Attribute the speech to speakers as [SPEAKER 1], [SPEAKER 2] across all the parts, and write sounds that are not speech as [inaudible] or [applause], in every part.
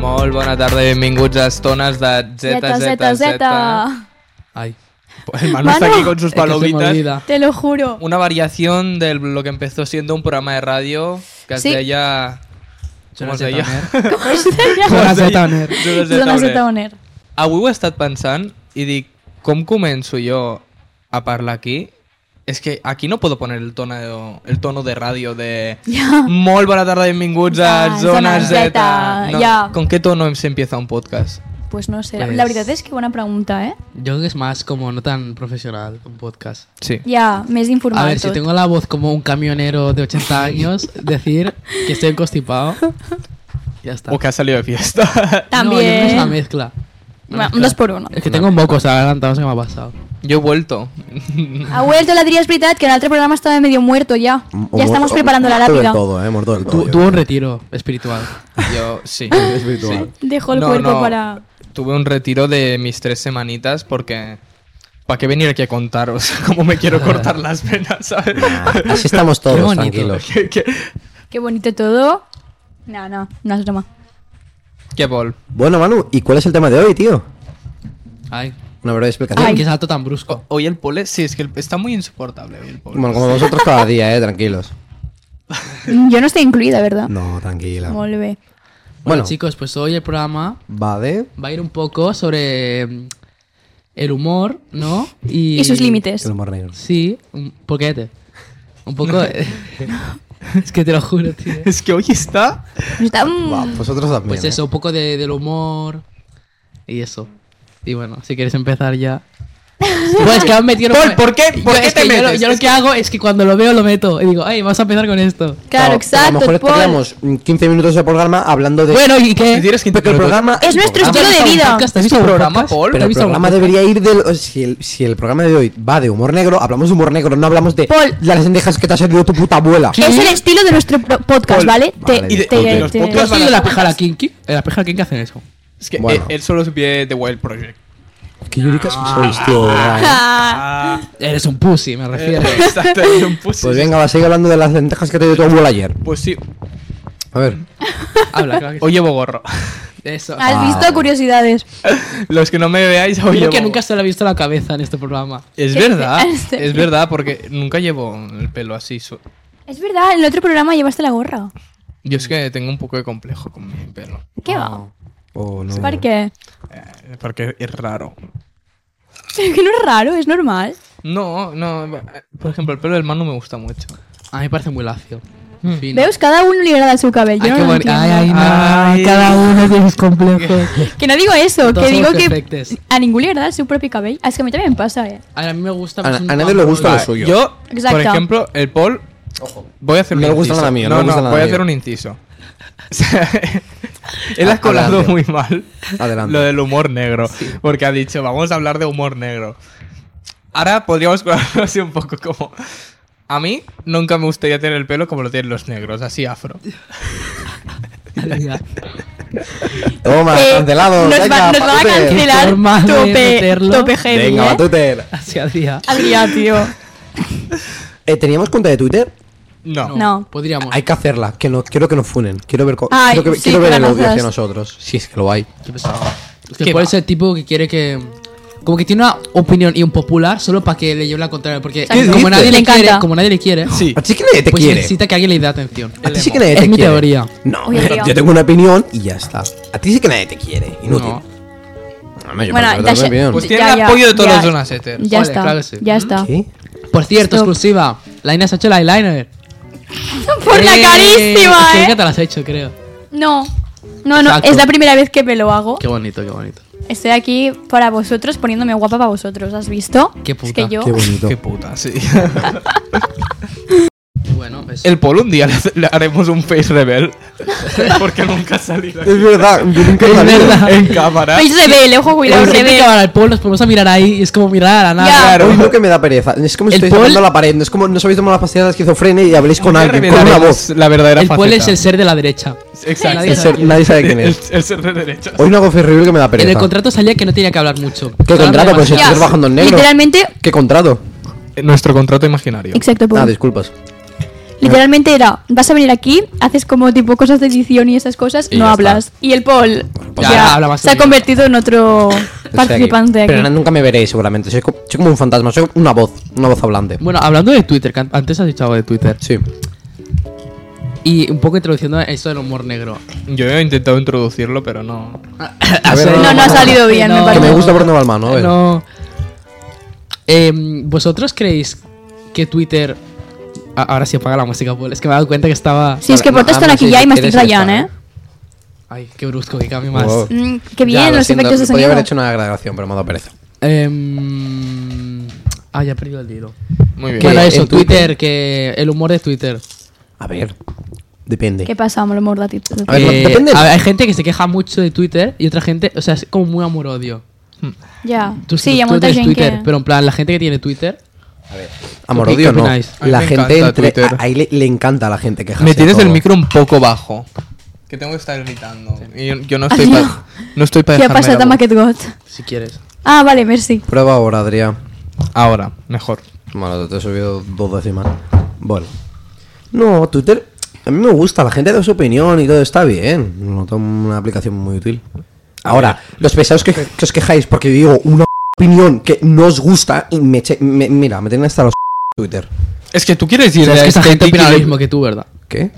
[SPEAKER 1] Molt bona tarda i benvinguts a Estones de ZZZ. Ai, el Manu está aquí con sus palomitas.
[SPEAKER 2] Te lo juro.
[SPEAKER 1] Una variación de lo que empezó siendo un programa de radio que es
[SPEAKER 2] Sí.
[SPEAKER 1] de ella... Com es deia?
[SPEAKER 2] [laughs]
[SPEAKER 3] Zona Zetoner.
[SPEAKER 1] Zona
[SPEAKER 2] Zona
[SPEAKER 1] Zetoner.
[SPEAKER 2] Zetoner.
[SPEAKER 1] Avui ho he estat pensant i dic, com començo jo a parlar aquí? És que aquí no puedo poner el tono, el tono de ràdio de...
[SPEAKER 2] Ja.
[SPEAKER 1] Molt bona tarda, benvinguts a
[SPEAKER 2] Ja,
[SPEAKER 1] Zona
[SPEAKER 2] Ah, Zona
[SPEAKER 1] Z.
[SPEAKER 2] Z,
[SPEAKER 1] No,
[SPEAKER 2] ja.
[SPEAKER 1] Con què tono se empieza un podcast?
[SPEAKER 2] Pues no sé.
[SPEAKER 3] Pues-
[SPEAKER 2] La veritat és que bona pregunta, eh?
[SPEAKER 3] [laughs] Yo creo que es más como no tan profesional un podcast.
[SPEAKER 1] Sí.
[SPEAKER 2] Ja, més
[SPEAKER 3] A
[SPEAKER 2] informal
[SPEAKER 3] ver, si
[SPEAKER 2] tot.
[SPEAKER 3] tengo la voz como un camionero de 80 años, decir que estoy constipado, ya está.
[SPEAKER 1] O que ha salido de fiesta.
[SPEAKER 3] No, yo creo que es
[SPEAKER 2] També.
[SPEAKER 3] una mezcla. Una
[SPEAKER 2] Va,
[SPEAKER 3] mezcla.
[SPEAKER 2] un dos por uno.
[SPEAKER 3] Es que tengo mocos a la garganta, no sé qué me ha pasado.
[SPEAKER 1] Yo he vuelto.
[SPEAKER 2] Ha vuelto la tria, és veritat, que en l'altre programa estava medio muerto ya.
[SPEAKER 4] O
[SPEAKER 2] Ya
[SPEAKER 4] muerto-
[SPEAKER 2] estamos
[SPEAKER 4] o
[SPEAKER 2] preparando la
[SPEAKER 4] oh, muerto del
[SPEAKER 2] lápida.
[SPEAKER 4] todo, eh, muerto del todo.
[SPEAKER 3] Tu-
[SPEAKER 4] yo
[SPEAKER 3] tuve un retiro espiritual.
[SPEAKER 1] Yo sí.
[SPEAKER 4] creo. [laughs] Es virtual.
[SPEAKER 2] Dejo el cuerpo para...
[SPEAKER 1] Tuve un retiro de mis tres semanitas porque... ¿Para qué venir aquí a contaros [laughs] cómo me quiero
[SPEAKER 4] [laughs]
[SPEAKER 1] cortar las venas, sabes?
[SPEAKER 4] Nah,
[SPEAKER 1] [laughs]
[SPEAKER 4] así estamos
[SPEAKER 3] [laughs] Qué
[SPEAKER 4] todos,
[SPEAKER 3] bonito.
[SPEAKER 4] tranquilos.
[SPEAKER 1] que, que,
[SPEAKER 2] Qué bonito todo. No, no, no es broma.
[SPEAKER 1] que bol.
[SPEAKER 4] Bueno, Manu, ¿y cuál es el tema de hoy, tío?
[SPEAKER 3] Ay,
[SPEAKER 4] Una breve
[SPEAKER 3] Ay.
[SPEAKER 4] explicación.
[SPEAKER 3] qué salto tan brusco.
[SPEAKER 1] Hoy el pole, sí, es que el- está muy insoportable hoy el pole.
[SPEAKER 4] Bueno, como vosotros cada día, eh, tranquilos.
[SPEAKER 2] Yo no estoy incluida, ¿verdad?
[SPEAKER 4] No, tranquila. Bueno,
[SPEAKER 2] Molt bé.
[SPEAKER 3] Bueno, chicos, pues hoy el programa
[SPEAKER 4] va de...
[SPEAKER 3] va a ir un poco sobre mm, el humor, ¿no? Y,
[SPEAKER 2] Y sus límites.
[SPEAKER 4] El humor negro.
[SPEAKER 3] Sí, un poquete. Un poco. [laughs] es que te lo juro, tío.
[SPEAKER 1] Es que hoy está...
[SPEAKER 2] Está- mm,
[SPEAKER 4] Va, vosotros también.
[SPEAKER 3] Pues
[SPEAKER 4] eh.
[SPEAKER 3] eso, un poco de, del humor y eso. Y bueno, si quieres empezar ya. Pues que han metido.
[SPEAKER 1] Pol, ¿por qué- por
[SPEAKER 3] Yo-
[SPEAKER 1] qué
[SPEAKER 3] es
[SPEAKER 1] te
[SPEAKER 3] que yo lo-
[SPEAKER 1] metes?
[SPEAKER 3] Yo, lo
[SPEAKER 1] Es
[SPEAKER 3] que hago es que cuando lo veo lo meto y digo, ay, vamos a empezar con esto.
[SPEAKER 2] Claro,
[SPEAKER 4] Pero A lo
[SPEAKER 2] exacto.
[SPEAKER 4] mejor
[SPEAKER 2] Paul.
[SPEAKER 4] estaríamos mm, 15 minutos de programa hablando de...
[SPEAKER 3] Bueno, ¿y
[SPEAKER 1] Si
[SPEAKER 3] qué? Ah,
[SPEAKER 1] tienes que
[SPEAKER 4] Porque el
[SPEAKER 1] interrumpir-
[SPEAKER 4] programa...
[SPEAKER 2] Es nuestro
[SPEAKER 3] ¿Has
[SPEAKER 2] estilo de
[SPEAKER 3] visto algún
[SPEAKER 2] vida.
[SPEAKER 3] podcast? ¿Has
[SPEAKER 1] ¿Es tu
[SPEAKER 3] visto algún
[SPEAKER 1] programa,
[SPEAKER 3] podcast?
[SPEAKER 1] Paul?
[SPEAKER 3] ¿Has
[SPEAKER 4] Pero el
[SPEAKER 3] visto algún
[SPEAKER 4] programa
[SPEAKER 3] podcast?
[SPEAKER 4] debería ir del... Si el, si el programa de hoy va de humor negro, hablamos de humor negro, no hablamos de
[SPEAKER 2] Paul.
[SPEAKER 4] las endejas que te ha servido tu puta abuela.
[SPEAKER 3] ¿Qué?
[SPEAKER 2] Es el estilo de nuestro pro- podcast,
[SPEAKER 1] Paul.
[SPEAKER 2] ¿vale? Te-
[SPEAKER 4] Vale, y de-
[SPEAKER 2] te-
[SPEAKER 4] y de los
[SPEAKER 2] te-
[SPEAKER 3] ¿Tú
[SPEAKER 1] podcasts
[SPEAKER 2] [laughs]
[SPEAKER 3] has oído la pejada kinky? ¿En la pejada kinky hacen eso?
[SPEAKER 1] Es que
[SPEAKER 4] Bueno.
[SPEAKER 1] eh, él solo supie The Wild Project.
[SPEAKER 4] Qué yuricas sois, tío, de verdad, eh.
[SPEAKER 2] Ah,
[SPEAKER 3] Eres un pussy, me refiero.
[SPEAKER 1] [laughs] Exacto, es eh, un pussy.
[SPEAKER 4] Pues venga, va a seguir hablando de las lentejas que te dio tu abuela ayer.
[SPEAKER 1] Pues sí.
[SPEAKER 4] A ver.
[SPEAKER 3] Habla, claro que sí.
[SPEAKER 1] Hoy llevo gorro. [laughs]
[SPEAKER 3] Eso.
[SPEAKER 2] Has visto curiosidades.
[SPEAKER 1] Los que no me veáis, hoy
[SPEAKER 3] Creo
[SPEAKER 1] llevo
[SPEAKER 3] que nunca se le ha visto la cabeza en este programa.
[SPEAKER 1] Es
[SPEAKER 2] ¿Qué
[SPEAKER 1] verdad,
[SPEAKER 2] dices?
[SPEAKER 1] es verdad, porque nunca llevo el pelo así. su-
[SPEAKER 2] Es verdad, en el otro programa llevaste la gorra.
[SPEAKER 1] Yo es que tengo un poco de complejo con mi pelo,
[SPEAKER 2] Què va?
[SPEAKER 4] Oh, no.
[SPEAKER 2] Per què?
[SPEAKER 1] eh, porque es raro.
[SPEAKER 2] Pero que no [laughs] es raro, es normal.
[SPEAKER 1] No, no, eh, por ejemplo, el pelo del man no me gusta mucho.
[SPEAKER 3] A mí me parece muy lacio. Fino.
[SPEAKER 2] Veus? Cada uno le agrada su cabello.
[SPEAKER 3] Ay,
[SPEAKER 2] yo
[SPEAKER 3] qué
[SPEAKER 2] no lo
[SPEAKER 3] boni-
[SPEAKER 2] entiendo.
[SPEAKER 3] ay, ay, no,
[SPEAKER 1] Ay.
[SPEAKER 3] cada uno de sus complejos.
[SPEAKER 2] Que no digo eso,
[SPEAKER 3] Todos
[SPEAKER 2] que digo
[SPEAKER 3] somos
[SPEAKER 2] que
[SPEAKER 3] perfectes.
[SPEAKER 2] a ninguno le agrada su propio cabello. Ah, Es que a mí también me pasa, eh.
[SPEAKER 3] A, ver, a mí me gusta.
[SPEAKER 4] A-
[SPEAKER 3] pues, un
[SPEAKER 4] a nadie le
[SPEAKER 3] campo-
[SPEAKER 4] gusta lo
[SPEAKER 3] Vale.
[SPEAKER 4] suyo. Yo.
[SPEAKER 1] Yo,
[SPEAKER 2] Exacto.
[SPEAKER 1] por ejemplo, el Paul. Voy a hacer un
[SPEAKER 4] No le gusta
[SPEAKER 1] inciso.
[SPEAKER 4] nada mío, no
[SPEAKER 1] no,
[SPEAKER 4] le gusta nada
[SPEAKER 1] voy a
[SPEAKER 4] mío.
[SPEAKER 1] hacer un inciso. [laughs] O sea, Él
[SPEAKER 4] A-
[SPEAKER 1] ha colado
[SPEAKER 4] Ah, adelante.
[SPEAKER 1] muy mal
[SPEAKER 4] Adelante.
[SPEAKER 1] lo del humor negro, porque ha dicho, vamos a hablar de humor negro. Ahora podríamos [laughs] colarlo así un poco como... A mí nunca me gustaría tener el pelo como lo tienen los negros, así afro.
[SPEAKER 4] Toma,
[SPEAKER 2] Eh,
[SPEAKER 4] cancelado.
[SPEAKER 2] Nos, va- nos van a
[SPEAKER 4] Batute.
[SPEAKER 2] cancelar
[SPEAKER 3] forma de
[SPEAKER 2] tope,
[SPEAKER 3] meterlo.
[SPEAKER 2] tope heavy,
[SPEAKER 4] Venga,
[SPEAKER 2] eh.
[SPEAKER 4] Batute.
[SPEAKER 3] [laughs] Así hacía.
[SPEAKER 2] Adrià, tío.
[SPEAKER 4] Eh, ¿Teníamos cuenta de Twitter?
[SPEAKER 1] No.
[SPEAKER 2] No.
[SPEAKER 3] Podríamos.
[SPEAKER 4] Hay que hacerla, que no, quiero que nos funen. Quiero ver, co-
[SPEAKER 2] Ay,
[SPEAKER 4] quiero que-
[SPEAKER 2] sí,
[SPEAKER 4] quiero ver el odio
[SPEAKER 2] calabazas.
[SPEAKER 4] hacia nosotros. Si es que lo hay.
[SPEAKER 3] Qué pesado. Es que Paul es el tipo que quiere que. Como que tiene una opinión impopular solo para que le lleve la contraria. Porque
[SPEAKER 2] ¿Qué
[SPEAKER 3] como
[SPEAKER 4] dices?
[SPEAKER 3] nadie
[SPEAKER 2] Le
[SPEAKER 3] le
[SPEAKER 2] encanta.
[SPEAKER 3] quiere, como nadie le quiere,
[SPEAKER 1] Sí.
[SPEAKER 4] A ti sí que nadie te
[SPEAKER 3] pues
[SPEAKER 4] quiere.
[SPEAKER 3] necesita que alguien le dé atención.
[SPEAKER 4] A ti sí que nadie
[SPEAKER 3] Es
[SPEAKER 4] te
[SPEAKER 3] mi
[SPEAKER 4] quiere.
[SPEAKER 3] teoría.
[SPEAKER 4] No,
[SPEAKER 2] Oye,
[SPEAKER 4] yo,
[SPEAKER 2] tío.
[SPEAKER 4] yo tengo una opinión y ya está. A ti sí que nadie te quiere. Inútil.
[SPEAKER 3] No.
[SPEAKER 4] No, no, yo
[SPEAKER 2] Bueno,
[SPEAKER 4] puedo dar
[SPEAKER 2] ya
[SPEAKER 4] mi
[SPEAKER 2] sé-
[SPEAKER 4] opinión.
[SPEAKER 1] Pues
[SPEAKER 2] Ya,
[SPEAKER 1] tiene el
[SPEAKER 2] ya,
[SPEAKER 1] apoyo de todos
[SPEAKER 2] ya.
[SPEAKER 1] los Jonas Eter.
[SPEAKER 2] Ya
[SPEAKER 3] Vale,
[SPEAKER 2] está.
[SPEAKER 3] claro que sí.
[SPEAKER 2] Ya está.
[SPEAKER 4] ¿Qué?
[SPEAKER 3] Por cierto,
[SPEAKER 2] Stop.
[SPEAKER 3] exclusiva. La Ina se ha hecho el eyeliner.
[SPEAKER 2] Por la
[SPEAKER 3] Eh,
[SPEAKER 2] carísima,
[SPEAKER 3] que
[SPEAKER 2] eh.
[SPEAKER 3] nunca te la has hecho, creo.
[SPEAKER 2] No. No, no,
[SPEAKER 3] Exacto.
[SPEAKER 2] es la primera vez que me lo hago.
[SPEAKER 3] Qué bonito, qué bonito.
[SPEAKER 2] Estoy aquí para vosotros, poniéndome guapa para vosotros, ¿has visto?
[SPEAKER 3] Qué
[SPEAKER 2] Es
[SPEAKER 3] puta.
[SPEAKER 2] que yo...
[SPEAKER 4] Qué bonito.
[SPEAKER 1] Qué puta, sí. [laughs]
[SPEAKER 3] Bueno, eso.
[SPEAKER 1] El Paul un día le, hace- le haremos un face rebel, [laughs] porque nunca ha
[SPEAKER 4] [laughs]
[SPEAKER 1] salido aquí
[SPEAKER 4] Es verdad, yo nunca
[SPEAKER 3] Es
[SPEAKER 4] sabía.
[SPEAKER 3] verdad.
[SPEAKER 1] en cámara.
[SPEAKER 2] Face rebelde, ojo, cuidado,
[SPEAKER 3] Pero siempre que
[SPEAKER 2] rebelde.
[SPEAKER 3] van al pueblo nos ponemos a mirar ahí y es como mirar a la nada.
[SPEAKER 2] Ya.
[SPEAKER 4] Claro,
[SPEAKER 1] Claro.
[SPEAKER 4] es lo que me da pereza. Es como si
[SPEAKER 3] El
[SPEAKER 4] estáis
[SPEAKER 3] Paul-
[SPEAKER 4] hablando a la pared. No es como no sabéis tomar las pastillas de esquizofrenia y habléis con
[SPEAKER 1] Nunca
[SPEAKER 4] alguien, con una
[SPEAKER 1] revelaremos
[SPEAKER 4] voz.
[SPEAKER 1] La verdadera
[SPEAKER 3] El pueblo
[SPEAKER 1] faceta.
[SPEAKER 3] es el ser de la derecha.
[SPEAKER 1] Exacto.
[SPEAKER 3] Nadie
[SPEAKER 4] El ser- nadie
[SPEAKER 1] [laughs]
[SPEAKER 3] [laughs]
[SPEAKER 4] sabe quién es.
[SPEAKER 1] El, el ser de derecha.
[SPEAKER 4] Hoy no hago ferrovial que me da pereza.
[SPEAKER 3] En el contrato salía que no tenía que hablar mucho.
[SPEAKER 4] ¿Qué contrato? Pues si
[SPEAKER 2] Ya.
[SPEAKER 4] estoy trabajando en negro.
[SPEAKER 2] Literalmente...
[SPEAKER 4] ¿Qué contrato?
[SPEAKER 1] Nuestro Eh, contrato imaginario.
[SPEAKER 2] Exacto, Paul.
[SPEAKER 4] Ah, disculpas.
[SPEAKER 2] Literalmente era, vas a venir aquí, haces como tipo cosas de edición y esas cosas,
[SPEAKER 5] Y
[SPEAKER 2] no
[SPEAKER 5] ya
[SPEAKER 2] hablas. Y el Paul
[SPEAKER 1] pues
[SPEAKER 2] ya
[SPEAKER 1] ya habla más
[SPEAKER 2] se ha
[SPEAKER 1] seguido.
[SPEAKER 2] convertido en otro participante aquí.
[SPEAKER 4] Pero nunca me veréis seguramente. Soy, co- soy como un fantasma, soy una voz, una voz hablante.
[SPEAKER 3] Bueno, hablando de Twitter, que an- antes has dicho algo de Twitter.
[SPEAKER 4] Sí.
[SPEAKER 3] Y un poco introduciendo esto del humor negro. [laughs]
[SPEAKER 1] Yo he intentado introducirlo, pero no.
[SPEAKER 4] A ver,
[SPEAKER 3] Ah, Sí.
[SPEAKER 4] no, no, no ha
[SPEAKER 2] salido bien, me
[SPEAKER 4] Que
[SPEAKER 2] parece.
[SPEAKER 4] me gusta Bruno Balma, ¿no? A ver.
[SPEAKER 3] No. Em, ¿Vosotros creéis que Twitter... A- Ahora sí apaga la música, Paul. Es que me he dado cuenta que estaba...
[SPEAKER 2] Si es que
[SPEAKER 4] Vale,
[SPEAKER 2] por están
[SPEAKER 4] vamos,
[SPEAKER 2] aquí
[SPEAKER 4] sí,
[SPEAKER 2] ya y
[SPEAKER 4] si
[SPEAKER 2] me estoy
[SPEAKER 4] quieres, ya
[SPEAKER 2] rayando, ¿eh?
[SPEAKER 4] está.
[SPEAKER 3] Ay, qué brusco, que cambio más.
[SPEAKER 4] Wow.
[SPEAKER 2] Mm, qué
[SPEAKER 4] Ya,
[SPEAKER 2] bien,
[SPEAKER 4] lo
[SPEAKER 2] los
[SPEAKER 4] siento,
[SPEAKER 2] efectos de
[SPEAKER 4] Podría
[SPEAKER 2] sonido.
[SPEAKER 4] haber hecho una grabación, pero me ha dado pereza.
[SPEAKER 3] Em, ah, ya he perdido el hilo.
[SPEAKER 1] Muy bien.
[SPEAKER 4] ¿Qué?
[SPEAKER 3] Bueno,
[SPEAKER 4] en
[SPEAKER 3] eso,
[SPEAKER 4] Twitter?
[SPEAKER 3] Twitter, que el humor de Twitter.
[SPEAKER 4] A ver, depende.
[SPEAKER 2] ¿Qué pasa, amor, amor, dati-
[SPEAKER 4] A ver, no, depende.
[SPEAKER 3] Eh, a ver, hay gente que se queja mucho de Twitter y otra gente, o sea, es como muy amor-odio.
[SPEAKER 2] Ya.
[SPEAKER 3] Tú,
[SPEAKER 2] sí,
[SPEAKER 3] tú
[SPEAKER 2] ya mucha
[SPEAKER 3] tienes
[SPEAKER 2] gente
[SPEAKER 3] Twitter,
[SPEAKER 2] que...
[SPEAKER 3] pero en plan, la gente que tiene Twitter,
[SPEAKER 4] Amor,
[SPEAKER 3] ¿Qué-
[SPEAKER 4] odio,
[SPEAKER 3] qué
[SPEAKER 4] no.
[SPEAKER 3] opináis?
[SPEAKER 1] A mí
[SPEAKER 4] La
[SPEAKER 1] me
[SPEAKER 4] gente
[SPEAKER 1] encanta
[SPEAKER 4] entre.
[SPEAKER 1] Twitter.
[SPEAKER 4] a- Ahí le, le encanta a la gente quejarse.
[SPEAKER 1] Me tienes
[SPEAKER 4] de
[SPEAKER 1] el
[SPEAKER 4] todo.
[SPEAKER 1] micro un poco bajo. Que tengo que estar gritando. Y yo, yo no estoy
[SPEAKER 2] Ah,
[SPEAKER 1] para.
[SPEAKER 2] no.
[SPEAKER 1] No estoy para
[SPEAKER 2] ¿Qué ha pasado a Maquet God?
[SPEAKER 3] si quieres.
[SPEAKER 2] Ah, vale, merci.
[SPEAKER 4] Prueba ahora, Adrián.
[SPEAKER 1] Ahora, mejor.
[SPEAKER 4] Bueno, te he subido dos décimas. Bueno. No, Twitter. A mí me gusta, la gente da su opinión y todo está bien. No, tomo una aplicación muy útil. Ahora, los pesados que, que os quejáis porque digo una opinión que no os gusta y me, eche- me- Mira, me tienen hasta los [laughs] Twitter.
[SPEAKER 1] Es que tú quieres ir
[SPEAKER 3] O sea,
[SPEAKER 1] de
[SPEAKER 3] es que esa
[SPEAKER 1] este
[SPEAKER 3] gente opina lo
[SPEAKER 1] tiki-
[SPEAKER 3] mismo que tú, ¿verdad?
[SPEAKER 4] ¿Qué?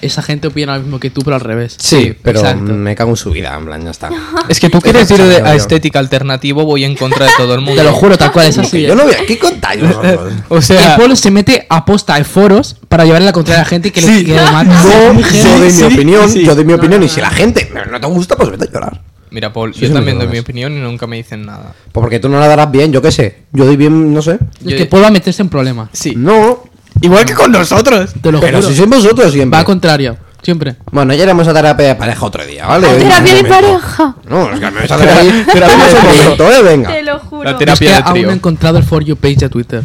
[SPEAKER 3] Esa gente opina lo mismo que tú, pero al revés.
[SPEAKER 4] Sí, pero
[SPEAKER 3] exacto.
[SPEAKER 4] me cago en su vida, en plan, ya [laughs] está.
[SPEAKER 1] Es que tú quieres ir de,
[SPEAKER 4] Yo, yo.
[SPEAKER 1] a estética alternativo, voy en contra de todo el mundo.
[SPEAKER 3] Te lo juro,
[SPEAKER 2] Ah,
[SPEAKER 3] tal cual, es
[SPEAKER 4] Que
[SPEAKER 3] así.
[SPEAKER 4] Yo no voy a... ¿Qué contáis [laughs] vosotros?
[SPEAKER 1] O
[SPEAKER 3] O sea,
[SPEAKER 1] sea,
[SPEAKER 3] el pueblo se mete a posta en foros para llevarle la contraria a la gente y que le
[SPEAKER 1] Sí.
[SPEAKER 3] quede mal.
[SPEAKER 4] Yo, yo doy mi opinión, yo doy mi opinión y si la gente no, no te gusta, pues vete a llorar.
[SPEAKER 1] mira, Paul,
[SPEAKER 4] Sí,
[SPEAKER 1] yo
[SPEAKER 4] sí,
[SPEAKER 1] también
[SPEAKER 4] me
[SPEAKER 1] doy mi
[SPEAKER 4] jodas.
[SPEAKER 1] opinión y nunca me dicen nada.
[SPEAKER 4] Pues porque tú no la darás bien, yo qué sé. Yo doy bien, no sé.
[SPEAKER 3] Es que pueblo va a meterse en problemas.
[SPEAKER 1] Sí.
[SPEAKER 4] No, Mm.
[SPEAKER 1] Igual que [laughs] con nosotros.
[SPEAKER 3] Te lo
[SPEAKER 4] pero
[SPEAKER 3] juro.
[SPEAKER 4] si sois vosotros siempre.
[SPEAKER 3] Va al contrario, siempre.
[SPEAKER 4] Bueno, ya iremos a terapia de pareja otro día, ¿vale? Hoy no
[SPEAKER 2] Terapia
[SPEAKER 4] me
[SPEAKER 2] de
[SPEAKER 4] meto.
[SPEAKER 2] pareja.
[SPEAKER 4] No, es que me vais a hacer
[SPEAKER 1] Terapia-
[SPEAKER 4] ahí-
[SPEAKER 1] terapia
[SPEAKER 4] Vamos
[SPEAKER 1] de
[SPEAKER 4] a un
[SPEAKER 1] trío.
[SPEAKER 4] momento, eh, venga.
[SPEAKER 2] Te lo juro.
[SPEAKER 1] La terapia
[SPEAKER 3] Pues es
[SPEAKER 1] de
[SPEAKER 3] que aún
[SPEAKER 1] trío.
[SPEAKER 3] no he encontrado el For You page de Twitter.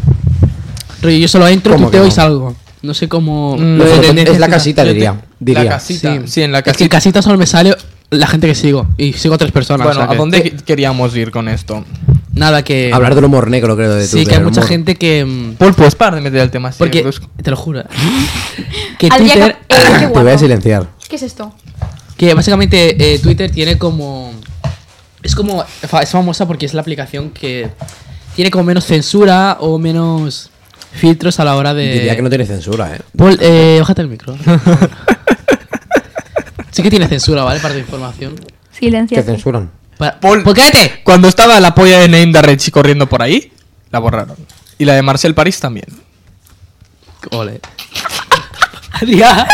[SPEAKER 3] Rollo, yo solo entro,
[SPEAKER 4] ¿Cómo que
[SPEAKER 3] tuteo y
[SPEAKER 4] no?
[SPEAKER 3] salgo. No sé cómo.
[SPEAKER 1] Mm,
[SPEAKER 3] lo de
[SPEAKER 1] es
[SPEAKER 3] tendencias
[SPEAKER 4] es la
[SPEAKER 3] y tal.
[SPEAKER 4] casita,
[SPEAKER 3] Yo te-
[SPEAKER 4] diría.
[SPEAKER 1] La
[SPEAKER 4] diría.
[SPEAKER 1] casita. Sí,
[SPEAKER 3] Sí.
[SPEAKER 1] en la
[SPEAKER 3] Es que en
[SPEAKER 1] casita.
[SPEAKER 3] casita solo me sale la gente que sigo. Y sigo a tres personas.
[SPEAKER 1] bueno,
[SPEAKER 3] o sea
[SPEAKER 1] ¿a
[SPEAKER 3] que-
[SPEAKER 1] dónde que- queríamos ir con esto?
[SPEAKER 3] Nada que.
[SPEAKER 4] Hablar del humor negro, creo, de
[SPEAKER 3] Sí,
[SPEAKER 4] Twitter,
[SPEAKER 3] que hay
[SPEAKER 4] el
[SPEAKER 3] mucha
[SPEAKER 4] humor.
[SPEAKER 3] gente que. mm,
[SPEAKER 1] Paul, pues para de meter el tema así.
[SPEAKER 3] Porque.
[SPEAKER 1] brusco.
[SPEAKER 3] Te lo
[SPEAKER 4] [laughs]
[SPEAKER 3] juro. Que
[SPEAKER 2] Al día
[SPEAKER 3] Twitter.
[SPEAKER 2] que- eh, qué
[SPEAKER 4] Ah, Te
[SPEAKER 2] guapo.
[SPEAKER 4] voy a silenciar.
[SPEAKER 2] ¿Qué es esto?
[SPEAKER 3] Que básicamente eh, Twitter tiene como. Es como. fa- Es famosa porque es la aplicación que. Tiene como menos censura o menos filtros a la hora de.
[SPEAKER 4] Diría que no tiene censura, eh.
[SPEAKER 3] Paul, eh, bájate el micro. [laughs] sí que tiene censura, ¿vale? Para tu información.
[SPEAKER 2] Silencio.
[SPEAKER 4] Que censuran.
[SPEAKER 3] Para...
[SPEAKER 1] Paul-
[SPEAKER 3] Paul, cállate!
[SPEAKER 1] Cuando estaba la polla de Name de Rechi corriendo por ahí, la borraron. Y la de Marcel París también.
[SPEAKER 3] Ole. Adrián.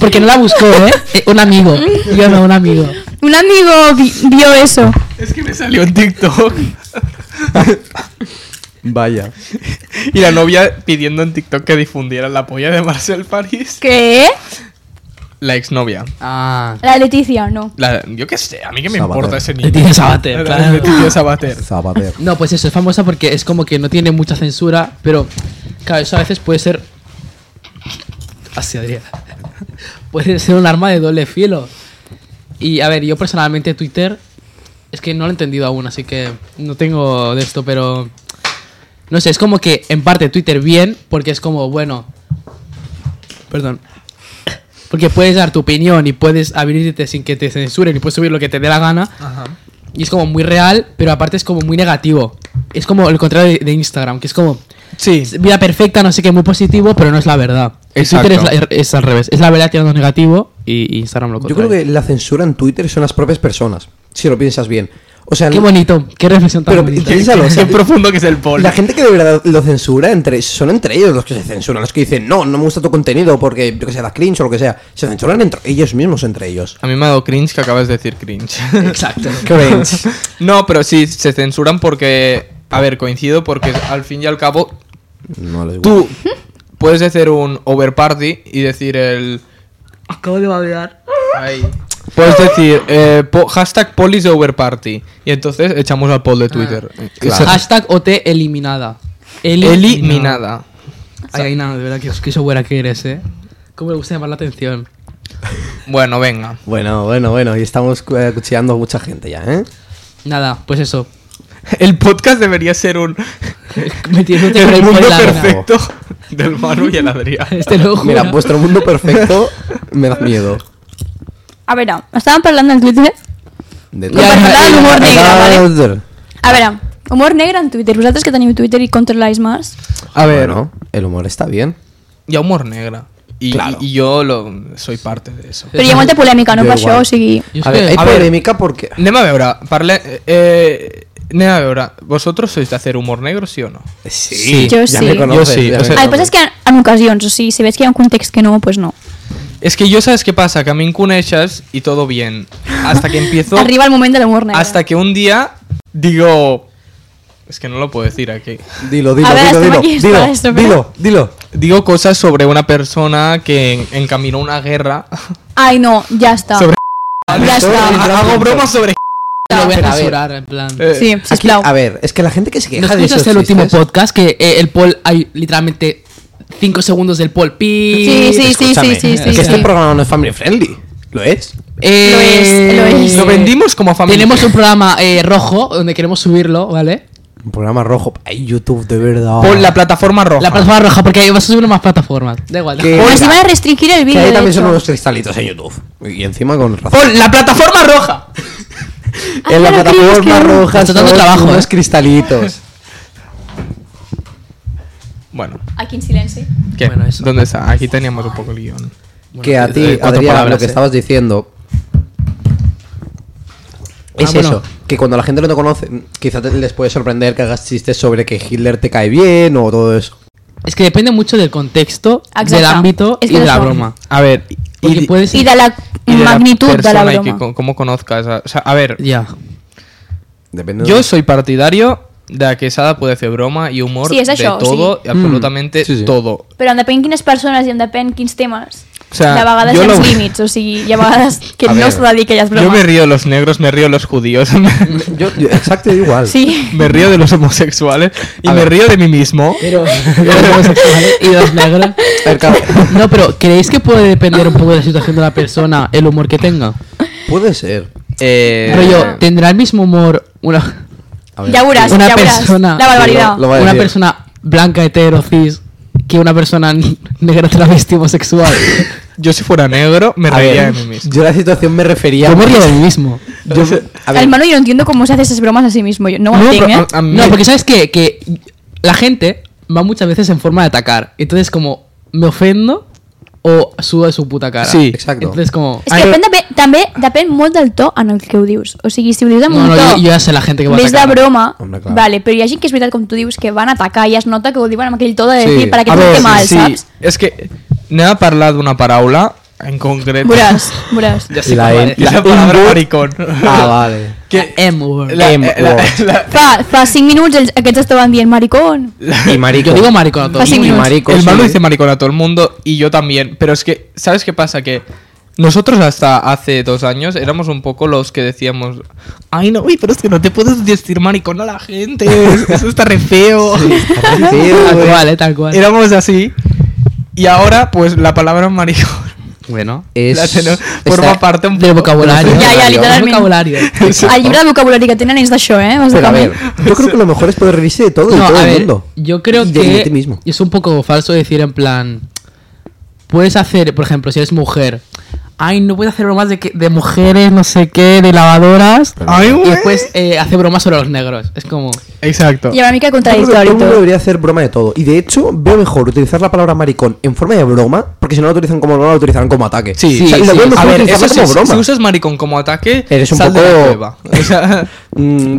[SPEAKER 3] Porque no la buscó, ¿eh? [laughs] Eh, Un amigo. Yo no, un amigo.
[SPEAKER 2] Un amigo vi- vio eso.
[SPEAKER 1] Es que me salió en TikTok.
[SPEAKER 4] Vaya.
[SPEAKER 1] [laughs] y la novia pidiendo en TikTok que difundieran la polla de Marcel París.
[SPEAKER 2] ¿Qué?
[SPEAKER 1] La exnovia.
[SPEAKER 3] Ah.
[SPEAKER 2] La Leticia, no.
[SPEAKER 1] La, yo qué sé, a mí qué me
[SPEAKER 4] Sabater.
[SPEAKER 1] importa ese niño.
[SPEAKER 3] Leticia Sabater,
[SPEAKER 1] La- la
[SPEAKER 3] claro.
[SPEAKER 1] Leticia Sabater.
[SPEAKER 4] Zapater.
[SPEAKER 3] No, pues eso, es famosa porque es como que no tiene mucha censura, pero claro, eso a veces puede ser. Así, Adrián. [laughs] Puede ser un arma de doble filo. Y a ver, yo personalmente Twitter es que no lo he entendido aún, así que no tengo de esto, pero. No sé, es como que en parte Twitter bien, porque es como, bueno. Perdón. Porque puedes dar tu opinión y puedes abrirte sin que te censuren y puedes subir lo que te dé la gana. Y es como muy real, pero aparte es como muy negativo. Es como el contrario de, de Instagram, que es como
[SPEAKER 1] Sí.
[SPEAKER 3] es vida perfecta, no sé qué, muy positivo, pero no es la verdad. Y
[SPEAKER 1] Exacto.
[SPEAKER 3] Twitter es, la- er, es al revés. Es la verdad tirando negativo y, y Instagram lo
[SPEAKER 4] Yo
[SPEAKER 3] contrario.
[SPEAKER 4] creo que la censura en Twitter son las propias personas, si lo piensas bien. O sea,
[SPEAKER 3] Qué
[SPEAKER 4] no-
[SPEAKER 3] bonito, qué reflexión tan
[SPEAKER 4] Pero-
[SPEAKER 3] bonita.
[SPEAKER 4] [laughs] ¿qué- Piénsalo, o sea,
[SPEAKER 1] Qué profundo que es el Paul.
[SPEAKER 4] La gente que de verdad lo censura entre, son entre ellos los que se censuran, los que dicen no, no me gusta tu contenido porque yo que sé, da cringe o lo que sea. Se censuran entre ellos mismos, entre ellos.
[SPEAKER 1] A mí me ha dado cringe que acabas de decir cringe.
[SPEAKER 3] Exacto.
[SPEAKER 4] Cringe.
[SPEAKER 1] no, pero sí, se censuran porque... A ver, coincido porque al fin y al cabo
[SPEAKER 4] No les gusta.
[SPEAKER 1] tú puedes hacer un overparty y decir el...
[SPEAKER 3] Acabo de babear.
[SPEAKER 1] Ay. Puedes decir eh, po- hashtag polis overparty y entonces echamos al poll de Twitter.
[SPEAKER 3] Ah.
[SPEAKER 1] eh,
[SPEAKER 4] claro.
[SPEAKER 1] Esa-
[SPEAKER 3] Hashtag OT eliminada.
[SPEAKER 1] Eliminada.
[SPEAKER 3] Ay, ay, nada, de verdad, que, que eso buena que eres, eh. Cómo me gusta llamar la atención.
[SPEAKER 1] Bueno, venga.
[SPEAKER 4] Bueno, bueno, bueno, y estamos eh, cuchillando a mucha gente ya, ¿eh?
[SPEAKER 3] Nada, pues eso. [laughs]
[SPEAKER 1] El podcast debería ser un.
[SPEAKER 3] Metiéndote con
[SPEAKER 1] el
[SPEAKER 3] el
[SPEAKER 1] mundo
[SPEAKER 3] pie en la vena.
[SPEAKER 1] perfecto del Manu y el Adrián.
[SPEAKER 3] Este lo juro.
[SPEAKER 4] Mira, pues,
[SPEAKER 2] [laughs]
[SPEAKER 4] vuestro mundo perfecto me da miedo.
[SPEAKER 2] A ver, ah, estaban parlando en Twitter.
[SPEAKER 4] De
[SPEAKER 3] Ja, ja, ja.
[SPEAKER 2] Compartirà l'humor negre, vale?
[SPEAKER 4] vale.
[SPEAKER 2] A veure, humor negre en Twitter. Vosaltres que teniu Twitter i controláis más.
[SPEAKER 4] A ver, el humor está bien.
[SPEAKER 1] Y a humor negra. Y,
[SPEAKER 4] Claro.
[SPEAKER 1] y yo lo, soy parte de eso.
[SPEAKER 2] Però hi ha molta polèmica, no?
[SPEAKER 4] Jo
[SPEAKER 2] Per
[SPEAKER 4] igual.
[SPEAKER 2] això, o sigui...
[SPEAKER 3] Yo es
[SPEAKER 4] a
[SPEAKER 3] que-
[SPEAKER 4] ver, hay
[SPEAKER 1] a ver.
[SPEAKER 4] polémica porque.
[SPEAKER 1] Nema Beura, parle. Eh, Nema Beura, ¿vosotros sois de hacer humor negro, sí o no?
[SPEAKER 4] eh, Sí,
[SPEAKER 2] Yo
[SPEAKER 4] ya
[SPEAKER 2] sí.
[SPEAKER 4] me conoces.
[SPEAKER 1] Yo sí,
[SPEAKER 4] ya
[SPEAKER 1] o
[SPEAKER 4] me
[SPEAKER 1] sea-
[SPEAKER 2] El Ah, que
[SPEAKER 4] conoces.
[SPEAKER 2] passa és que en ocasions, o sigui, si veig que hi ha un context que no, pues no.
[SPEAKER 1] Es que yo sabes qué pasa, que a mí en Kuneshas y todo bien. Hasta que empiezo.
[SPEAKER 2] [laughs] Arriba el moment de l'humor negre.
[SPEAKER 1] hasta que un día digo. Es que no lo puedo decir aquí.
[SPEAKER 4] Dilo, dilo,
[SPEAKER 2] A ver,
[SPEAKER 4] dilo,
[SPEAKER 2] hasta
[SPEAKER 4] dilo,
[SPEAKER 2] aquí está
[SPEAKER 4] dilo,
[SPEAKER 2] esto, pero-
[SPEAKER 4] dilo, dilo.
[SPEAKER 1] Digo cosas sobre una persona que en- encaminó una guerra.
[SPEAKER 2] Ai, no, ja està.
[SPEAKER 1] Sobre-
[SPEAKER 2] Ja està.
[SPEAKER 1] Hago bromas sobre.
[SPEAKER 3] lo voy a
[SPEAKER 4] Pero a
[SPEAKER 3] censurar, en plan.
[SPEAKER 1] Eh,
[SPEAKER 2] Sí,
[SPEAKER 4] Aquí,
[SPEAKER 2] sisplau.
[SPEAKER 4] a ver, es que la gente que se
[SPEAKER 3] ¿No
[SPEAKER 4] queja de
[SPEAKER 3] escuchaste el
[SPEAKER 4] esos
[SPEAKER 3] último
[SPEAKER 4] chistes-
[SPEAKER 3] podcast? Que eh, el poll, hay literalmente 5 segundos del poll. Pi.
[SPEAKER 2] Sí, sí, sí, sí, sí,
[SPEAKER 4] Escúchame, que
[SPEAKER 2] sí.
[SPEAKER 4] este
[SPEAKER 2] sí.
[SPEAKER 4] programa no es family friendly. Lo es.
[SPEAKER 3] Eh,
[SPEAKER 2] Lo es, lo es.
[SPEAKER 1] Lo vendimos como familia.
[SPEAKER 3] Tenemos un programa eh, rojo donde queremos subirlo, ¿vale?
[SPEAKER 4] Un programa rojo. Ay, YouTube, de verdad.
[SPEAKER 1] Por la plataforma roja.
[SPEAKER 3] La plataforma roja, porque vas a subirlo a más plataformas. Da igual.
[SPEAKER 4] Que-
[SPEAKER 2] Però si
[SPEAKER 4] Mira,
[SPEAKER 2] van a restringir el
[SPEAKER 4] que
[SPEAKER 2] vídeo,
[SPEAKER 4] ahí
[SPEAKER 2] de
[SPEAKER 4] también
[SPEAKER 2] hecho.
[SPEAKER 4] son unos cristalitos en YouTube. Y encima con razón.
[SPEAKER 1] Pon la plataforma roja.
[SPEAKER 2] Ah,
[SPEAKER 4] en la
[SPEAKER 2] claro, crees
[SPEAKER 4] plataforma
[SPEAKER 2] que-
[SPEAKER 4] roja
[SPEAKER 3] Está dando
[SPEAKER 4] son
[SPEAKER 3] trabajo,
[SPEAKER 4] unos
[SPEAKER 3] ¿eh?
[SPEAKER 4] cristalitos.
[SPEAKER 1] Bueno,
[SPEAKER 2] Aquí en silenci.
[SPEAKER 1] ¿qué?
[SPEAKER 3] Bueno, eso.
[SPEAKER 1] ¿Dónde está? Aquí teníamos un poco el guión.
[SPEAKER 4] que a ti,
[SPEAKER 3] eh, cuatro
[SPEAKER 4] Adrián, lo
[SPEAKER 3] palabras,
[SPEAKER 4] que
[SPEAKER 3] eh.
[SPEAKER 4] estabas diciendo es
[SPEAKER 3] Ah, bueno.
[SPEAKER 4] eso, que cuando la gente no te conoce, quizá te- les puede sorprender que hagas chistes sobre que Hitler te cae bien o todo eso.
[SPEAKER 3] Es que depende mucho del contexto,
[SPEAKER 2] Exacto.
[SPEAKER 3] del ámbito
[SPEAKER 2] Es que
[SPEAKER 3] y de
[SPEAKER 2] eso.
[SPEAKER 3] la broma.
[SPEAKER 1] A ver, y,
[SPEAKER 3] Porque
[SPEAKER 1] y-
[SPEAKER 3] puede ser-
[SPEAKER 2] I de la
[SPEAKER 1] y de la
[SPEAKER 2] magnitud de la
[SPEAKER 1] persona y que
[SPEAKER 2] broma.
[SPEAKER 1] co- cómo conozcas. a- o sea, a ver,
[SPEAKER 3] Ya.
[SPEAKER 4] Depende
[SPEAKER 1] yo
[SPEAKER 4] de...
[SPEAKER 1] soy partidario de que Sada puede hacer broma y humor
[SPEAKER 2] Sí, es eso,
[SPEAKER 1] de todo, y absolutamente
[SPEAKER 4] Mm, sí, sí.
[SPEAKER 1] todo.
[SPEAKER 2] Però depèn quines persones i en depèn quins temes.
[SPEAKER 1] O sea,
[SPEAKER 2] de vegades
[SPEAKER 1] jo
[SPEAKER 2] hi ha
[SPEAKER 1] lo-
[SPEAKER 2] uns límits, o sigui, hi
[SPEAKER 1] [laughs]
[SPEAKER 2] ha vegades que
[SPEAKER 4] A
[SPEAKER 2] no
[SPEAKER 4] ver.
[SPEAKER 2] s'ha de dir que ja és broma.
[SPEAKER 1] Yo me río de los negros, me río de los judíos, [laughs] me,
[SPEAKER 4] Yo, yo- exacto, yo igual.
[SPEAKER 2] Sí.
[SPEAKER 1] me río de los homosexuales y
[SPEAKER 4] A
[SPEAKER 1] me
[SPEAKER 4] ver.
[SPEAKER 1] río de mí mismo.
[SPEAKER 3] Pero. y
[SPEAKER 2] [laughs]
[SPEAKER 3] los negros.
[SPEAKER 4] A ver, claro,
[SPEAKER 3] No, pero ¿creéis que puede depender un poco de la situación de la persona, el humor que tenga?
[SPEAKER 4] puede ser.
[SPEAKER 1] Eh,
[SPEAKER 3] Pero yo, ¿tendrá el mismo humor una,
[SPEAKER 4] A ver,
[SPEAKER 2] Ja veuràs,
[SPEAKER 3] una
[SPEAKER 2] ja veuràs.
[SPEAKER 3] persona-
[SPEAKER 2] La
[SPEAKER 4] Sí,
[SPEAKER 2] barbaritat.
[SPEAKER 4] lo- lo- va a
[SPEAKER 3] una
[SPEAKER 4] decir.
[SPEAKER 3] persona blanca, hetero, cis, que una persona negra, travesti, homosexual?
[SPEAKER 1] yo si fuera negro, me
[SPEAKER 4] a
[SPEAKER 1] reiría de
[SPEAKER 4] ver,
[SPEAKER 1] mí mismo.
[SPEAKER 4] yo la situación me refería...
[SPEAKER 3] Yo me río de mí mismo.
[SPEAKER 4] Yo- a ver,
[SPEAKER 2] El Manu yo no entiendo cómo se hace esas bromas a sí mismo. Yo no, lo
[SPEAKER 1] No,
[SPEAKER 2] entiendo,
[SPEAKER 1] pero-
[SPEAKER 2] ¿eh?
[SPEAKER 1] A mí-
[SPEAKER 3] No, porque sabes qué? que la gente va muchas veces en forma de atacar. Entonces, como, me ofendo o subo de su puta cara.
[SPEAKER 1] Sí,
[SPEAKER 4] exacto.
[SPEAKER 3] Entonces, como.
[SPEAKER 2] És que depèn, de, també depèn molt del to en el que ho dius. O sigui, si ho dius amb
[SPEAKER 3] No,
[SPEAKER 2] un
[SPEAKER 3] no,
[SPEAKER 2] to
[SPEAKER 3] yo, yo ya sé la gente que va a
[SPEAKER 2] més de
[SPEAKER 3] atacar.
[SPEAKER 2] broma,
[SPEAKER 4] Home, clar.
[SPEAKER 2] vale, però hi ha gent que és veritat, com tu dius, que van atacar i es nota que ho diuen amb aquell to de
[SPEAKER 4] Sí.
[SPEAKER 2] dir sí. para que
[SPEAKER 4] A
[SPEAKER 2] no
[SPEAKER 4] veure,
[SPEAKER 2] té mal,
[SPEAKER 1] sí,
[SPEAKER 2] saps?
[SPEAKER 1] Es que me ha hablado una parábola en concreto.
[SPEAKER 2] Veuràs, veuràs.
[SPEAKER 3] Ya sé
[SPEAKER 4] Y
[SPEAKER 1] [laughs]
[SPEAKER 4] la,
[SPEAKER 3] cuál
[SPEAKER 4] N-
[SPEAKER 3] es.
[SPEAKER 1] La
[SPEAKER 4] la
[SPEAKER 1] palabra
[SPEAKER 4] N-word.
[SPEAKER 1] maricón. [laughs]
[SPEAKER 4] Ah, vale.
[SPEAKER 1] que-
[SPEAKER 3] La M word.
[SPEAKER 1] La-
[SPEAKER 4] M
[SPEAKER 1] eh, la-
[SPEAKER 4] word.
[SPEAKER 1] la-
[SPEAKER 2] Fa, fa 5 minuts ells, aquests estaven dient maricón.
[SPEAKER 4] Y marico.
[SPEAKER 3] Yo digo maricón a todos.
[SPEAKER 2] Fácil.
[SPEAKER 4] Y marico,
[SPEAKER 1] el
[SPEAKER 4] sí.
[SPEAKER 1] malo dice maricón a todo el mundo y yo también. Pero es que, ¿sabes qué pasa? Que nosotros hasta hace dos años éramos un poco los que decíamos, ay no, uy, pero es que no te puedes decir maricón a la gente, [laughs] eso está re feo.
[SPEAKER 4] Sí, pues,
[SPEAKER 3] Tal
[SPEAKER 4] güey.
[SPEAKER 3] cual, eh, tal
[SPEAKER 1] [laughs]
[SPEAKER 3] cual.
[SPEAKER 1] Éramos así. Y ahora, pues la palabra maricón
[SPEAKER 3] Bueno.
[SPEAKER 4] Es-
[SPEAKER 1] la tenemos- forma
[SPEAKER 4] está-
[SPEAKER 1] parte un
[SPEAKER 3] Del
[SPEAKER 1] poco-
[SPEAKER 3] vocabulario.
[SPEAKER 2] Ya, ya,
[SPEAKER 3] Del
[SPEAKER 2] literalmente.
[SPEAKER 3] vocabulario.
[SPEAKER 2] El llibre de vocabulari que tenen és d'això, eh?
[SPEAKER 4] Pero a
[SPEAKER 2] Bàsicament.
[SPEAKER 4] ver, yo creo que lo mejor es poder reírse de todo y
[SPEAKER 3] No,
[SPEAKER 4] todo
[SPEAKER 3] a
[SPEAKER 4] el
[SPEAKER 3] ver,
[SPEAKER 4] mundo.
[SPEAKER 3] yo creo
[SPEAKER 4] Y de-
[SPEAKER 3] que
[SPEAKER 4] de ti mismo.
[SPEAKER 3] es un poco falso decir en plan, puedes hacer, por ejemplo, si eres mujer, ay, no puedes hacer bromas de, que, de mujeres, no sé qué, de lavadoras,
[SPEAKER 1] Ay,
[SPEAKER 3] y
[SPEAKER 1] güey.
[SPEAKER 3] después
[SPEAKER 4] pues,
[SPEAKER 3] eh, hacer bromas sobre los negros. Es como,
[SPEAKER 1] Exacto.
[SPEAKER 2] Hi ha una mica
[SPEAKER 4] Yo creo que todo
[SPEAKER 2] contradictori
[SPEAKER 4] el
[SPEAKER 2] i
[SPEAKER 4] mundo
[SPEAKER 2] tot.
[SPEAKER 4] debería hacer broma de todo. Y de hecho, veo mejor utilizar la palabra maricón en forma de broma, porque si no la utilizan como broma, la utilizan como ataque.
[SPEAKER 1] Sí,
[SPEAKER 4] O sea, y
[SPEAKER 1] sí,
[SPEAKER 4] lo
[SPEAKER 1] sí.
[SPEAKER 4] veo
[SPEAKER 1] A
[SPEAKER 4] mejor
[SPEAKER 1] ver,
[SPEAKER 4] utilizarla
[SPEAKER 1] eso sí,
[SPEAKER 4] como
[SPEAKER 1] si-
[SPEAKER 4] broma.
[SPEAKER 1] si usas maricón como ataque,
[SPEAKER 4] Eres un
[SPEAKER 1] sal de la
[SPEAKER 4] poco-
[SPEAKER 1] cueva. [laughs] O sea,
[SPEAKER 4] Mm,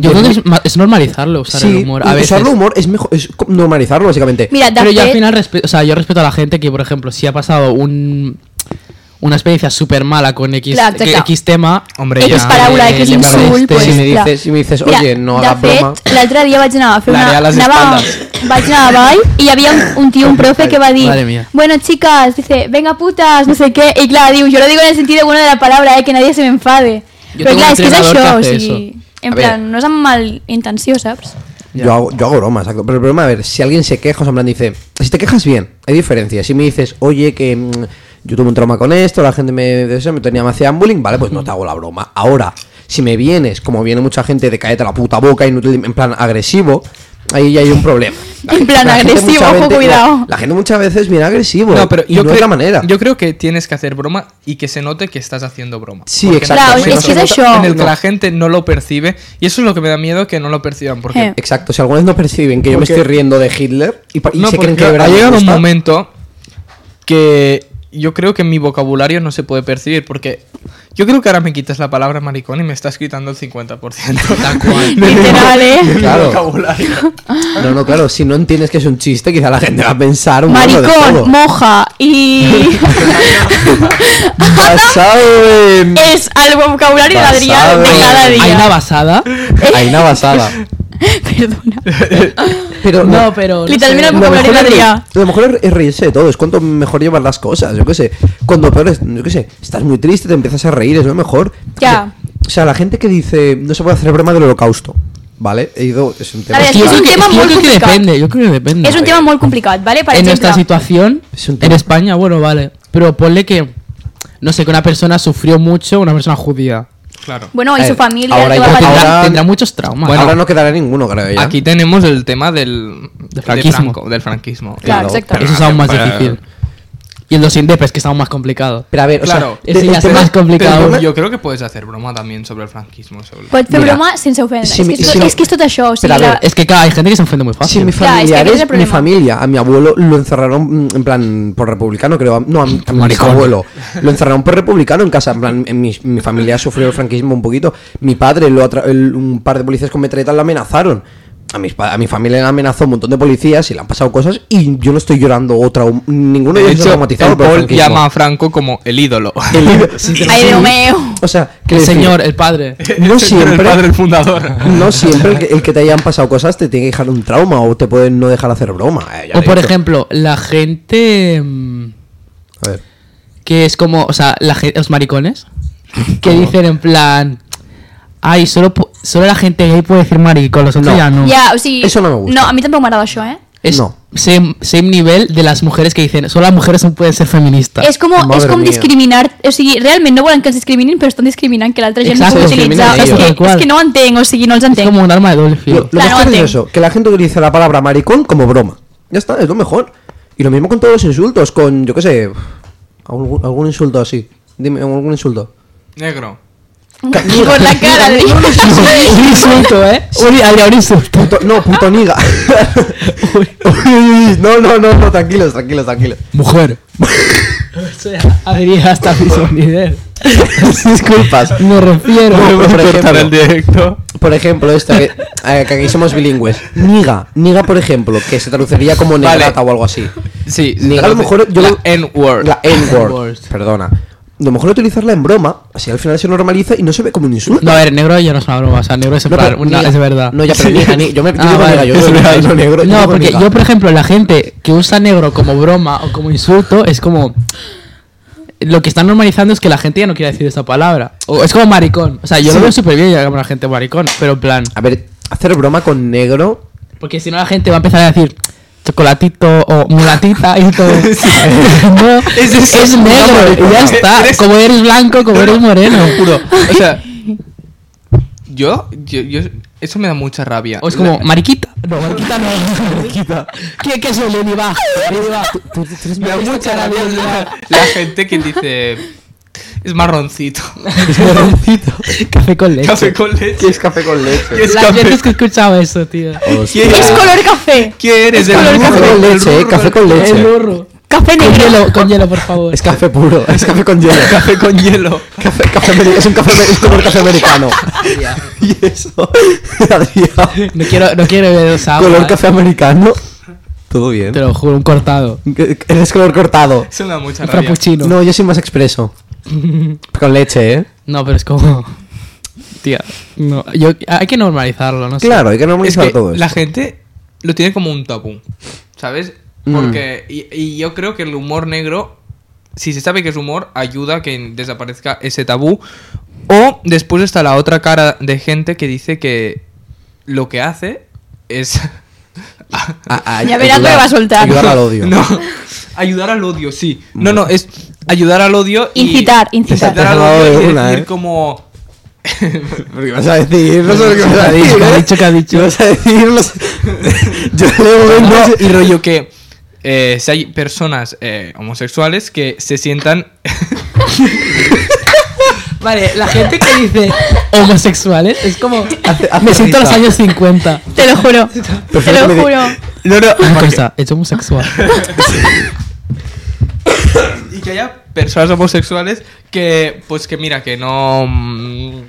[SPEAKER 3] yo
[SPEAKER 4] yo-
[SPEAKER 3] creo que es, ma- es normalizarlo usar
[SPEAKER 4] sí,
[SPEAKER 3] el humor. A veces.
[SPEAKER 4] usarlo humor es mejor, es co- normalizarlo básicamente.
[SPEAKER 2] Mira, de
[SPEAKER 3] Pero yo al
[SPEAKER 2] fet,
[SPEAKER 3] final, respe- o sea, yo respeto a la gente que, por ejemplo, si ha pasado un, una experiencia súper mala con X,
[SPEAKER 2] Claro,
[SPEAKER 3] que-
[SPEAKER 2] claro.
[SPEAKER 3] X tema,
[SPEAKER 1] Hombre,
[SPEAKER 2] X
[SPEAKER 1] ya.
[SPEAKER 2] paraula,
[SPEAKER 3] eh,
[SPEAKER 2] X
[SPEAKER 3] le
[SPEAKER 2] insult,
[SPEAKER 3] moleste.
[SPEAKER 2] pues,
[SPEAKER 4] si me
[SPEAKER 2] clar.
[SPEAKER 4] dices, si me dices, oye, no
[SPEAKER 2] de
[SPEAKER 4] hagas broma.
[SPEAKER 2] fet, l'altre dia vaig anar a fer una...
[SPEAKER 1] L'àrea a les
[SPEAKER 2] Anava,
[SPEAKER 1] espaldes.
[SPEAKER 2] vaig anar a ball i hi havia un, un tio, un profe, que va dir...
[SPEAKER 3] Madre mía.
[SPEAKER 2] Bueno, chicas, dice, venga putas, no sé qué. I clar, diu, yo lo digo en el sentido bueno de la palabra, eh, que nadie se me enfade.
[SPEAKER 3] Yo
[SPEAKER 2] Però
[SPEAKER 3] tengo
[SPEAKER 2] clar,
[SPEAKER 3] un
[SPEAKER 2] és que és
[SPEAKER 3] entrenador
[SPEAKER 2] això,
[SPEAKER 3] que
[SPEAKER 2] o
[SPEAKER 3] hace
[SPEAKER 2] sigui...
[SPEAKER 3] eso.
[SPEAKER 4] A
[SPEAKER 2] En
[SPEAKER 4] ver.
[SPEAKER 2] plan, no és amb mal intenció, saps?
[SPEAKER 4] Yo hago, yo hago broma, exacto. Pero el problema, a ver, si alguien se queja, o sea, en plan dice, si te quejas bien, hay diferencia. Si me dices, oye, que mm, yo tuve un trauma con esto, la gente me, de eso, me tenía, me hacían bullying, vale, pues no te hago la broma. Ahora, Si me vienes, como viene mucha gente, de cállate la puta boca, inútil, en plan agresivo, ahí ya hay un problema.
[SPEAKER 2] [laughs] En
[SPEAKER 4] gente-
[SPEAKER 2] plan
[SPEAKER 4] gente
[SPEAKER 2] agresivo,
[SPEAKER 4] muchas
[SPEAKER 2] ojo,
[SPEAKER 4] veces-
[SPEAKER 2] cuidado.
[SPEAKER 4] La, [laughs] gente muchas veces viene agresivo.
[SPEAKER 1] No, pero
[SPEAKER 4] y
[SPEAKER 1] yo,
[SPEAKER 4] no
[SPEAKER 1] creo,
[SPEAKER 4] es la manera.
[SPEAKER 1] yo creo que tienes que hacer broma y que se note que estás haciendo broma.
[SPEAKER 4] Sí,
[SPEAKER 1] Porque
[SPEAKER 4] exacto,
[SPEAKER 1] en el
[SPEAKER 4] Claro,
[SPEAKER 1] momento
[SPEAKER 4] es que es show.
[SPEAKER 1] En el que
[SPEAKER 4] No.
[SPEAKER 1] la gente no lo percibe. Y eso es lo que me da miedo que no lo perciban. Porque
[SPEAKER 2] Eh.
[SPEAKER 4] Exacto, si algunos no perciben que yo me
[SPEAKER 1] Porque-
[SPEAKER 4] estoy riendo de Hitler y, pa- y
[SPEAKER 1] No,
[SPEAKER 4] se creen
[SPEAKER 1] porque
[SPEAKER 4] que de verdad
[SPEAKER 1] ha
[SPEAKER 4] me
[SPEAKER 1] llegado un
[SPEAKER 4] gusta, [laughs]
[SPEAKER 1] momento que yo creo que mi vocabulario no se puede percibir porque yo creo que ahora me quitas la palabra maricón y me estás quitando el
[SPEAKER 4] [laughs]
[SPEAKER 1] 50%
[SPEAKER 3] Tal
[SPEAKER 1] [laughs]
[SPEAKER 3] cual.
[SPEAKER 1] de mi-
[SPEAKER 2] Literal, ¿eh?
[SPEAKER 1] de mi
[SPEAKER 4] Claro.
[SPEAKER 1] vocabulario.
[SPEAKER 4] No, no, claro, si no entiendes que es un chiste, quizá la gente va a pensar un poco de todo.
[SPEAKER 2] Maricón, moja y.
[SPEAKER 4] Basado en...
[SPEAKER 2] [laughs] es al vocabulario de Adrián de
[SPEAKER 4] Basado.
[SPEAKER 2] cada
[SPEAKER 3] Hay una
[SPEAKER 2] día.
[SPEAKER 3] basada.
[SPEAKER 2] eh.
[SPEAKER 4] Aina basada.
[SPEAKER 2] Perdona.
[SPEAKER 4] Pero
[SPEAKER 3] No, pero. no
[SPEAKER 2] Literalmente
[SPEAKER 3] sé.
[SPEAKER 2] no-
[SPEAKER 4] lo
[SPEAKER 2] vocabulario
[SPEAKER 4] mejor,
[SPEAKER 2] de
[SPEAKER 4] es,
[SPEAKER 2] Adrián.
[SPEAKER 4] lo mejor es- es reírse de todo, es cuanto mejor llevas las cosas, yo qué sé. Cuando peor es, yo qué sé, estás muy triste, te empiezas a reír, es lo mejor.
[SPEAKER 2] Ya.
[SPEAKER 4] O sea, la gente que dice, no se puede hacer broma del holocausto, ¿vale? He ido, es un tema...
[SPEAKER 2] A ver,
[SPEAKER 3] Sí, yo
[SPEAKER 2] Es un
[SPEAKER 3] creo que-
[SPEAKER 2] tema
[SPEAKER 3] yo
[SPEAKER 2] muy
[SPEAKER 3] creo que
[SPEAKER 2] complicado.
[SPEAKER 3] depende, yo creo que depende.
[SPEAKER 2] Es un tema muy complicado, ¿vale? Para este
[SPEAKER 3] en nuestra
[SPEAKER 2] ejemplo,
[SPEAKER 3] situación,
[SPEAKER 4] Es un
[SPEAKER 3] en
[SPEAKER 4] tema.
[SPEAKER 3] España, bueno, vale. Pero ponle que, no sé, que una persona sufrió mucho, una persona judía.
[SPEAKER 1] Claro.
[SPEAKER 2] Bueno, y
[SPEAKER 4] Eh,
[SPEAKER 2] su familia.
[SPEAKER 4] ahora
[SPEAKER 2] le va
[SPEAKER 4] ya
[SPEAKER 2] a
[SPEAKER 4] te-
[SPEAKER 3] Tendrá,
[SPEAKER 2] faltar-
[SPEAKER 4] ahora-
[SPEAKER 3] tendrá muchos traumas.
[SPEAKER 4] Ahora no quedará ninguno, creo ya.
[SPEAKER 1] Aquí tenemos el tema del de
[SPEAKER 3] franquismo.
[SPEAKER 1] Franco, del franquismo. Eh,
[SPEAKER 2] Claro, exacto.
[SPEAKER 3] Eso es aún más difícil. Y en los indepes, que es aún más complicado.
[SPEAKER 4] Pero a ver,
[SPEAKER 1] Claro,
[SPEAKER 4] o sea,
[SPEAKER 3] ese
[SPEAKER 4] de-
[SPEAKER 3] ya
[SPEAKER 4] el
[SPEAKER 3] se
[SPEAKER 4] tema-
[SPEAKER 3] más complicado.
[SPEAKER 4] el
[SPEAKER 1] Pero
[SPEAKER 4] tema-
[SPEAKER 1] yo creo que puedes hacer broma también sobre el franquismo. sobre-
[SPEAKER 2] Pues fue
[SPEAKER 4] Mira,
[SPEAKER 2] broma sin ofender.
[SPEAKER 4] si
[SPEAKER 2] es,
[SPEAKER 4] mi-
[SPEAKER 2] que esto,
[SPEAKER 4] si mi-
[SPEAKER 2] es que esto te show.
[SPEAKER 4] Pero a ver,
[SPEAKER 3] Es que, claro, hay gente que se ofende muy
[SPEAKER 4] Si
[SPEAKER 3] fácil.
[SPEAKER 4] mi
[SPEAKER 2] Claro, es que
[SPEAKER 4] familia
[SPEAKER 2] aquí es el
[SPEAKER 4] mi
[SPEAKER 2] problema.
[SPEAKER 4] familia, a mi abuelo lo encerraron mm, en plan por republicano, creo, a- no a mi, a mi
[SPEAKER 3] Maricón.
[SPEAKER 4] abuelo. Lo encerraron por republicano en casa, en plan en mi, mi familia sufrió el franquismo un poquito. Mi padre lo atra- el- un par de policías con metralletas lo amenazaron. A, mis pa- a mi familia le amenazó un montón de policías y le han pasado cosas y yo no estoy llorando otra ninguno
[SPEAKER 1] De
[SPEAKER 4] de ellos está
[SPEAKER 1] hecho,
[SPEAKER 4] traumatizado
[SPEAKER 1] el
[SPEAKER 4] por el
[SPEAKER 1] Paul
[SPEAKER 4] franquismo.
[SPEAKER 1] llama a Franco como el ídolo.
[SPEAKER 4] [laughs] El libro-
[SPEAKER 1] [laughs]
[SPEAKER 2] Ay, Dios mío.
[SPEAKER 4] O sea,
[SPEAKER 3] el
[SPEAKER 4] quiero decir,
[SPEAKER 3] señor, el padre.
[SPEAKER 4] no
[SPEAKER 1] El
[SPEAKER 4] siempre
[SPEAKER 1] padre, el fundador.
[SPEAKER 4] no siempre el que, el que te hayan pasado cosas te tiene que dejar un trauma o te pueden no dejar hacer broma. eh, [laughs]
[SPEAKER 3] O
[SPEAKER 4] ya te he
[SPEAKER 3] por
[SPEAKER 4] dicho.
[SPEAKER 3] ejemplo, la gente mm,
[SPEAKER 4] A ver.
[SPEAKER 3] que es como, o sea, la gen- los maricones que dicen en plan, ay, solo, pu- solo la gente gay puede decir maricón, los otros
[SPEAKER 4] No.
[SPEAKER 3] ya no.
[SPEAKER 2] Ya, o sí.
[SPEAKER 4] Eso no me gusta.
[SPEAKER 2] No, a mí tampoco me ha dado show, ¿eh?
[SPEAKER 3] Es
[SPEAKER 4] No.
[SPEAKER 3] same, same nivel de las mujeres que dicen, solo las mujeres no pueden ser feministas.
[SPEAKER 2] Es como,
[SPEAKER 4] Madre
[SPEAKER 2] és com
[SPEAKER 4] mía.
[SPEAKER 2] discriminar... O sigui, realment no volen que els discriminin, però estan discriminant que l'altra gent no
[SPEAKER 3] Exacte,
[SPEAKER 2] pugui utilitzar.
[SPEAKER 4] discriminen
[SPEAKER 2] És que,
[SPEAKER 3] ells.
[SPEAKER 2] és que no ho entenc, o sigui, no els
[SPEAKER 3] Es
[SPEAKER 2] entenc.
[SPEAKER 3] como un arma de doble
[SPEAKER 4] Lo,
[SPEAKER 3] filo.
[SPEAKER 4] lo
[SPEAKER 2] Claro,
[SPEAKER 4] mejor es
[SPEAKER 2] ante-
[SPEAKER 4] eso, que la gente utiliza la palabra maricón como broma. Ya está, es lo mejor. Y lo mismo con todos los insultos, con, yo qué sé, algún, algún insulto así. Dime, algún insulto.
[SPEAKER 1] Negro.
[SPEAKER 2] Con la cara, de...
[SPEAKER 3] un
[SPEAKER 2] [laughs]
[SPEAKER 3] insulto, [laughs] ¿eh? Un, habría un insulto.
[SPEAKER 4] Puto- no, puto niga. [laughs] Uy, no, no, no, no, tranquilos, tranquilos, tranquilos.
[SPEAKER 3] [laughs] [laughs] Mujer. o sea, habría hasta mismo [laughs] nivel.
[SPEAKER 4] Disculpas.
[SPEAKER 3] Me refiero.
[SPEAKER 4] No,
[SPEAKER 1] Podemos
[SPEAKER 4] por
[SPEAKER 1] cortar
[SPEAKER 4] ejemplo.
[SPEAKER 1] el directo.
[SPEAKER 4] Por ejemplo, esta que, eh, que aquí somos bilingües. Niga, niga, por ejemplo, que se traduciría como
[SPEAKER 1] Vale.
[SPEAKER 4] negrata o algo así.
[SPEAKER 1] Sí,
[SPEAKER 4] Ni a lo mejor yo
[SPEAKER 1] la
[SPEAKER 4] lo-
[SPEAKER 1] N-word.
[SPEAKER 4] La N-word.
[SPEAKER 3] N-word.
[SPEAKER 4] Perdona. A lo mejor utilizarla en broma, así al final se normaliza y no se ve como un insulto.
[SPEAKER 3] No, a ver, negro ya no es una broma, o sea, negro es en
[SPEAKER 4] No,
[SPEAKER 3] plan,
[SPEAKER 4] pero
[SPEAKER 3] una-
[SPEAKER 4] niga.
[SPEAKER 3] es verdad. Ah,
[SPEAKER 4] No, ya, pero niga, ni-
[SPEAKER 3] [laughs]
[SPEAKER 4] yo me- yo digo
[SPEAKER 3] vale.
[SPEAKER 4] niga, yo digo
[SPEAKER 3] Es [laughs]
[SPEAKER 4] niga,
[SPEAKER 3] verdad.
[SPEAKER 4] no negro, yo
[SPEAKER 3] No,
[SPEAKER 4] digo
[SPEAKER 3] porque
[SPEAKER 4] niga.
[SPEAKER 3] yo, por ejemplo, la gente que usa negro como broma o como insulto es como. Lo que están normalizando es que la gente ya no quiere decir esta palabra. O es como maricón. O sea, yo
[SPEAKER 4] Sí.
[SPEAKER 3] lo veo súper bien ya como la gente maricón, pero en plan.
[SPEAKER 4] A ver, hacer broma con negro.
[SPEAKER 3] Porque si no, la gente va a empezar a decir chocolatito o mulatita y
[SPEAKER 4] [laughs]
[SPEAKER 3] todo. [laughs] no, es,
[SPEAKER 1] es-
[SPEAKER 3] negro,
[SPEAKER 1] no,
[SPEAKER 3] y ya
[SPEAKER 1] no,
[SPEAKER 3] está.
[SPEAKER 1] eres-
[SPEAKER 3] Como eres blanco, como eres moreno.
[SPEAKER 1] Juro. O sea, yo, yo, yo- Eso me da mucha rabia.
[SPEAKER 3] O es como,
[SPEAKER 1] La-
[SPEAKER 3] mariquita. [laughs] No, mariquita no. Mariquita. ¿Qué, qué soy? Lenny va. Lenny va. [laughs]
[SPEAKER 1] Me da mucha rabia [laughs] la, la gente que dice. Es marroncito.
[SPEAKER 4] [laughs]
[SPEAKER 3] Café con
[SPEAKER 1] [laughs]
[SPEAKER 3] leche.
[SPEAKER 1] Café con leche.
[SPEAKER 4] es café con leche?
[SPEAKER 1] ¿Qué es
[SPEAKER 3] Las
[SPEAKER 1] café?
[SPEAKER 3] veces que he escuchado eso, tío.
[SPEAKER 1] ¿Qué
[SPEAKER 2] És color café.
[SPEAKER 1] ¿Qué eres?
[SPEAKER 4] Café
[SPEAKER 1] El burro,
[SPEAKER 4] con
[SPEAKER 1] el
[SPEAKER 4] leche, eh,
[SPEAKER 1] burro,
[SPEAKER 4] café con
[SPEAKER 3] El
[SPEAKER 4] leche.
[SPEAKER 3] burro.
[SPEAKER 2] Café
[SPEAKER 3] Con
[SPEAKER 2] negro.
[SPEAKER 3] hielo, con hielo, por favor.
[SPEAKER 4] Es café puro, es café con hielo.
[SPEAKER 1] Café con hielo.
[SPEAKER 4] [laughs] Café, café ameri- es un café, amer- es como el café americano. [laughs] y eso, [laughs] Adrián,
[SPEAKER 3] No quiero, no quiero ver esa agua.
[SPEAKER 4] color café americano. Todo bien.
[SPEAKER 3] Te lo juro, un cortado.
[SPEAKER 4] Eres color cortado.
[SPEAKER 1] [laughs] Eso me da mucha
[SPEAKER 3] Un
[SPEAKER 1] rabia.
[SPEAKER 3] frappuccino. No.
[SPEAKER 4] No, yo soy más expreso. [laughs] Con leche, ¿eh?
[SPEAKER 3] pero es
[SPEAKER 4] [laughs]
[SPEAKER 3] como. Tía, no. Yo, hay que normalizarlo, ¿no? sé.
[SPEAKER 4] Claro, hay que
[SPEAKER 1] Es
[SPEAKER 4] normalizar
[SPEAKER 1] que
[SPEAKER 4] todo
[SPEAKER 1] la
[SPEAKER 4] esto.
[SPEAKER 1] gente lo tiene como un tabú, ¿sabes?
[SPEAKER 4] Mm.
[SPEAKER 1] Porque y, y yo creo que el humor negro, si se sabe que es humor, ayuda a que desaparezca ese tabú. O después está la otra cara de gente que dice que lo que hace es
[SPEAKER 4] A- a-
[SPEAKER 2] Ya verás lo que
[SPEAKER 4] ah, ayudar-
[SPEAKER 2] va a soltar.
[SPEAKER 4] Ayudar al [laughs] [laughs]
[SPEAKER 1] [laughs]
[SPEAKER 4] odio. Mm.
[SPEAKER 1] no, ayudar al odio, sí. No, no, es ayudar al odio y
[SPEAKER 2] Incitar, incitar.
[SPEAKER 4] Te has
[SPEAKER 1] al
[SPEAKER 4] dado
[SPEAKER 1] odio
[SPEAKER 4] de
[SPEAKER 1] y
[SPEAKER 4] una,
[SPEAKER 1] decir
[SPEAKER 4] ¿eh?
[SPEAKER 1] como
[SPEAKER 4] Porque vas a decir, no sé lo que vas a
[SPEAKER 3] ¿Qué ha
[SPEAKER 4] decir.
[SPEAKER 3] dicho? ¿Qué ha
[SPEAKER 4] ¿eh?
[SPEAKER 3] dicho? ¿Qué ha dicho?
[SPEAKER 4] Vas a decir, no sé. [laughs] Yo leo
[SPEAKER 1] Pues No,
[SPEAKER 4] vengo
[SPEAKER 1] y rollo que eh, si hay personas eh, homosexuales que se sientan
[SPEAKER 3] Vale, la gente que dice homosexuales es como.
[SPEAKER 4] hace
[SPEAKER 3] me siento en los
[SPEAKER 4] risa.
[SPEAKER 3] años 50.
[SPEAKER 2] Te lo juro. Te
[SPEAKER 4] Prefiero que me
[SPEAKER 2] lo
[SPEAKER 4] di-
[SPEAKER 2] juro.
[SPEAKER 1] [laughs] No, [laughs] no,
[SPEAKER 3] Una cosa, es homosexual.
[SPEAKER 1] y que haya personas homosexuales que pues que mira que no mm,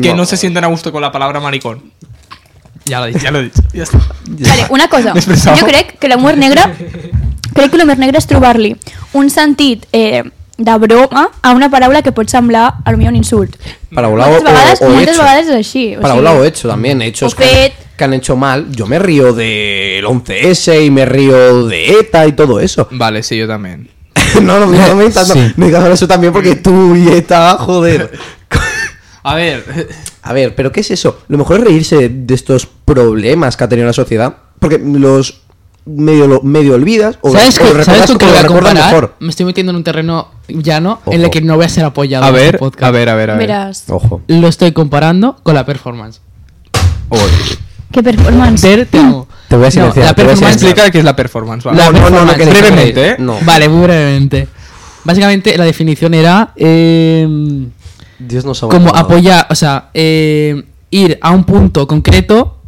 [SPEAKER 1] que no,
[SPEAKER 4] No.
[SPEAKER 1] se sienten a gusto con la palabra maricón
[SPEAKER 3] Ya lo he dicho.
[SPEAKER 1] ya lo he dicho ya está.
[SPEAKER 2] Vale, una cosa.
[SPEAKER 1] Me he expresado.
[SPEAKER 2] Jo crec que l'humor negre... Crec que l'humor negre és trobar-li un sentit eh, de broma a una paraula que pot semblar, a lo millor, un insult.
[SPEAKER 4] Parabola
[SPEAKER 2] moltes vegades,
[SPEAKER 4] o, o
[SPEAKER 2] moltes
[SPEAKER 4] hecho.
[SPEAKER 2] vegades és així. O
[SPEAKER 4] Parabola o
[SPEAKER 2] sigui,
[SPEAKER 4] hecho también. Hechos
[SPEAKER 2] O
[SPEAKER 4] que,
[SPEAKER 2] fet.
[SPEAKER 4] que han hecho mal. Yo me río del 11S y me río de ETA y todo eso. [laughs]
[SPEAKER 1] vale sí yo también
[SPEAKER 4] no, no, no, no me digas
[SPEAKER 3] Sí.
[SPEAKER 4] no digas eso también porque tú y ETA, joder.
[SPEAKER 1] a ver
[SPEAKER 4] A ver, ¿pero qué es eso? Lo mejor es reírse de estos problemas que ha tenido la sociedad. Porque los medio, lo- medio olvidas o,
[SPEAKER 3] ¿Sabes,
[SPEAKER 4] o
[SPEAKER 3] con-
[SPEAKER 4] recuerdas
[SPEAKER 3] ¿sabes con qué
[SPEAKER 4] como
[SPEAKER 3] lo voy a
[SPEAKER 4] recuerdas
[SPEAKER 3] comparar?
[SPEAKER 4] mejor.
[SPEAKER 3] Me estoy metiendo en un terreno llano en el
[SPEAKER 4] Ojo.
[SPEAKER 3] que no voy a ser apoyado
[SPEAKER 1] a
[SPEAKER 3] en
[SPEAKER 1] ver
[SPEAKER 3] este podcast.
[SPEAKER 1] a ver a ver a ver
[SPEAKER 2] Veràs.
[SPEAKER 4] Ojo.
[SPEAKER 3] Lo estoy comparando con la performance.
[SPEAKER 1] Oye.
[SPEAKER 2] Que performance.
[SPEAKER 3] Ter,
[SPEAKER 4] [laughs]
[SPEAKER 3] te amo.
[SPEAKER 4] Te voy a
[SPEAKER 3] No,
[SPEAKER 4] silenciar,
[SPEAKER 3] la
[SPEAKER 4] te voy a
[SPEAKER 3] performance
[SPEAKER 4] silenciar.
[SPEAKER 1] explica qué es la performance vale.
[SPEAKER 3] La
[SPEAKER 4] No, no, no, no,
[SPEAKER 3] performance.
[SPEAKER 4] que no,
[SPEAKER 1] Brevemente, ¿eh?
[SPEAKER 4] No.
[SPEAKER 3] Vale, muy brevemente. Básicamente la definición era em,
[SPEAKER 4] Dios nos ha
[SPEAKER 3] como
[SPEAKER 4] abandonado.
[SPEAKER 3] apoyar, o sea, em, ir a un punto concreto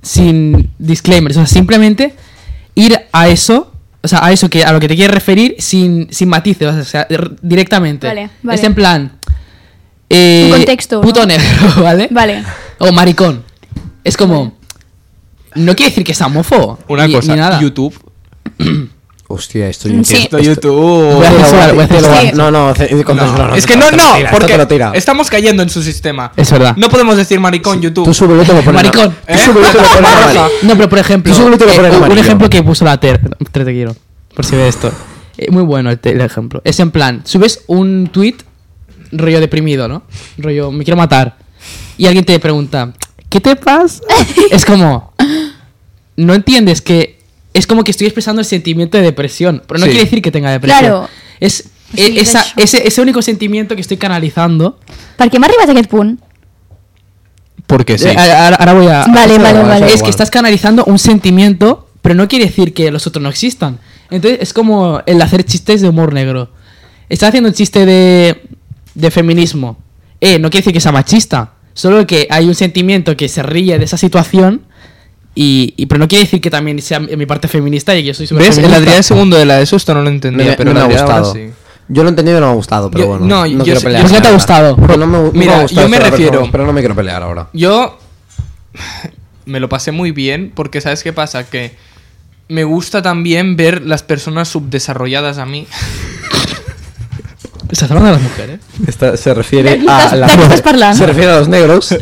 [SPEAKER 3] sin disclaimers, o sea, simplemente ir a eso, o sea, a eso que a lo que te quieres referir sin, sin matices, o sea, r- directamente.
[SPEAKER 2] Vale, vale.
[SPEAKER 3] Es en plan eh,
[SPEAKER 2] Un contexto,
[SPEAKER 3] puto
[SPEAKER 2] ¿no?
[SPEAKER 3] negro, [laughs] ¿vale?
[SPEAKER 2] Mm. Vale.
[SPEAKER 3] O maricón. Es como no quiere decir que sea homófobo.
[SPEAKER 1] una
[SPEAKER 3] ni-
[SPEAKER 1] cosa
[SPEAKER 3] ni nada.
[SPEAKER 1] YouTube
[SPEAKER 4] Hostia, esto
[SPEAKER 2] Sí.
[SPEAKER 4] yo
[SPEAKER 1] esto YouTube
[SPEAKER 3] Voy a
[SPEAKER 4] Te lo
[SPEAKER 3] censurar,
[SPEAKER 4] guardo,
[SPEAKER 3] voy a
[SPEAKER 4] te lo
[SPEAKER 3] censurar.
[SPEAKER 4] guardo. No, no, ce- con-
[SPEAKER 1] No, es que
[SPEAKER 4] te
[SPEAKER 1] no,
[SPEAKER 4] lo
[SPEAKER 1] no,
[SPEAKER 4] tira, esto
[SPEAKER 1] porque
[SPEAKER 4] te lo tira.
[SPEAKER 1] estamos cayendo en su sistema.
[SPEAKER 3] Es verdad.
[SPEAKER 1] No podemos decir maricón YouTube.
[SPEAKER 4] Tú súbelo y te lo pones.
[SPEAKER 3] Maricón.
[SPEAKER 4] Tú súbelo y te lo pones. amarillo.
[SPEAKER 3] No, pero por ejemplo,
[SPEAKER 4] Tú solo te lo
[SPEAKER 3] eh,
[SPEAKER 4] pones
[SPEAKER 3] un
[SPEAKER 4] amarillo.
[SPEAKER 3] ejemplo que puso la Ter, Ter te quiero, por si ve esto. Eh, muy bueno el, te- el ejemplo. Es en plan, subes un tweet rollo deprimido, ¿no? Rollo, me quiero matar. Y alguien te pregunta, ¿qué
[SPEAKER 2] [laughs]
[SPEAKER 3] te pasa? es como, no entiendes que es como que estoy expresando el sentimiento de depresión, pero no
[SPEAKER 1] Sí.
[SPEAKER 3] quiere decir que tenga depresión.
[SPEAKER 2] Claro. Pues
[SPEAKER 3] Es
[SPEAKER 2] Sí,
[SPEAKER 3] e- esa-
[SPEAKER 2] de hecho.
[SPEAKER 3] ese, ese único sentimiento que estoy canalizando.
[SPEAKER 2] Per què hem arribat a aquest punt?
[SPEAKER 1] Porque
[SPEAKER 3] Eh,
[SPEAKER 4] Ah,
[SPEAKER 3] ahora, ahora voy a,
[SPEAKER 2] Vale,
[SPEAKER 4] eso
[SPEAKER 2] vale,
[SPEAKER 4] da
[SPEAKER 2] vale.
[SPEAKER 4] igual,
[SPEAKER 3] es que estás canalizando un sentimiento, pero no quiere decir que los otros no existan. Entonces es como el hacer chistes de humor negro. Estás haciendo un chiste de, de feminismo. Eh, no quiere decir que sea machista. Solo que hay un sentimiento que se ríe de esa situación. Y, y- pero no quiere decir que también sea mi parte feminista y que yo soy súper
[SPEAKER 1] ¿Ves? El
[SPEAKER 3] feminista.
[SPEAKER 1] Adrián segundo de la ESO esto no lo entendía,
[SPEAKER 4] Me-
[SPEAKER 1] pero
[SPEAKER 4] no
[SPEAKER 1] el
[SPEAKER 4] me ha
[SPEAKER 1] Adrián ahora
[SPEAKER 4] gustado.
[SPEAKER 1] sí.
[SPEAKER 4] Yo lo he entendido y no me ha gustado, pero
[SPEAKER 1] Yo-
[SPEAKER 4] bueno.
[SPEAKER 1] no,
[SPEAKER 4] No,
[SPEAKER 1] yo
[SPEAKER 4] quiero
[SPEAKER 1] sé-
[SPEAKER 4] pelear.
[SPEAKER 1] yo sé que te ha
[SPEAKER 3] gustado.
[SPEAKER 4] Porque no me, no me
[SPEAKER 1] Mira,
[SPEAKER 4] ha gustado
[SPEAKER 1] yo me
[SPEAKER 4] esto de la
[SPEAKER 1] refiero-
[SPEAKER 4] performance, Pero no me quiero pelear ahora.
[SPEAKER 1] Yo me lo pasé muy bien porque ¿sabes qué pasa? Que me gusta también ver las personas subdesarrolladas a mí.
[SPEAKER 3] Estás hablando de las mujeres.
[SPEAKER 4] Esta se refiere
[SPEAKER 2] ¿De qué
[SPEAKER 4] a
[SPEAKER 2] estás-
[SPEAKER 4] la-
[SPEAKER 2] de qué estás parlando?
[SPEAKER 4] Se refiere a los negros.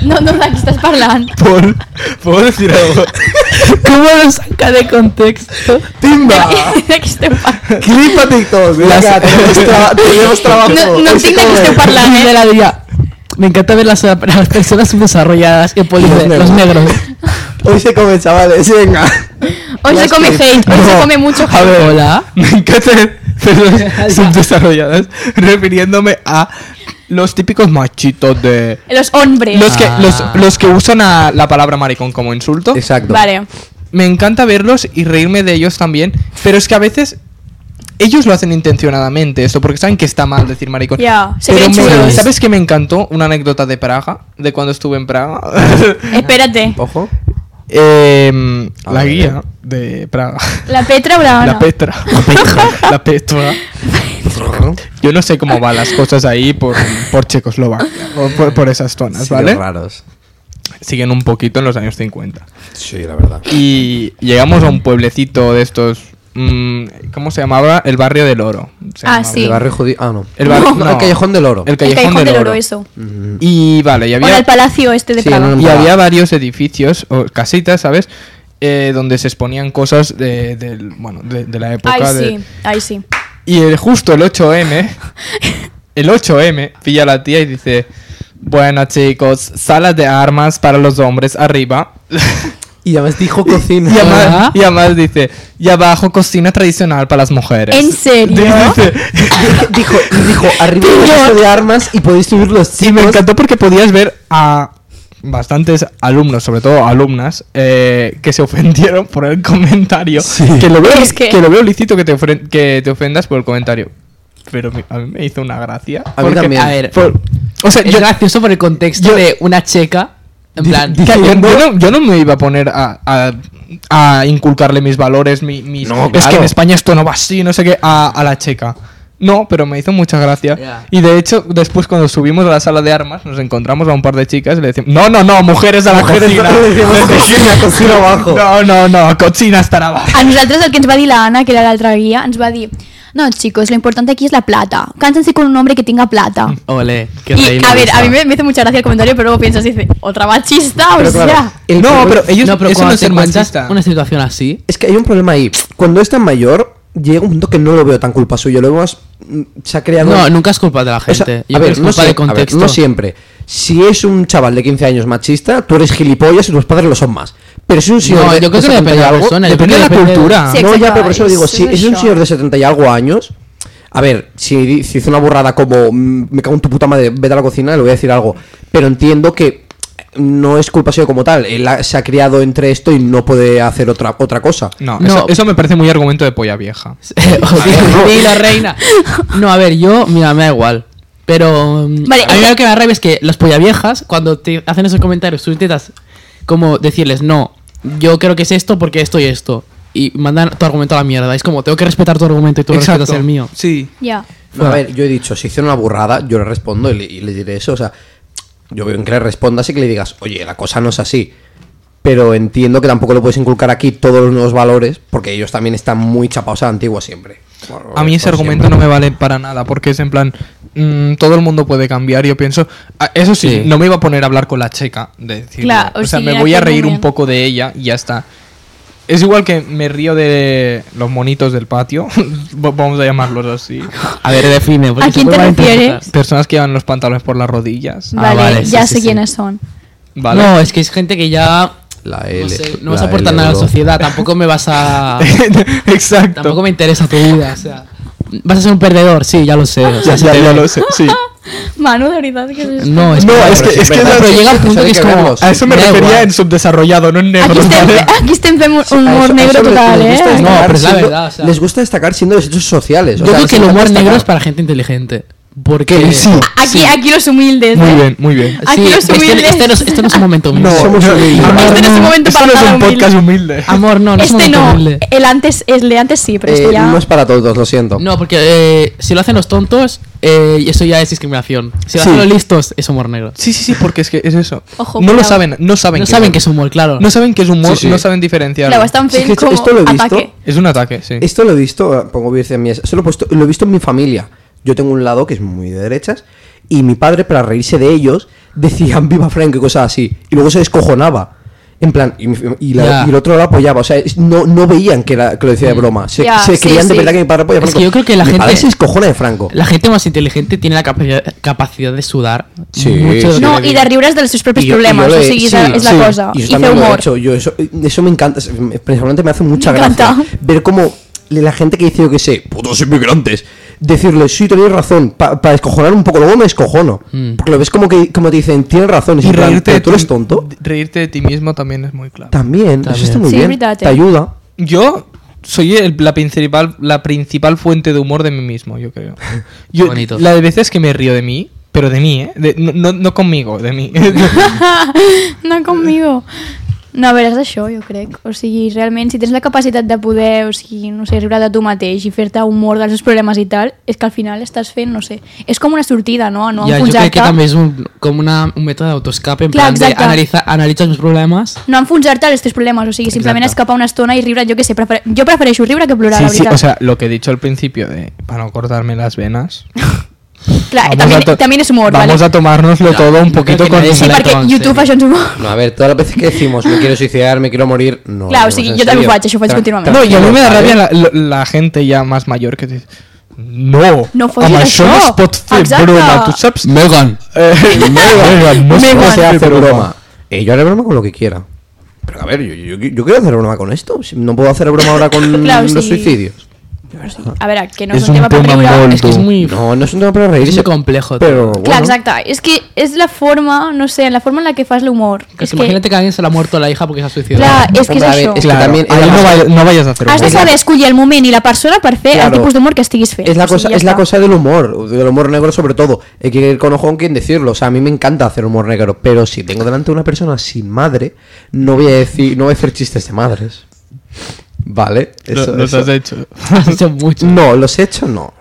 [SPEAKER 2] No, no, de qui estàs parlant.
[SPEAKER 1] [laughs] Por, ¿Puedo decir algo?
[SPEAKER 3] [laughs] ¿Cómo lo saca de contexto?
[SPEAKER 4] [laughs] ¡Timba!
[SPEAKER 2] [laughs] De qui esteu parlant?
[SPEAKER 4] ¡Clipa TikTok! Venga, tenemos, [laughs] tra- tenemos trabajo.
[SPEAKER 2] No, no
[SPEAKER 4] Hoy
[SPEAKER 2] entenc de
[SPEAKER 4] se
[SPEAKER 2] qui
[SPEAKER 4] come.
[SPEAKER 2] esteu parlant,
[SPEAKER 3] Y
[SPEAKER 2] eh?
[SPEAKER 3] de la diría, Me encanta ver las, las personas subdesarrolladas y
[SPEAKER 4] Y los
[SPEAKER 3] police, los negros.
[SPEAKER 4] Hoy se come, chavales, venga.
[SPEAKER 2] Hoy se come hate, hoy se come mucho
[SPEAKER 3] A
[SPEAKER 2] hate.
[SPEAKER 3] ver, hola.
[SPEAKER 1] [laughs] Me encanta ver
[SPEAKER 4] [laughs]
[SPEAKER 1] personas subdesarrolladas refiriéndome a los típicos machitos de...
[SPEAKER 2] Los hombres.
[SPEAKER 1] Los que,
[SPEAKER 3] Ah.
[SPEAKER 1] los, los que usan a la palabra maricón como insulto.
[SPEAKER 4] Exacto.
[SPEAKER 2] Vale.
[SPEAKER 1] Me encanta verlos y reírme de ellos también, pero es que a veces ellos lo hacen intencionadamente, esto, porque saben que está mal decir maricón.
[SPEAKER 2] Ya, se
[SPEAKER 1] pero
[SPEAKER 2] creen
[SPEAKER 1] me-
[SPEAKER 2] chulos.
[SPEAKER 1] ¿sabes que me encantó? Una anécdota de Praga, de cuando estuve en
[SPEAKER 2] [laughs]
[SPEAKER 1] Praga. [laughs]
[SPEAKER 2] Espérate.
[SPEAKER 4] [laughs] Ojo.
[SPEAKER 1] Em,
[SPEAKER 4] A
[SPEAKER 1] la
[SPEAKER 4] ver.
[SPEAKER 1] guía de Praga.
[SPEAKER 2] La Petra o [laughs] la Ana?
[SPEAKER 1] La Petra. la Petra. Yo no sé cómo van las cosas ahí por, por Checoslovaquia, o por, por esas zonas,
[SPEAKER 4] Sí,
[SPEAKER 1] ¿vale?
[SPEAKER 4] raros.
[SPEAKER 1] Siguen un poquito en los años 50.
[SPEAKER 4] Sí, la verdad.
[SPEAKER 1] Y llegamos a un pueblecito de estos. mm, ¿Cómo se llamaba? El barrio del oro. se
[SPEAKER 2] Ah,
[SPEAKER 1] llamaba.
[SPEAKER 2] sí.
[SPEAKER 4] El barrio judío. Ah, no.
[SPEAKER 1] El barrio- no.
[SPEAKER 4] el callejón del oro.
[SPEAKER 1] El
[SPEAKER 2] El
[SPEAKER 1] callejón, del, oro.
[SPEAKER 2] eso.
[SPEAKER 4] Mm,
[SPEAKER 1] Y vale, y
[SPEAKER 2] O en
[SPEAKER 1] había,
[SPEAKER 2] el palacio este de
[SPEAKER 4] Sí,
[SPEAKER 2] Praga.
[SPEAKER 4] en un-
[SPEAKER 1] y había varios edificios o casitas, ¿sabes? Eh, donde se exponían cosas de, del- bueno, de, de la época.
[SPEAKER 2] Ahí
[SPEAKER 1] de-
[SPEAKER 2] sí,
[SPEAKER 1] [laughs]
[SPEAKER 2] ahí sí.
[SPEAKER 1] Y el- justo el
[SPEAKER 2] [laughs]
[SPEAKER 1] 8M, el 8M, pilla a la tía y dice: Bueno, chicos, salas de armas para los hombres arriba.
[SPEAKER 4] Y
[SPEAKER 3] Y además dijo cocina.
[SPEAKER 1] [laughs] Y además,
[SPEAKER 3] ¿verdad?
[SPEAKER 1] y además dice, y abajo cocina tradicional para las mujeres.
[SPEAKER 2] ¿En serio?
[SPEAKER 1] [laughs] Dice,
[SPEAKER 4] dijo,
[SPEAKER 1] [laughs]
[SPEAKER 4] dijo, arriba un
[SPEAKER 2] Tío.
[SPEAKER 4] resto de armas y podéis subir los
[SPEAKER 1] y me
[SPEAKER 4] chicos".
[SPEAKER 1] encantó porque podías ver a bastantes alumnos, sobre todo alumnas, eh, que se ofendieron por el comentario. Que, lo veo,
[SPEAKER 2] Es que-
[SPEAKER 1] que... lo veo lícito que te, ofren- que te ofendas por el comentario. Pero mi- a mí me hizo una gracia.
[SPEAKER 4] A mí
[SPEAKER 1] porque-
[SPEAKER 4] también.
[SPEAKER 3] A ver,
[SPEAKER 1] por- o sea,
[SPEAKER 3] es
[SPEAKER 1] yo,
[SPEAKER 3] gracioso por el contexto
[SPEAKER 1] yo-
[SPEAKER 3] de una checa. En plan,
[SPEAKER 1] que yo- yo no, yo no me iba a poner a, a- a inculcarle mis valores, mi- mis...
[SPEAKER 4] No,
[SPEAKER 1] Es que
[SPEAKER 4] claro.
[SPEAKER 1] en España esto no va así, no sé qué, a, a la checa. No, pero me hizo mucha gracia.
[SPEAKER 3] Ya.
[SPEAKER 1] Y de hecho, después cuando subimos a la sala de armas, nos encontramos a un par de chicas y le decimos, no, no, no, mujeres a la
[SPEAKER 4] Mujeres
[SPEAKER 1] cocina. [laughs]
[SPEAKER 4] a la cocina,
[SPEAKER 1] Le decimos,
[SPEAKER 4] cocina, cocina abajo.
[SPEAKER 1] No, no, no, cocina estará abajo.
[SPEAKER 3] Ah,
[SPEAKER 2] A nosaltres el que ens va dir la Ana, que era l'altra guia, ens va dir no, chicos, lo importante aquí es la plata. Cánsense con un hombre que tenga
[SPEAKER 1] Mm.
[SPEAKER 2] plata.
[SPEAKER 3] Ole, qué
[SPEAKER 2] Y,
[SPEAKER 3] reír
[SPEAKER 2] a
[SPEAKER 3] me
[SPEAKER 2] ver, a
[SPEAKER 3] gusta.
[SPEAKER 2] mí me, me hace mucha gracia el comentario, pero luego piensas y dice, otra machista, o
[SPEAKER 4] Pero
[SPEAKER 2] sea...
[SPEAKER 4] claro, el
[SPEAKER 1] no,
[SPEAKER 4] problema-
[SPEAKER 1] pero ellos,
[SPEAKER 3] no, pero
[SPEAKER 1] eso no
[SPEAKER 3] cuando
[SPEAKER 1] es
[SPEAKER 3] te
[SPEAKER 1] ser
[SPEAKER 3] encuentras
[SPEAKER 1] machista.
[SPEAKER 3] una situación así,
[SPEAKER 4] Es que hay un problema ahí. Cuando es tan mayor, llega un punto que no lo veo tan culpa suya. Lo más se ha creado.
[SPEAKER 3] no, nunca es culpa de la
[SPEAKER 4] O sea,
[SPEAKER 3] gente. Yo creo que es
[SPEAKER 4] no,
[SPEAKER 3] culpa de
[SPEAKER 4] sie- a ver,
[SPEAKER 3] contexto.
[SPEAKER 4] no siempre. Si es un chaval de 15 años machista, tú eres gilipollas y tus padres lo son más. Pero si es un señor
[SPEAKER 3] No,
[SPEAKER 4] de,
[SPEAKER 3] yo creo que
[SPEAKER 4] de 70
[SPEAKER 3] depende de
[SPEAKER 4] y
[SPEAKER 3] la
[SPEAKER 4] algo,
[SPEAKER 3] persona, yo
[SPEAKER 1] Depende de
[SPEAKER 3] creo
[SPEAKER 1] la
[SPEAKER 3] que depende de-
[SPEAKER 1] cultura.
[SPEAKER 2] Sí.
[SPEAKER 4] no, ya,
[SPEAKER 2] exacto,
[SPEAKER 4] pero por eso
[SPEAKER 2] es-
[SPEAKER 4] digo, si
[SPEAKER 2] es
[SPEAKER 4] es un
[SPEAKER 2] eso.
[SPEAKER 4] señor de 70 y algo años, a ver, si, di- si hizo una burrada como mm, me cago en tu puta madre, vete a la cocina, le voy a decir algo. Pero entiendo que no es culpa suya como tal. Él ha- se ha criado entre esto y no puede hacer otra, otra cosa.
[SPEAKER 1] No,
[SPEAKER 3] No.
[SPEAKER 1] Eso, eso me parece muy argumento de polla vieja.
[SPEAKER 3] [laughs] Ok, Dilo, reina. No, a ver, yo, mira, me da igual. Pero mm,
[SPEAKER 2] Vale,
[SPEAKER 3] a mí
[SPEAKER 2] eh.
[SPEAKER 3] lo que me arrabia es que las pollaviejas, cuando te hacen esos comentarios, sus tetas, como decirles, no, yo creo que es esto porque esto y esto. Y mandan tu argumento a la mierda. Es como, tengo que respetar tu argumento y tú respetas el mío.
[SPEAKER 1] Sí.
[SPEAKER 2] Ya.
[SPEAKER 4] No,
[SPEAKER 3] Ah.
[SPEAKER 4] a ver, yo he dicho, si hicieron una burrada, yo le respondo y le, y le diré eso. O sea, yo veo en que le respondas y que le digas, oye, la cosa no es así. Pero entiendo que tampoco le puedes inculcar aquí todos los nuevos valores, porque ellos también están muy chapados a la antigua siempre. Bueno,
[SPEAKER 1] A mí ese
[SPEAKER 4] por
[SPEAKER 1] argumento
[SPEAKER 4] siempre.
[SPEAKER 1] no me vale para nada, porque es en plan, mm, todo el mundo puede cambiar, yo pienso, Ah, eso sí,
[SPEAKER 3] Sí.
[SPEAKER 1] no me iba a poner a hablar con la checa, de decirle,
[SPEAKER 2] Claro, o
[SPEAKER 1] o sea,
[SPEAKER 2] sí,
[SPEAKER 1] me
[SPEAKER 2] en
[SPEAKER 1] voy a
[SPEAKER 2] aquel
[SPEAKER 1] reír un
[SPEAKER 2] momento.
[SPEAKER 1] poco de ella y ya está. Es igual que me río de los monitos del patio, [laughs] va- vamos a llamarlos
[SPEAKER 2] [laughs]
[SPEAKER 1] así,
[SPEAKER 3] A ver, define. porque
[SPEAKER 2] ¿A
[SPEAKER 3] se
[SPEAKER 2] quién
[SPEAKER 3] puede
[SPEAKER 2] te
[SPEAKER 3] malinterpretar.
[SPEAKER 2] refieres?
[SPEAKER 1] personas que llevan los pantalones por las rodillas,
[SPEAKER 3] Ah,
[SPEAKER 2] Vale,
[SPEAKER 3] vale, sí,
[SPEAKER 2] ya sé
[SPEAKER 3] sí, sí.
[SPEAKER 2] quiénes son.
[SPEAKER 1] ¿vale? [laughs]
[SPEAKER 3] No, es que es gente que ya.
[SPEAKER 4] La
[SPEAKER 3] No,
[SPEAKER 4] L.
[SPEAKER 3] sé, no vas
[SPEAKER 4] la
[SPEAKER 3] a aportar
[SPEAKER 4] L,
[SPEAKER 3] nada a la
[SPEAKER 4] bro.
[SPEAKER 3] sociedad. Tampoco me vas a.
[SPEAKER 1] [laughs] Exacto.
[SPEAKER 3] tampoco me interesa tu vida. O sea, vas a ser un perdedor, sí, ya lo sé. o
[SPEAKER 1] [laughs]
[SPEAKER 3] sea,
[SPEAKER 1] Ya- ya- ya lo sé,
[SPEAKER 2] [laughs]
[SPEAKER 1] sí.
[SPEAKER 2] Manu, de verdad, que es esto?
[SPEAKER 3] no, es
[SPEAKER 1] No, es que, es que
[SPEAKER 4] verdad,
[SPEAKER 1] no-
[SPEAKER 3] pero llega un punto
[SPEAKER 4] hay
[SPEAKER 3] que es
[SPEAKER 4] que
[SPEAKER 3] como.
[SPEAKER 4] verlos.
[SPEAKER 1] a eso me
[SPEAKER 3] da
[SPEAKER 1] refería
[SPEAKER 3] igual.
[SPEAKER 1] en subdesarrollado, no en negro.
[SPEAKER 2] Aquí estem, [laughs]
[SPEAKER 1] ¿vale?
[SPEAKER 2] aquí estem fent un
[SPEAKER 4] A
[SPEAKER 2] humor
[SPEAKER 4] eso- a
[SPEAKER 2] negro
[SPEAKER 4] eso les-
[SPEAKER 2] total,
[SPEAKER 4] les
[SPEAKER 2] eh?
[SPEAKER 4] gusta
[SPEAKER 3] No,
[SPEAKER 4] destacar
[SPEAKER 3] pero es la
[SPEAKER 4] siendo-
[SPEAKER 3] verdad, o sea.
[SPEAKER 4] Les gusta destacar siendo los hechos sociales. o
[SPEAKER 3] Yo
[SPEAKER 4] sea,
[SPEAKER 3] creo
[SPEAKER 4] les
[SPEAKER 3] que el
[SPEAKER 4] encanta
[SPEAKER 3] humor negro
[SPEAKER 4] destacar.
[SPEAKER 3] es para gente inteligente. Porque.
[SPEAKER 1] Que sí.
[SPEAKER 2] Aquí, aquí los humildes,
[SPEAKER 1] Muy
[SPEAKER 2] eh?
[SPEAKER 3] [laughs]
[SPEAKER 1] bien, muy bien.
[SPEAKER 2] Aquí los
[SPEAKER 3] este-
[SPEAKER 2] humildes.
[SPEAKER 3] Este, no, es- este no es un momento humilde.
[SPEAKER 4] No, somos humildes.
[SPEAKER 1] amor,
[SPEAKER 2] Este no es un momento
[SPEAKER 1] esto
[SPEAKER 2] para
[SPEAKER 1] no es
[SPEAKER 2] nada
[SPEAKER 1] un podcast humilde.
[SPEAKER 3] Amor, no, no es un
[SPEAKER 2] Este
[SPEAKER 3] momento
[SPEAKER 2] no,
[SPEAKER 3] humilde.
[SPEAKER 2] el antes, el de antes sí, pero
[SPEAKER 4] Eh,
[SPEAKER 2] este ya...
[SPEAKER 4] No es para todos, lo siento.
[SPEAKER 3] No, porque eh, si lo hacen los tontos, eh, eso ya es discriminación. Si lo
[SPEAKER 4] Sí.
[SPEAKER 3] hacen los listos, es humor negro.
[SPEAKER 1] [laughs] Sí, sí, sí, porque es que es eso.
[SPEAKER 2] Ojo,
[SPEAKER 1] no lo
[SPEAKER 2] cuidado.
[SPEAKER 1] saben, no saben.
[SPEAKER 3] No
[SPEAKER 1] qué
[SPEAKER 3] saben
[SPEAKER 1] es.
[SPEAKER 3] que es humor, claro.
[SPEAKER 1] No saben que es humor,
[SPEAKER 4] Sí, sí.
[SPEAKER 1] no saben diferenciarlo.
[SPEAKER 2] Claro, están
[SPEAKER 4] Sí, que
[SPEAKER 2] feliz
[SPEAKER 4] esto-
[SPEAKER 2] como
[SPEAKER 4] esto lo he visto.
[SPEAKER 2] ataque.
[SPEAKER 1] Es un ataque, sí.
[SPEAKER 4] Esto lo he visto, eh, pongo vídeos en mi- se lo he puesto- lo he visto en mi familia. Yo tengo un lado que es muy de derechas y mi padre para reírse de ellos decían [laughs] viva Frank y cosas así y luego se descojonaba. En plan, y, mi- y la-
[SPEAKER 3] Ya. Mm.
[SPEAKER 4] y el otro lo apoyaba, o sea, es- no, no veían que, era- que lo decía de broma, se,
[SPEAKER 2] Ya,
[SPEAKER 4] se
[SPEAKER 2] sí,
[SPEAKER 4] creían de
[SPEAKER 2] sí.
[SPEAKER 4] verdad que mi padre apoyaba a
[SPEAKER 3] Es
[SPEAKER 4] Franco.
[SPEAKER 3] que yo creo que la
[SPEAKER 4] Mi
[SPEAKER 3] gente-
[SPEAKER 4] padre se descojona de Franco.
[SPEAKER 3] La gente más inteligente tiene la capacidad, capacidad de sudar.
[SPEAKER 4] Sí,
[SPEAKER 3] mucho de lo que
[SPEAKER 4] sí.
[SPEAKER 2] No,
[SPEAKER 3] le
[SPEAKER 2] i
[SPEAKER 3] digan.
[SPEAKER 2] de riure's dels seus propis
[SPEAKER 4] Y yo- y
[SPEAKER 2] problemes,
[SPEAKER 4] yo
[SPEAKER 2] o
[SPEAKER 4] le-
[SPEAKER 2] sigui, és,
[SPEAKER 4] sí,
[SPEAKER 2] la, és la
[SPEAKER 4] sí.
[SPEAKER 2] cosa.
[SPEAKER 4] Y
[SPEAKER 2] I
[SPEAKER 4] yo
[SPEAKER 2] fer
[SPEAKER 4] también lo he
[SPEAKER 2] humor.
[SPEAKER 4] hecho, yo eso, eso me encanta, es- me- personalmente me hace mucha
[SPEAKER 2] Me
[SPEAKER 4] gracia
[SPEAKER 2] encanta.
[SPEAKER 4] ver cómo la gente que dice, yo que sé, putos inmigrantes, decirle, sí, tenéis razón, para descojonar un poco, luego me descojono. Porque lo ves como que como te dicen, tienes razón, Mm. y,
[SPEAKER 1] Y
[SPEAKER 4] en plan,
[SPEAKER 1] reírte de
[SPEAKER 4] "¿Pero tú
[SPEAKER 1] ti-
[SPEAKER 4] eres tonto.
[SPEAKER 1] Reírte de ti mismo también es muy claro.
[SPEAKER 4] También, eso
[SPEAKER 3] También.
[SPEAKER 4] está muy
[SPEAKER 2] Sí,
[SPEAKER 4] bien,
[SPEAKER 2] verdad,
[SPEAKER 4] te
[SPEAKER 2] eh.
[SPEAKER 4] ayuda.
[SPEAKER 1] Yo soy el- la principal la principal fuente de humor de mí mismo, yo creo. Yo,
[SPEAKER 3] Bonito.
[SPEAKER 1] La de veces que me río de mí, pero de mí, ¿eh? De- no, no- no conmigo, de mí.
[SPEAKER 2] No conmigo. No, a veure, és això, jo crec. O sigui, realment, si tens la capacitat de poder, o sigui, no sé, riure de tu mateix i fer-te humor dels teus problemes i tal, és que al final estàs fent, no sé, és com una sortida, no? A No
[SPEAKER 3] Ya, yo creo que
[SPEAKER 2] enfonsar-te
[SPEAKER 3] también es un, como una, un método de autoescape, en
[SPEAKER 2] Clar,
[SPEAKER 3] plan de
[SPEAKER 2] exacte.
[SPEAKER 3] analiza, analizas mis problemas.
[SPEAKER 2] no enfonsar-te als teus problemes, o sigui, simplement
[SPEAKER 3] Exacte.
[SPEAKER 2] escapar una estona i riure, jo què sé, prefer... jo prefereixo riure que
[SPEAKER 1] [laughs]
[SPEAKER 2] plorar,
[SPEAKER 1] sí,
[SPEAKER 2] la
[SPEAKER 1] sí,
[SPEAKER 2] veritat.
[SPEAKER 1] o sea, lo que he dicho al principio de para no cortarme las venas.
[SPEAKER 2] Clar,
[SPEAKER 1] Vamos
[SPEAKER 2] també,
[SPEAKER 1] a to-
[SPEAKER 2] també és humor,
[SPEAKER 1] Vamos a
[SPEAKER 2] vale?
[SPEAKER 1] tomárnoslo todo un
[SPEAKER 3] no creo
[SPEAKER 1] poquito
[SPEAKER 3] que
[SPEAKER 1] con...
[SPEAKER 3] nadie
[SPEAKER 2] Sí,
[SPEAKER 3] Vale,
[SPEAKER 2] perquè
[SPEAKER 3] doncs,
[SPEAKER 2] YouTube
[SPEAKER 3] sí.
[SPEAKER 2] això ens ho va-
[SPEAKER 4] No, a ver, todas las veces que decimos, me quiero suicidar, me quiero morir, no.
[SPEAKER 2] Claro, sí, yo también facho, yo facho continuamente.
[SPEAKER 1] No, y a mí me da rabia
[SPEAKER 4] la...
[SPEAKER 1] la, la- la gente ya más mayor que dice... No,
[SPEAKER 2] No folles
[SPEAKER 1] home,
[SPEAKER 2] això."
[SPEAKER 1] no es pot fer
[SPEAKER 2] Exacte.
[SPEAKER 1] broma, tu saps?
[SPEAKER 3] Megan.
[SPEAKER 1] [laughs] Eh, Megan, no es pot
[SPEAKER 4] se
[SPEAKER 1] fer
[SPEAKER 4] hace broma. Eh, yo haré broma con lo que quiera. Pero a ver, yo, yo, yo quiero hacer broma con esto. Si No puedo hacer broma ahora con
[SPEAKER 2] [laughs] Claro,
[SPEAKER 4] los
[SPEAKER 2] sí.
[SPEAKER 4] suicidios.
[SPEAKER 2] A veure, que no
[SPEAKER 1] És
[SPEAKER 2] és,
[SPEAKER 1] un
[SPEAKER 2] un tema per
[SPEAKER 1] tema
[SPEAKER 2] riure.
[SPEAKER 1] molt
[SPEAKER 3] Es que es
[SPEAKER 1] tú.
[SPEAKER 3] muy.
[SPEAKER 4] No, no es un tema para reírse.
[SPEAKER 3] Es muy complejo.
[SPEAKER 4] Pero bueno.
[SPEAKER 2] Clar, exacte. És que és la forma, no sé, la forma en la que fas l'humor.
[SPEAKER 3] Que
[SPEAKER 2] És
[SPEAKER 3] imagínate que a alguien se le ha muerto la hija porque se ha suicidado.
[SPEAKER 2] Clar,
[SPEAKER 3] [laughs]
[SPEAKER 2] és que és
[SPEAKER 4] Hombre, a ver,
[SPEAKER 2] això.
[SPEAKER 4] és que
[SPEAKER 1] Claro,
[SPEAKER 4] también era
[SPEAKER 1] ahí no,
[SPEAKER 4] más-
[SPEAKER 1] vaya- no vayas a hacer
[SPEAKER 2] Has de
[SPEAKER 1] humor.
[SPEAKER 2] saber escollir el moment i la persona per fer
[SPEAKER 4] Claro.
[SPEAKER 2] el tipus d'humor que estiguis fent.
[SPEAKER 4] Es la
[SPEAKER 2] O sigui,
[SPEAKER 4] cosa,
[SPEAKER 2] ja
[SPEAKER 4] es la
[SPEAKER 2] està.
[SPEAKER 4] cosa del humor, del humor negro sobre todo. Hay que ir con ojo con quien decirlo. O sea, a mí me encanta hacer humor negro, pero si tengo delante una persona sin madre, no voy a decir, no voy a hacer chistes de madres. Vale,
[SPEAKER 1] Lo-
[SPEAKER 4] eso-
[SPEAKER 1] los
[SPEAKER 4] eso-
[SPEAKER 1] has hecho.
[SPEAKER 3] Hace mucho.
[SPEAKER 4] No, los he hecho no.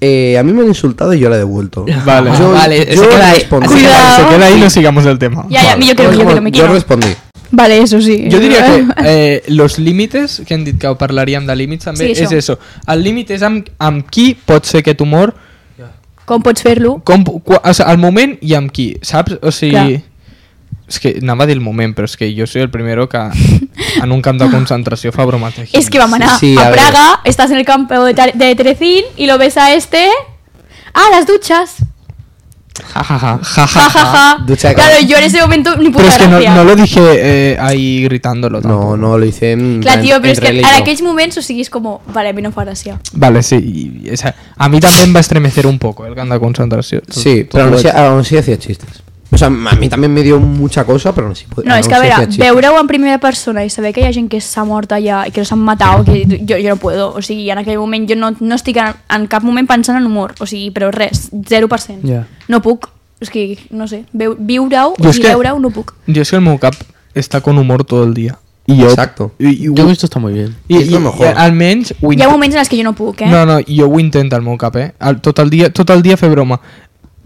[SPEAKER 4] Eh, a mí me han insultado y yo la he devuelto.
[SPEAKER 1] Vale.
[SPEAKER 4] yo,
[SPEAKER 3] Vale, se
[SPEAKER 4] yo
[SPEAKER 3] queda ahí.
[SPEAKER 4] respondí.
[SPEAKER 2] Se queda ahí.
[SPEAKER 1] Se queda ahí y no sigamos el tema.
[SPEAKER 2] Ja, ja, millor que no,
[SPEAKER 4] Yo
[SPEAKER 2] millor que no, me
[SPEAKER 4] yo
[SPEAKER 2] quiero.
[SPEAKER 4] respondí.
[SPEAKER 2] Vale, eso sí.
[SPEAKER 1] Jo diria [laughs]
[SPEAKER 2] [laughs]
[SPEAKER 1] que eh, los límites, que hem dit que parlaríem de límits també,
[SPEAKER 2] Sí,
[SPEAKER 1] sí,
[SPEAKER 2] això.
[SPEAKER 1] és això. El límit és amb, amb qui pot ser aquest humor,
[SPEAKER 2] Com pots fer-lo?
[SPEAKER 1] com, qua, o sigui, el moment i amb qui, saps? O sigui...
[SPEAKER 2] Clar.
[SPEAKER 1] És que anava a dir el moment, però és que jo soy el primero que en un camp de concentració fa bromes de
[SPEAKER 2] Es que vamos a,
[SPEAKER 4] Sí, sí,
[SPEAKER 2] a
[SPEAKER 4] a ver.
[SPEAKER 2] Praga, estás en el campo de, Tar- de Terecín y lo ves a este. Ah, las duchas.
[SPEAKER 1] Ja, ja, ja, ja, ja,
[SPEAKER 2] Ja, ja,
[SPEAKER 1] ja.
[SPEAKER 2] ja.
[SPEAKER 4] ducha de
[SPEAKER 2] Claro,
[SPEAKER 4] cara.
[SPEAKER 2] yo en ese momento ni puta
[SPEAKER 1] Però és que no,
[SPEAKER 2] gracia.
[SPEAKER 1] no lo dije eh, ahí gritándolo.
[SPEAKER 4] No,
[SPEAKER 1] tampoco.
[SPEAKER 4] no, lo hice en.
[SPEAKER 2] Clar,
[SPEAKER 4] en-
[SPEAKER 2] tio, però
[SPEAKER 4] en
[SPEAKER 2] és que
[SPEAKER 4] relay,
[SPEAKER 2] en
[SPEAKER 4] no.
[SPEAKER 2] aquells moments o sigui, és com, vale, a mi no em fa gràcia.
[SPEAKER 1] Vale, sí. y- y esa- a mí también va a estremecer un poco el camp de concentració.
[SPEAKER 4] Sí, pero aún así, aún así hacía chistes. O sea, a mí también me dio mucha cosa, pero aún así.
[SPEAKER 2] No,
[SPEAKER 4] aún
[SPEAKER 2] és que a
[SPEAKER 4] así
[SPEAKER 2] veure,
[SPEAKER 4] hacía chistes.
[SPEAKER 2] veure-ho en primera persona i saber que hi ha gent que s'ha mort allà i que s'han matat, que jo, jo no puedo. O sigui, en aquell moment jo no, no estic en, en cap moment pensant en humor, o sigui, però res, 0%.
[SPEAKER 3] Ja.
[SPEAKER 2] No puc, o sigui, no sé, veu- viure-ho
[SPEAKER 1] Jo
[SPEAKER 2] o
[SPEAKER 1] és
[SPEAKER 2] sigui,
[SPEAKER 1] que-
[SPEAKER 2] veure-ho no puc.
[SPEAKER 1] Yo es que el mocap está con humor todo el día. Y yo,
[SPEAKER 4] Exacto.
[SPEAKER 1] Y, y-
[SPEAKER 3] Yo he visto está muy bien.
[SPEAKER 1] y-
[SPEAKER 4] Es lo
[SPEAKER 1] y-
[SPEAKER 4] mejor.
[SPEAKER 1] y al menos ho
[SPEAKER 2] Hi ha
[SPEAKER 1] inte-
[SPEAKER 2] moments en els que jo no puc, eh?
[SPEAKER 1] No, no, yo ho intento el mocap, eh? El- tot, el dia, tot el dia fer broma.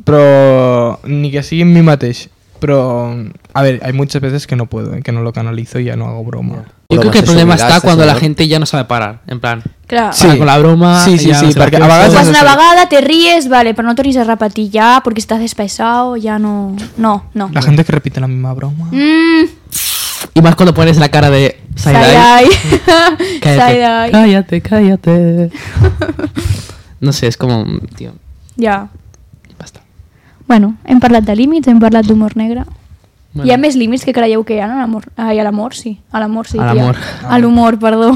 [SPEAKER 1] Pero ni que sigui en mi mateix. Pero, a ver, hay muchas veces que no puedo, eh, que no lo canalizo y ya no hago broma.
[SPEAKER 3] Yo creo
[SPEAKER 4] Bromas
[SPEAKER 3] que el
[SPEAKER 4] de
[SPEAKER 3] problema
[SPEAKER 4] seguridad,
[SPEAKER 3] está
[SPEAKER 4] este
[SPEAKER 3] cuando la
[SPEAKER 4] señor.
[SPEAKER 3] gente ya no sabe parar. En plan,
[SPEAKER 2] Clar.
[SPEAKER 1] Sí.
[SPEAKER 3] para con la broma.
[SPEAKER 1] Sí, sí,
[SPEAKER 3] ya
[SPEAKER 1] sí,
[SPEAKER 3] no se la
[SPEAKER 1] porque
[SPEAKER 3] piensa.
[SPEAKER 1] a
[SPEAKER 2] Fas
[SPEAKER 1] vegades-
[SPEAKER 2] Ah, Pues una
[SPEAKER 1] Sí.
[SPEAKER 2] vegada, te ríes, vale, però no tornis a repetir ja, perquè estàs despaisado, ja no... No, no.
[SPEAKER 3] Mm.
[SPEAKER 1] La gente que repite la misma broma.
[SPEAKER 2] Mm,
[SPEAKER 3] Y más cuando pones la cara de. Side-eye. [laughs]
[SPEAKER 2] side-eye.
[SPEAKER 3] Cállate,
[SPEAKER 2] Side-eye.
[SPEAKER 3] cállate, cállate. [laughs] No sé, es como. mm, Tío,
[SPEAKER 2] Ja.
[SPEAKER 3] basta.
[SPEAKER 2] Bueno, hem parlat de límits, hem parlat d'humor negre.
[SPEAKER 3] Bueno.
[SPEAKER 2] Bueno. Hi ha més límits que creieu que hi ha en l'amor? Ai, a l'amor, sí. A l'amor, sí. que
[SPEAKER 3] A
[SPEAKER 2] hi ha.
[SPEAKER 3] l'amor.
[SPEAKER 2] A l'humor, perdó.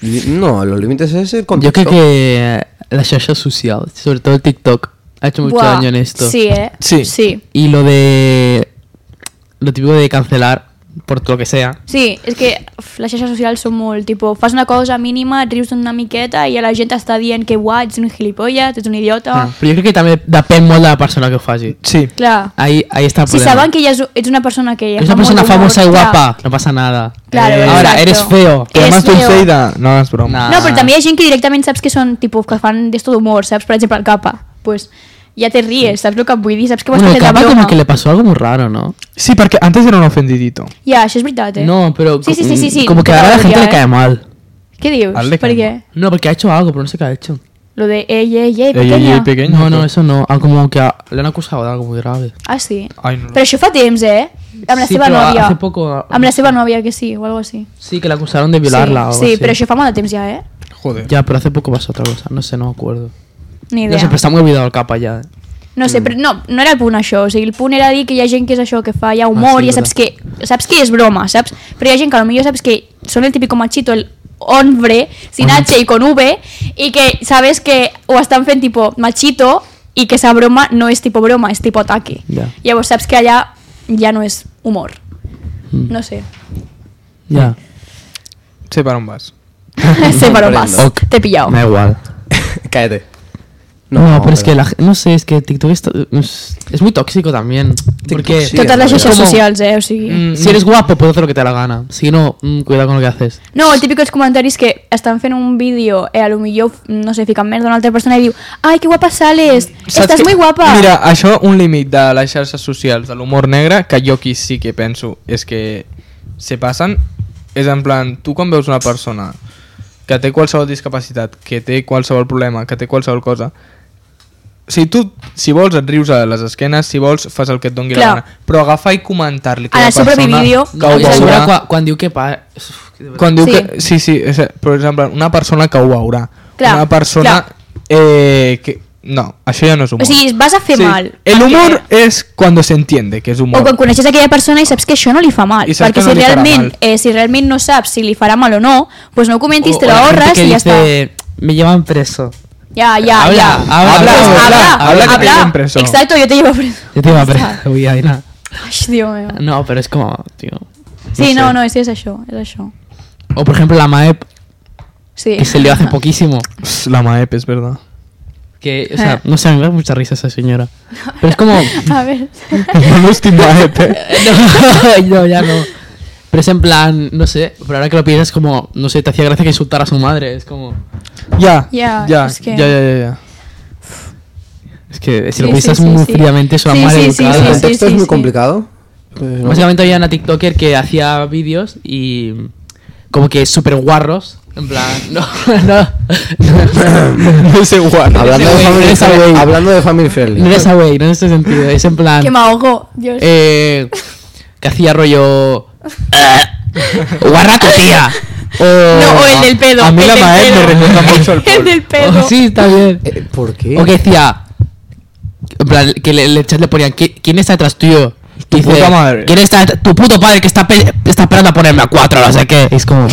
[SPEAKER 4] Li- No, los límites es el
[SPEAKER 3] Yo
[SPEAKER 4] contexto.
[SPEAKER 3] creo que la social social, sobre todo el TikTok, ha hecho mucho
[SPEAKER 2] Buah,
[SPEAKER 3] daño en esto.
[SPEAKER 2] Sí, eh?
[SPEAKER 1] Sí.
[SPEAKER 2] Sí.
[SPEAKER 3] Y lo de. Lo típico de cancelar por lo que sea.
[SPEAKER 2] Sí, és que uf, les xarxes socials són molt, tipo, fas una cosa mínima, et rius una miqueta i la gent està dient que guai, ets un gilipollas, ets un idiota.
[SPEAKER 3] Ah, Pero yo creo que también depende mucho de la persona que falle.
[SPEAKER 1] Sí.
[SPEAKER 2] Clar.
[SPEAKER 3] Ahí, ahí está el
[SPEAKER 2] Si
[SPEAKER 3] problema.
[SPEAKER 2] saben que ja és, ets una persona que...
[SPEAKER 3] es
[SPEAKER 2] fa
[SPEAKER 3] una
[SPEAKER 2] molt
[SPEAKER 3] persona
[SPEAKER 2] humor,
[SPEAKER 3] famosa y
[SPEAKER 2] clar.
[SPEAKER 3] guapa, no pasa nada.
[SPEAKER 2] Claro,
[SPEAKER 1] Eh,
[SPEAKER 3] Ahora,
[SPEAKER 2] exacto.
[SPEAKER 3] eres feo.
[SPEAKER 1] Que además tú,
[SPEAKER 2] feo.
[SPEAKER 1] Seida, no hagas broma.
[SPEAKER 3] Nah.
[SPEAKER 2] No, però també hi ha gent que directament saps que són, tipus, que fan d'esto d'humor, saps? Per exemple, el capa. Pues, ja te ries, saps el que et vull dir? Saps que ho has
[SPEAKER 3] Bueno,
[SPEAKER 2] fet de
[SPEAKER 3] capaz
[SPEAKER 2] broma.
[SPEAKER 3] como que le pasó algo muy raro, ¿no?
[SPEAKER 1] Sí, porque antes era un ofendidito.
[SPEAKER 2] Ja, això és veritat, eh?
[SPEAKER 3] No, pero
[SPEAKER 2] Sí, sí, sí, sí, sí.
[SPEAKER 3] como que ahora a la
[SPEAKER 2] Claro,
[SPEAKER 3] gente
[SPEAKER 2] ya,
[SPEAKER 3] le
[SPEAKER 2] eh.
[SPEAKER 3] cae mal.
[SPEAKER 2] Què dius?
[SPEAKER 1] Al de
[SPEAKER 2] Per
[SPEAKER 1] Camba.
[SPEAKER 2] què?
[SPEAKER 3] No, porque ha hecho algo, pero no sé qué ha hecho.
[SPEAKER 2] Lo de ei, ei,
[SPEAKER 1] Ey,
[SPEAKER 2] ei,
[SPEAKER 1] ey,
[SPEAKER 2] pequeña.
[SPEAKER 1] ey, pequeño.
[SPEAKER 3] No, no, eso no. Ah, como que a- le han acusado de algo muy grave.
[SPEAKER 2] Ah, sí.
[SPEAKER 1] Ay, no.
[SPEAKER 2] Però això fa temps, eh? Amb la
[SPEAKER 3] Sí,
[SPEAKER 2] seva
[SPEAKER 3] però
[SPEAKER 2] nòvia.
[SPEAKER 3] hace poco-
[SPEAKER 2] Amb la seva nòvia, que sí, o algo així.
[SPEAKER 3] Sí, que la acusaron de violarla. o algo
[SPEAKER 2] sí, sí,
[SPEAKER 3] así.
[SPEAKER 2] però això fa molt de temps ja, eh?
[SPEAKER 1] Joder.
[SPEAKER 3] Ya, pero hace poco pasó otra cosa. No sé, no me acuerdo.
[SPEAKER 2] Ni idea.
[SPEAKER 3] No sé, pero está muy olvidado el capa ya.
[SPEAKER 2] No
[SPEAKER 3] Mm.
[SPEAKER 2] sé, però no, no era el punt això, o sigui, el punt era dir que hi ha gent que és això, que fa ja humor,
[SPEAKER 3] Ah, sí,
[SPEAKER 2] ja saps que, saps que és broma, saps? Però hi ha gent que a lo millor saps que són el típico machito, el hombre,
[SPEAKER 3] Mm.
[SPEAKER 2] sin H i con V, i que sabes que ho estan fent tipo machito i que esa broma no és tipo broma, és tipo ataque.
[SPEAKER 3] Ja.
[SPEAKER 2] Llavors saps que allà ja no és humor.
[SPEAKER 3] Mm.
[SPEAKER 2] No
[SPEAKER 3] [laughs]
[SPEAKER 2] sé,
[SPEAKER 3] Ya.
[SPEAKER 1] Se para un vas.
[SPEAKER 2] sé per on vas,
[SPEAKER 3] Ok.
[SPEAKER 2] t'he pillado.
[SPEAKER 3] Me da igual.
[SPEAKER 4] [laughs] Cállate.
[SPEAKER 3] No, pero, es que la gen- No sé, es que TikTok está- es, es muy tóxico también. Porque
[SPEAKER 4] sí.
[SPEAKER 2] Totes les
[SPEAKER 4] ja.
[SPEAKER 2] xarxes
[SPEAKER 3] Com-
[SPEAKER 2] socials, eh, o sigui...
[SPEAKER 1] Mm.
[SPEAKER 3] si eres guapo puedes hacer lo que te da la gana. Si no, mm, cuidado con lo que haces.
[SPEAKER 2] No, el típico dels comentaris que estan fent un vídeo, eh, a lo millor, no sé, fiquen merda a una altra persona i diu Ai, que guapa
[SPEAKER 3] Mm,
[SPEAKER 2] sales, estàs
[SPEAKER 1] que-
[SPEAKER 2] muy guapa.
[SPEAKER 1] Mira, això, un límit de les xarxes socials de l'humor negre, que jo aquí sí que penso és que se passen, és en plan, tu quan veus una persona que té qualsevol discapacitat, que té qualsevol problema, que té qualsevol cosa, si tu, si vols, et rius a les esquenes, si vols, fas el que et doni
[SPEAKER 2] Clar.
[SPEAKER 1] la gana. Però agafar i comentar-li
[SPEAKER 2] En
[SPEAKER 1] cada
[SPEAKER 2] el seu
[SPEAKER 1] persona
[SPEAKER 2] propi vídeo,
[SPEAKER 1] que
[SPEAKER 2] No,
[SPEAKER 1] ho
[SPEAKER 2] i
[SPEAKER 3] Oye,
[SPEAKER 2] seguro
[SPEAKER 1] veurà.
[SPEAKER 3] segura cua- cuando digo que pa- Uf, que de verdad.
[SPEAKER 1] Quan diu
[SPEAKER 2] Sí.
[SPEAKER 1] que... Sí, sí, és, per exemple, una persona que ho veurà.
[SPEAKER 2] Clar,
[SPEAKER 1] una persona eh, que, No, això ja no és humor.
[SPEAKER 2] O sigui, vas a fer
[SPEAKER 1] Sí,
[SPEAKER 2] mal.
[SPEAKER 1] El
[SPEAKER 2] perquè-
[SPEAKER 1] humor és quan s'entiende que és humor.
[SPEAKER 2] O quan coneixes aquella persona i saps que això no li fa mal.
[SPEAKER 1] I saps
[SPEAKER 2] Perquè
[SPEAKER 1] que no
[SPEAKER 2] si,
[SPEAKER 1] li farà
[SPEAKER 2] realment,
[SPEAKER 1] mal.
[SPEAKER 2] eh, si realment no saps si li farà mal o no, pues no ho comentis, te lo ahorras y ya está.
[SPEAKER 3] Me llevan preso.
[SPEAKER 2] Ya, ya,
[SPEAKER 3] Habla,
[SPEAKER 2] ya.
[SPEAKER 3] habla,
[SPEAKER 2] Pues
[SPEAKER 1] habla,
[SPEAKER 2] habla,
[SPEAKER 1] habla que te lleven preso.
[SPEAKER 2] Exacto, yo te llevo preso.
[SPEAKER 3] Yo te iba preso, voy a ir a-
[SPEAKER 2] Ay, Dios mío.
[SPEAKER 3] No, pero es como, tío.
[SPEAKER 2] Sí, no,
[SPEAKER 3] sé.
[SPEAKER 2] no, sí, es eso, es eso.
[SPEAKER 3] O por ejemplo la MAEP,
[SPEAKER 2] Sí.
[SPEAKER 3] que se lió hace poquísimo.
[SPEAKER 1] Pss, La MAEP, es verdad.
[SPEAKER 3] Que, o
[SPEAKER 2] [laughs]
[SPEAKER 3] sea,
[SPEAKER 2] Eh.
[SPEAKER 3] no sé, a mí me da mucha risa esa señora. Pero es como.
[SPEAKER 2] [laughs] A
[SPEAKER 3] [laughs]
[SPEAKER 2] ver.
[SPEAKER 1] No estoy MAEP,
[SPEAKER 2] [laughs]
[SPEAKER 1] eh.
[SPEAKER 3] no, no, ya no. Pero es en plan, no sé, pero ahora que lo piensas, como, no sé, te hacía gracia que insultara a su madre. Es como.
[SPEAKER 1] Ya,
[SPEAKER 2] Ya,
[SPEAKER 1] ya,
[SPEAKER 2] es que-
[SPEAKER 1] ya, ya, ya, [laughs] ya.
[SPEAKER 3] Es que si
[SPEAKER 2] Sí,
[SPEAKER 3] lo
[SPEAKER 2] sí,
[SPEAKER 3] piensas
[SPEAKER 2] sí,
[SPEAKER 3] muy
[SPEAKER 2] sí.
[SPEAKER 3] fríamente, es una
[SPEAKER 2] Sí,
[SPEAKER 3] mal
[SPEAKER 2] sí, sí,
[SPEAKER 3] educada.
[SPEAKER 4] el
[SPEAKER 2] sí,
[SPEAKER 4] contexto es
[SPEAKER 2] sí,
[SPEAKER 4] muy
[SPEAKER 2] sí.
[SPEAKER 4] complicado. Eh, no-
[SPEAKER 3] Básicamente había una TikToker que hacía vídeos y como que súper guarros. En plan, [laughs] no, no.
[SPEAKER 1] No sé, guau.
[SPEAKER 4] hablando, de
[SPEAKER 3] Ese güey,
[SPEAKER 4] family
[SPEAKER 3] ese
[SPEAKER 4] friendly,
[SPEAKER 3] güey.
[SPEAKER 4] hablando de Family Friendly.
[SPEAKER 3] No es esa wey, no en ese sentido. Es en
[SPEAKER 1] Ah.
[SPEAKER 3] plan.
[SPEAKER 2] Que me ahogó, Dios.
[SPEAKER 3] eh, que hacía rollo. eh, Guarraco, tía.
[SPEAKER 2] [laughs]
[SPEAKER 3] O,
[SPEAKER 2] no, o el del pedo.
[SPEAKER 1] a mí
[SPEAKER 2] el
[SPEAKER 1] la
[SPEAKER 2] del
[SPEAKER 1] Maed me
[SPEAKER 2] pedo. [laughs]
[SPEAKER 1] recuerda mucho al Ah,
[SPEAKER 2] El
[SPEAKER 1] Paul.
[SPEAKER 2] del pedo.
[SPEAKER 3] o- Oh, sí, está bien.
[SPEAKER 4] Eh, ¿Por qué?
[SPEAKER 3] O que decía. En plan, que le, le, le ponían, "¿Qui- ¿quién está detrás tuyo? Y
[SPEAKER 1] Tu puta madre.
[SPEAKER 3] ¿Quién está detrás- Tu puto padre que está, pe- está esperando a ponerme a cuatro, no sé qué. Es como.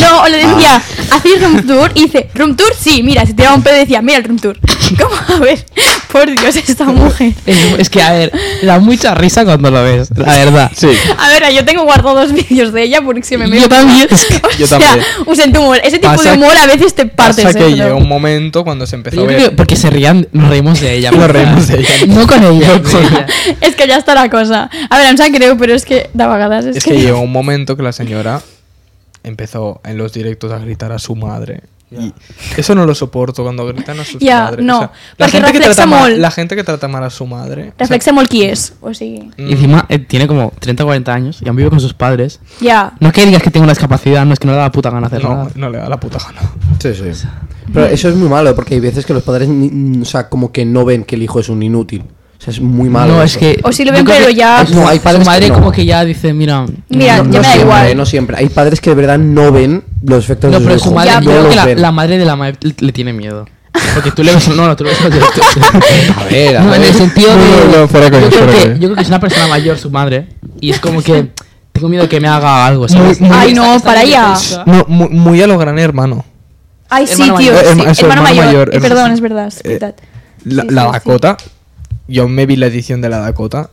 [SPEAKER 2] No, o le decía,
[SPEAKER 1] Ah.
[SPEAKER 2] ¿hacéis room tour? Y dice, ¿room tour? Sí, mira, si tiraba un pedo decía, mira el room tour. [laughs] ¿Cómo? A ver, por Dios, esta mujer.
[SPEAKER 3] Es, es que, a ver, da mucha risa cuando lo ves, la verdad.
[SPEAKER 1] Sí.
[SPEAKER 2] A ver, yo tengo guardados vídeos de ella porque si me
[SPEAKER 3] Yo
[SPEAKER 2] meto-
[SPEAKER 3] también.
[SPEAKER 2] [laughs] O sea,
[SPEAKER 1] Yo también.
[SPEAKER 2] usen tu humor. Ese tipo
[SPEAKER 1] Pasa-
[SPEAKER 2] de humor a veces te partes.
[SPEAKER 1] Pasa que
[SPEAKER 2] ¿eh?
[SPEAKER 1] llegó un momento cuando se empezó
[SPEAKER 3] Yo
[SPEAKER 1] a
[SPEAKER 3] creo que
[SPEAKER 1] ver.
[SPEAKER 3] porque se rían, nos reímos de
[SPEAKER 1] [laughs]
[SPEAKER 3] ella.
[SPEAKER 1] Nos
[SPEAKER 3] ¿verdad?
[SPEAKER 1] reímos de ella.
[SPEAKER 3] No con ella.
[SPEAKER 2] [laughs]
[SPEAKER 1] No con
[SPEAKER 3] de
[SPEAKER 1] ella.
[SPEAKER 3] ella.
[SPEAKER 2] Es que ya está la cosa. A ver, em sap greu, pero es que de vegades és,
[SPEAKER 1] Es que
[SPEAKER 2] [laughs]
[SPEAKER 1] llegó un momento que la señora empezó en los directos a gritar a su madre. Y eso no lo soporto cuando gritan a sus
[SPEAKER 2] Ya,
[SPEAKER 1] madres.
[SPEAKER 2] no,
[SPEAKER 1] O sea, la,
[SPEAKER 2] porque
[SPEAKER 1] gente que
[SPEAKER 2] reflexa
[SPEAKER 1] trata mal,
[SPEAKER 2] molt.
[SPEAKER 1] la gente que trata mal a su madre. o sea,
[SPEAKER 2] Reflexa molt qui és, o sigui...
[SPEAKER 1] mm,
[SPEAKER 3] Y encima eh, tiene como 30 o 40 años y aún vive con sus padres.
[SPEAKER 2] Ja,
[SPEAKER 3] No es que digas que tengo una discapacidad, no es que no le da la puta gana hacer
[SPEAKER 1] no,
[SPEAKER 3] nada.
[SPEAKER 1] no le da la puta gana.
[SPEAKER 4] Sí, sí. Pero eso es muy malo, porque hay veces que los padres, ni- mm, o sea, como que no ven que el hijo es un inútil. O sea, es muy malo.
[SPEAKER 3] no, es
[SPEAKER 4] eso.
[SPEAKER 3] que.
[SPEAKER 2] O si lo
[SPEAKER 3] yo
[SPEAKER 2] ven,
[SPEAKER 3] creo
[SPEAKER 2] pero
[SPEAKER 3] que
[SPEAKER 2] ya-
[SPEAKER 4] No, hay padres
[SPEAKER 3] Su
[SPEAKER 4] que
[SPEAKER 3] madre,
[SPEAKER 4] no.
[SPEAKER 3] como que ya dice, mira.
[SPEAKER 2] Mira, ya
[SPEAKER 4] no, no
[SPEAKER 2] me da
[SPEAKER 4] siempre, eh,
[SPEAKER 2] igual.
[SPEAKER 4] No siempre. Hay padres que de verdad no ven los efectos
[SPEAKER 3] No,
[SPEAKER 4] de
[SPEAKER 3] pero
[SPEAKER 4] sus
[SPEAKER 3] su
[SPEAKER 4] hijos.
[SPEAKER 3] madre,
[SPEAKER 2] Ya,
[SPEAKER 3] yo
[SPEAKER 4] no
[SPEAKER 3] creo
[SPEAKER 4] los
[SPEAKER 3] que la,
[SPEAKER 4] ven.
[SPEAKER 3] la madre de la madre le, le tiene miedo. Porque tú le ves. No, no, tú le ves. no, tú- tú-
[SPEAKER 4] A ver, a
[SPEAKER 3] No, en
[SPEAKER 4] ver.
[SPEAKER 3] el sentido de.
[SPEAKER 1] No, no, no, fuera coño,
[SPEAKER 3] yo, creo
[SPEAKER 1] fuera
[SPEAKER 3] que,
[SPEAKER 1] coño.
[SPEAKER 3] yo creo que es una persona mayor su madre. Y es como que. Tengo miedo que me haga algo, ¿sabes?
[SPEAKER 1] Muy- muy-
[SPEAKER 2] Ay, no, para allá.
[SPEAKER 3] allá.
[SPEAKER 1] No, muy, muy a lo gran hermano.
[SPEAKER 2] Ai, sí,
[SPEAKER 3] Hermano
[SPEAKER 2] tio,
[SPEAKER 1] mayor.
[SPEAKER 2] sí.
[SPEAKER 1] Herma-
[SPEAKER 2] hermano,
[SPEAKER 1] eso, hermano
[SPEAKER 2] mayor.
[SPEAKER 1] mayor,
[SPEAKER 2] Eh,
[SPEAKER 1] hermano-
[SPEAKER 2] perdón, és verdad, és
[SPEAKER 1] Eh,
[SPEAKER 2] veritat.
[SPEAKER 1] La,
[SPEAKER 2] Sí,
[SPEAKER 1] la
[SPEAKER 2] sí, sí.
[SPEAKER 1] Dakota, yo me vi la edición de la Dakota.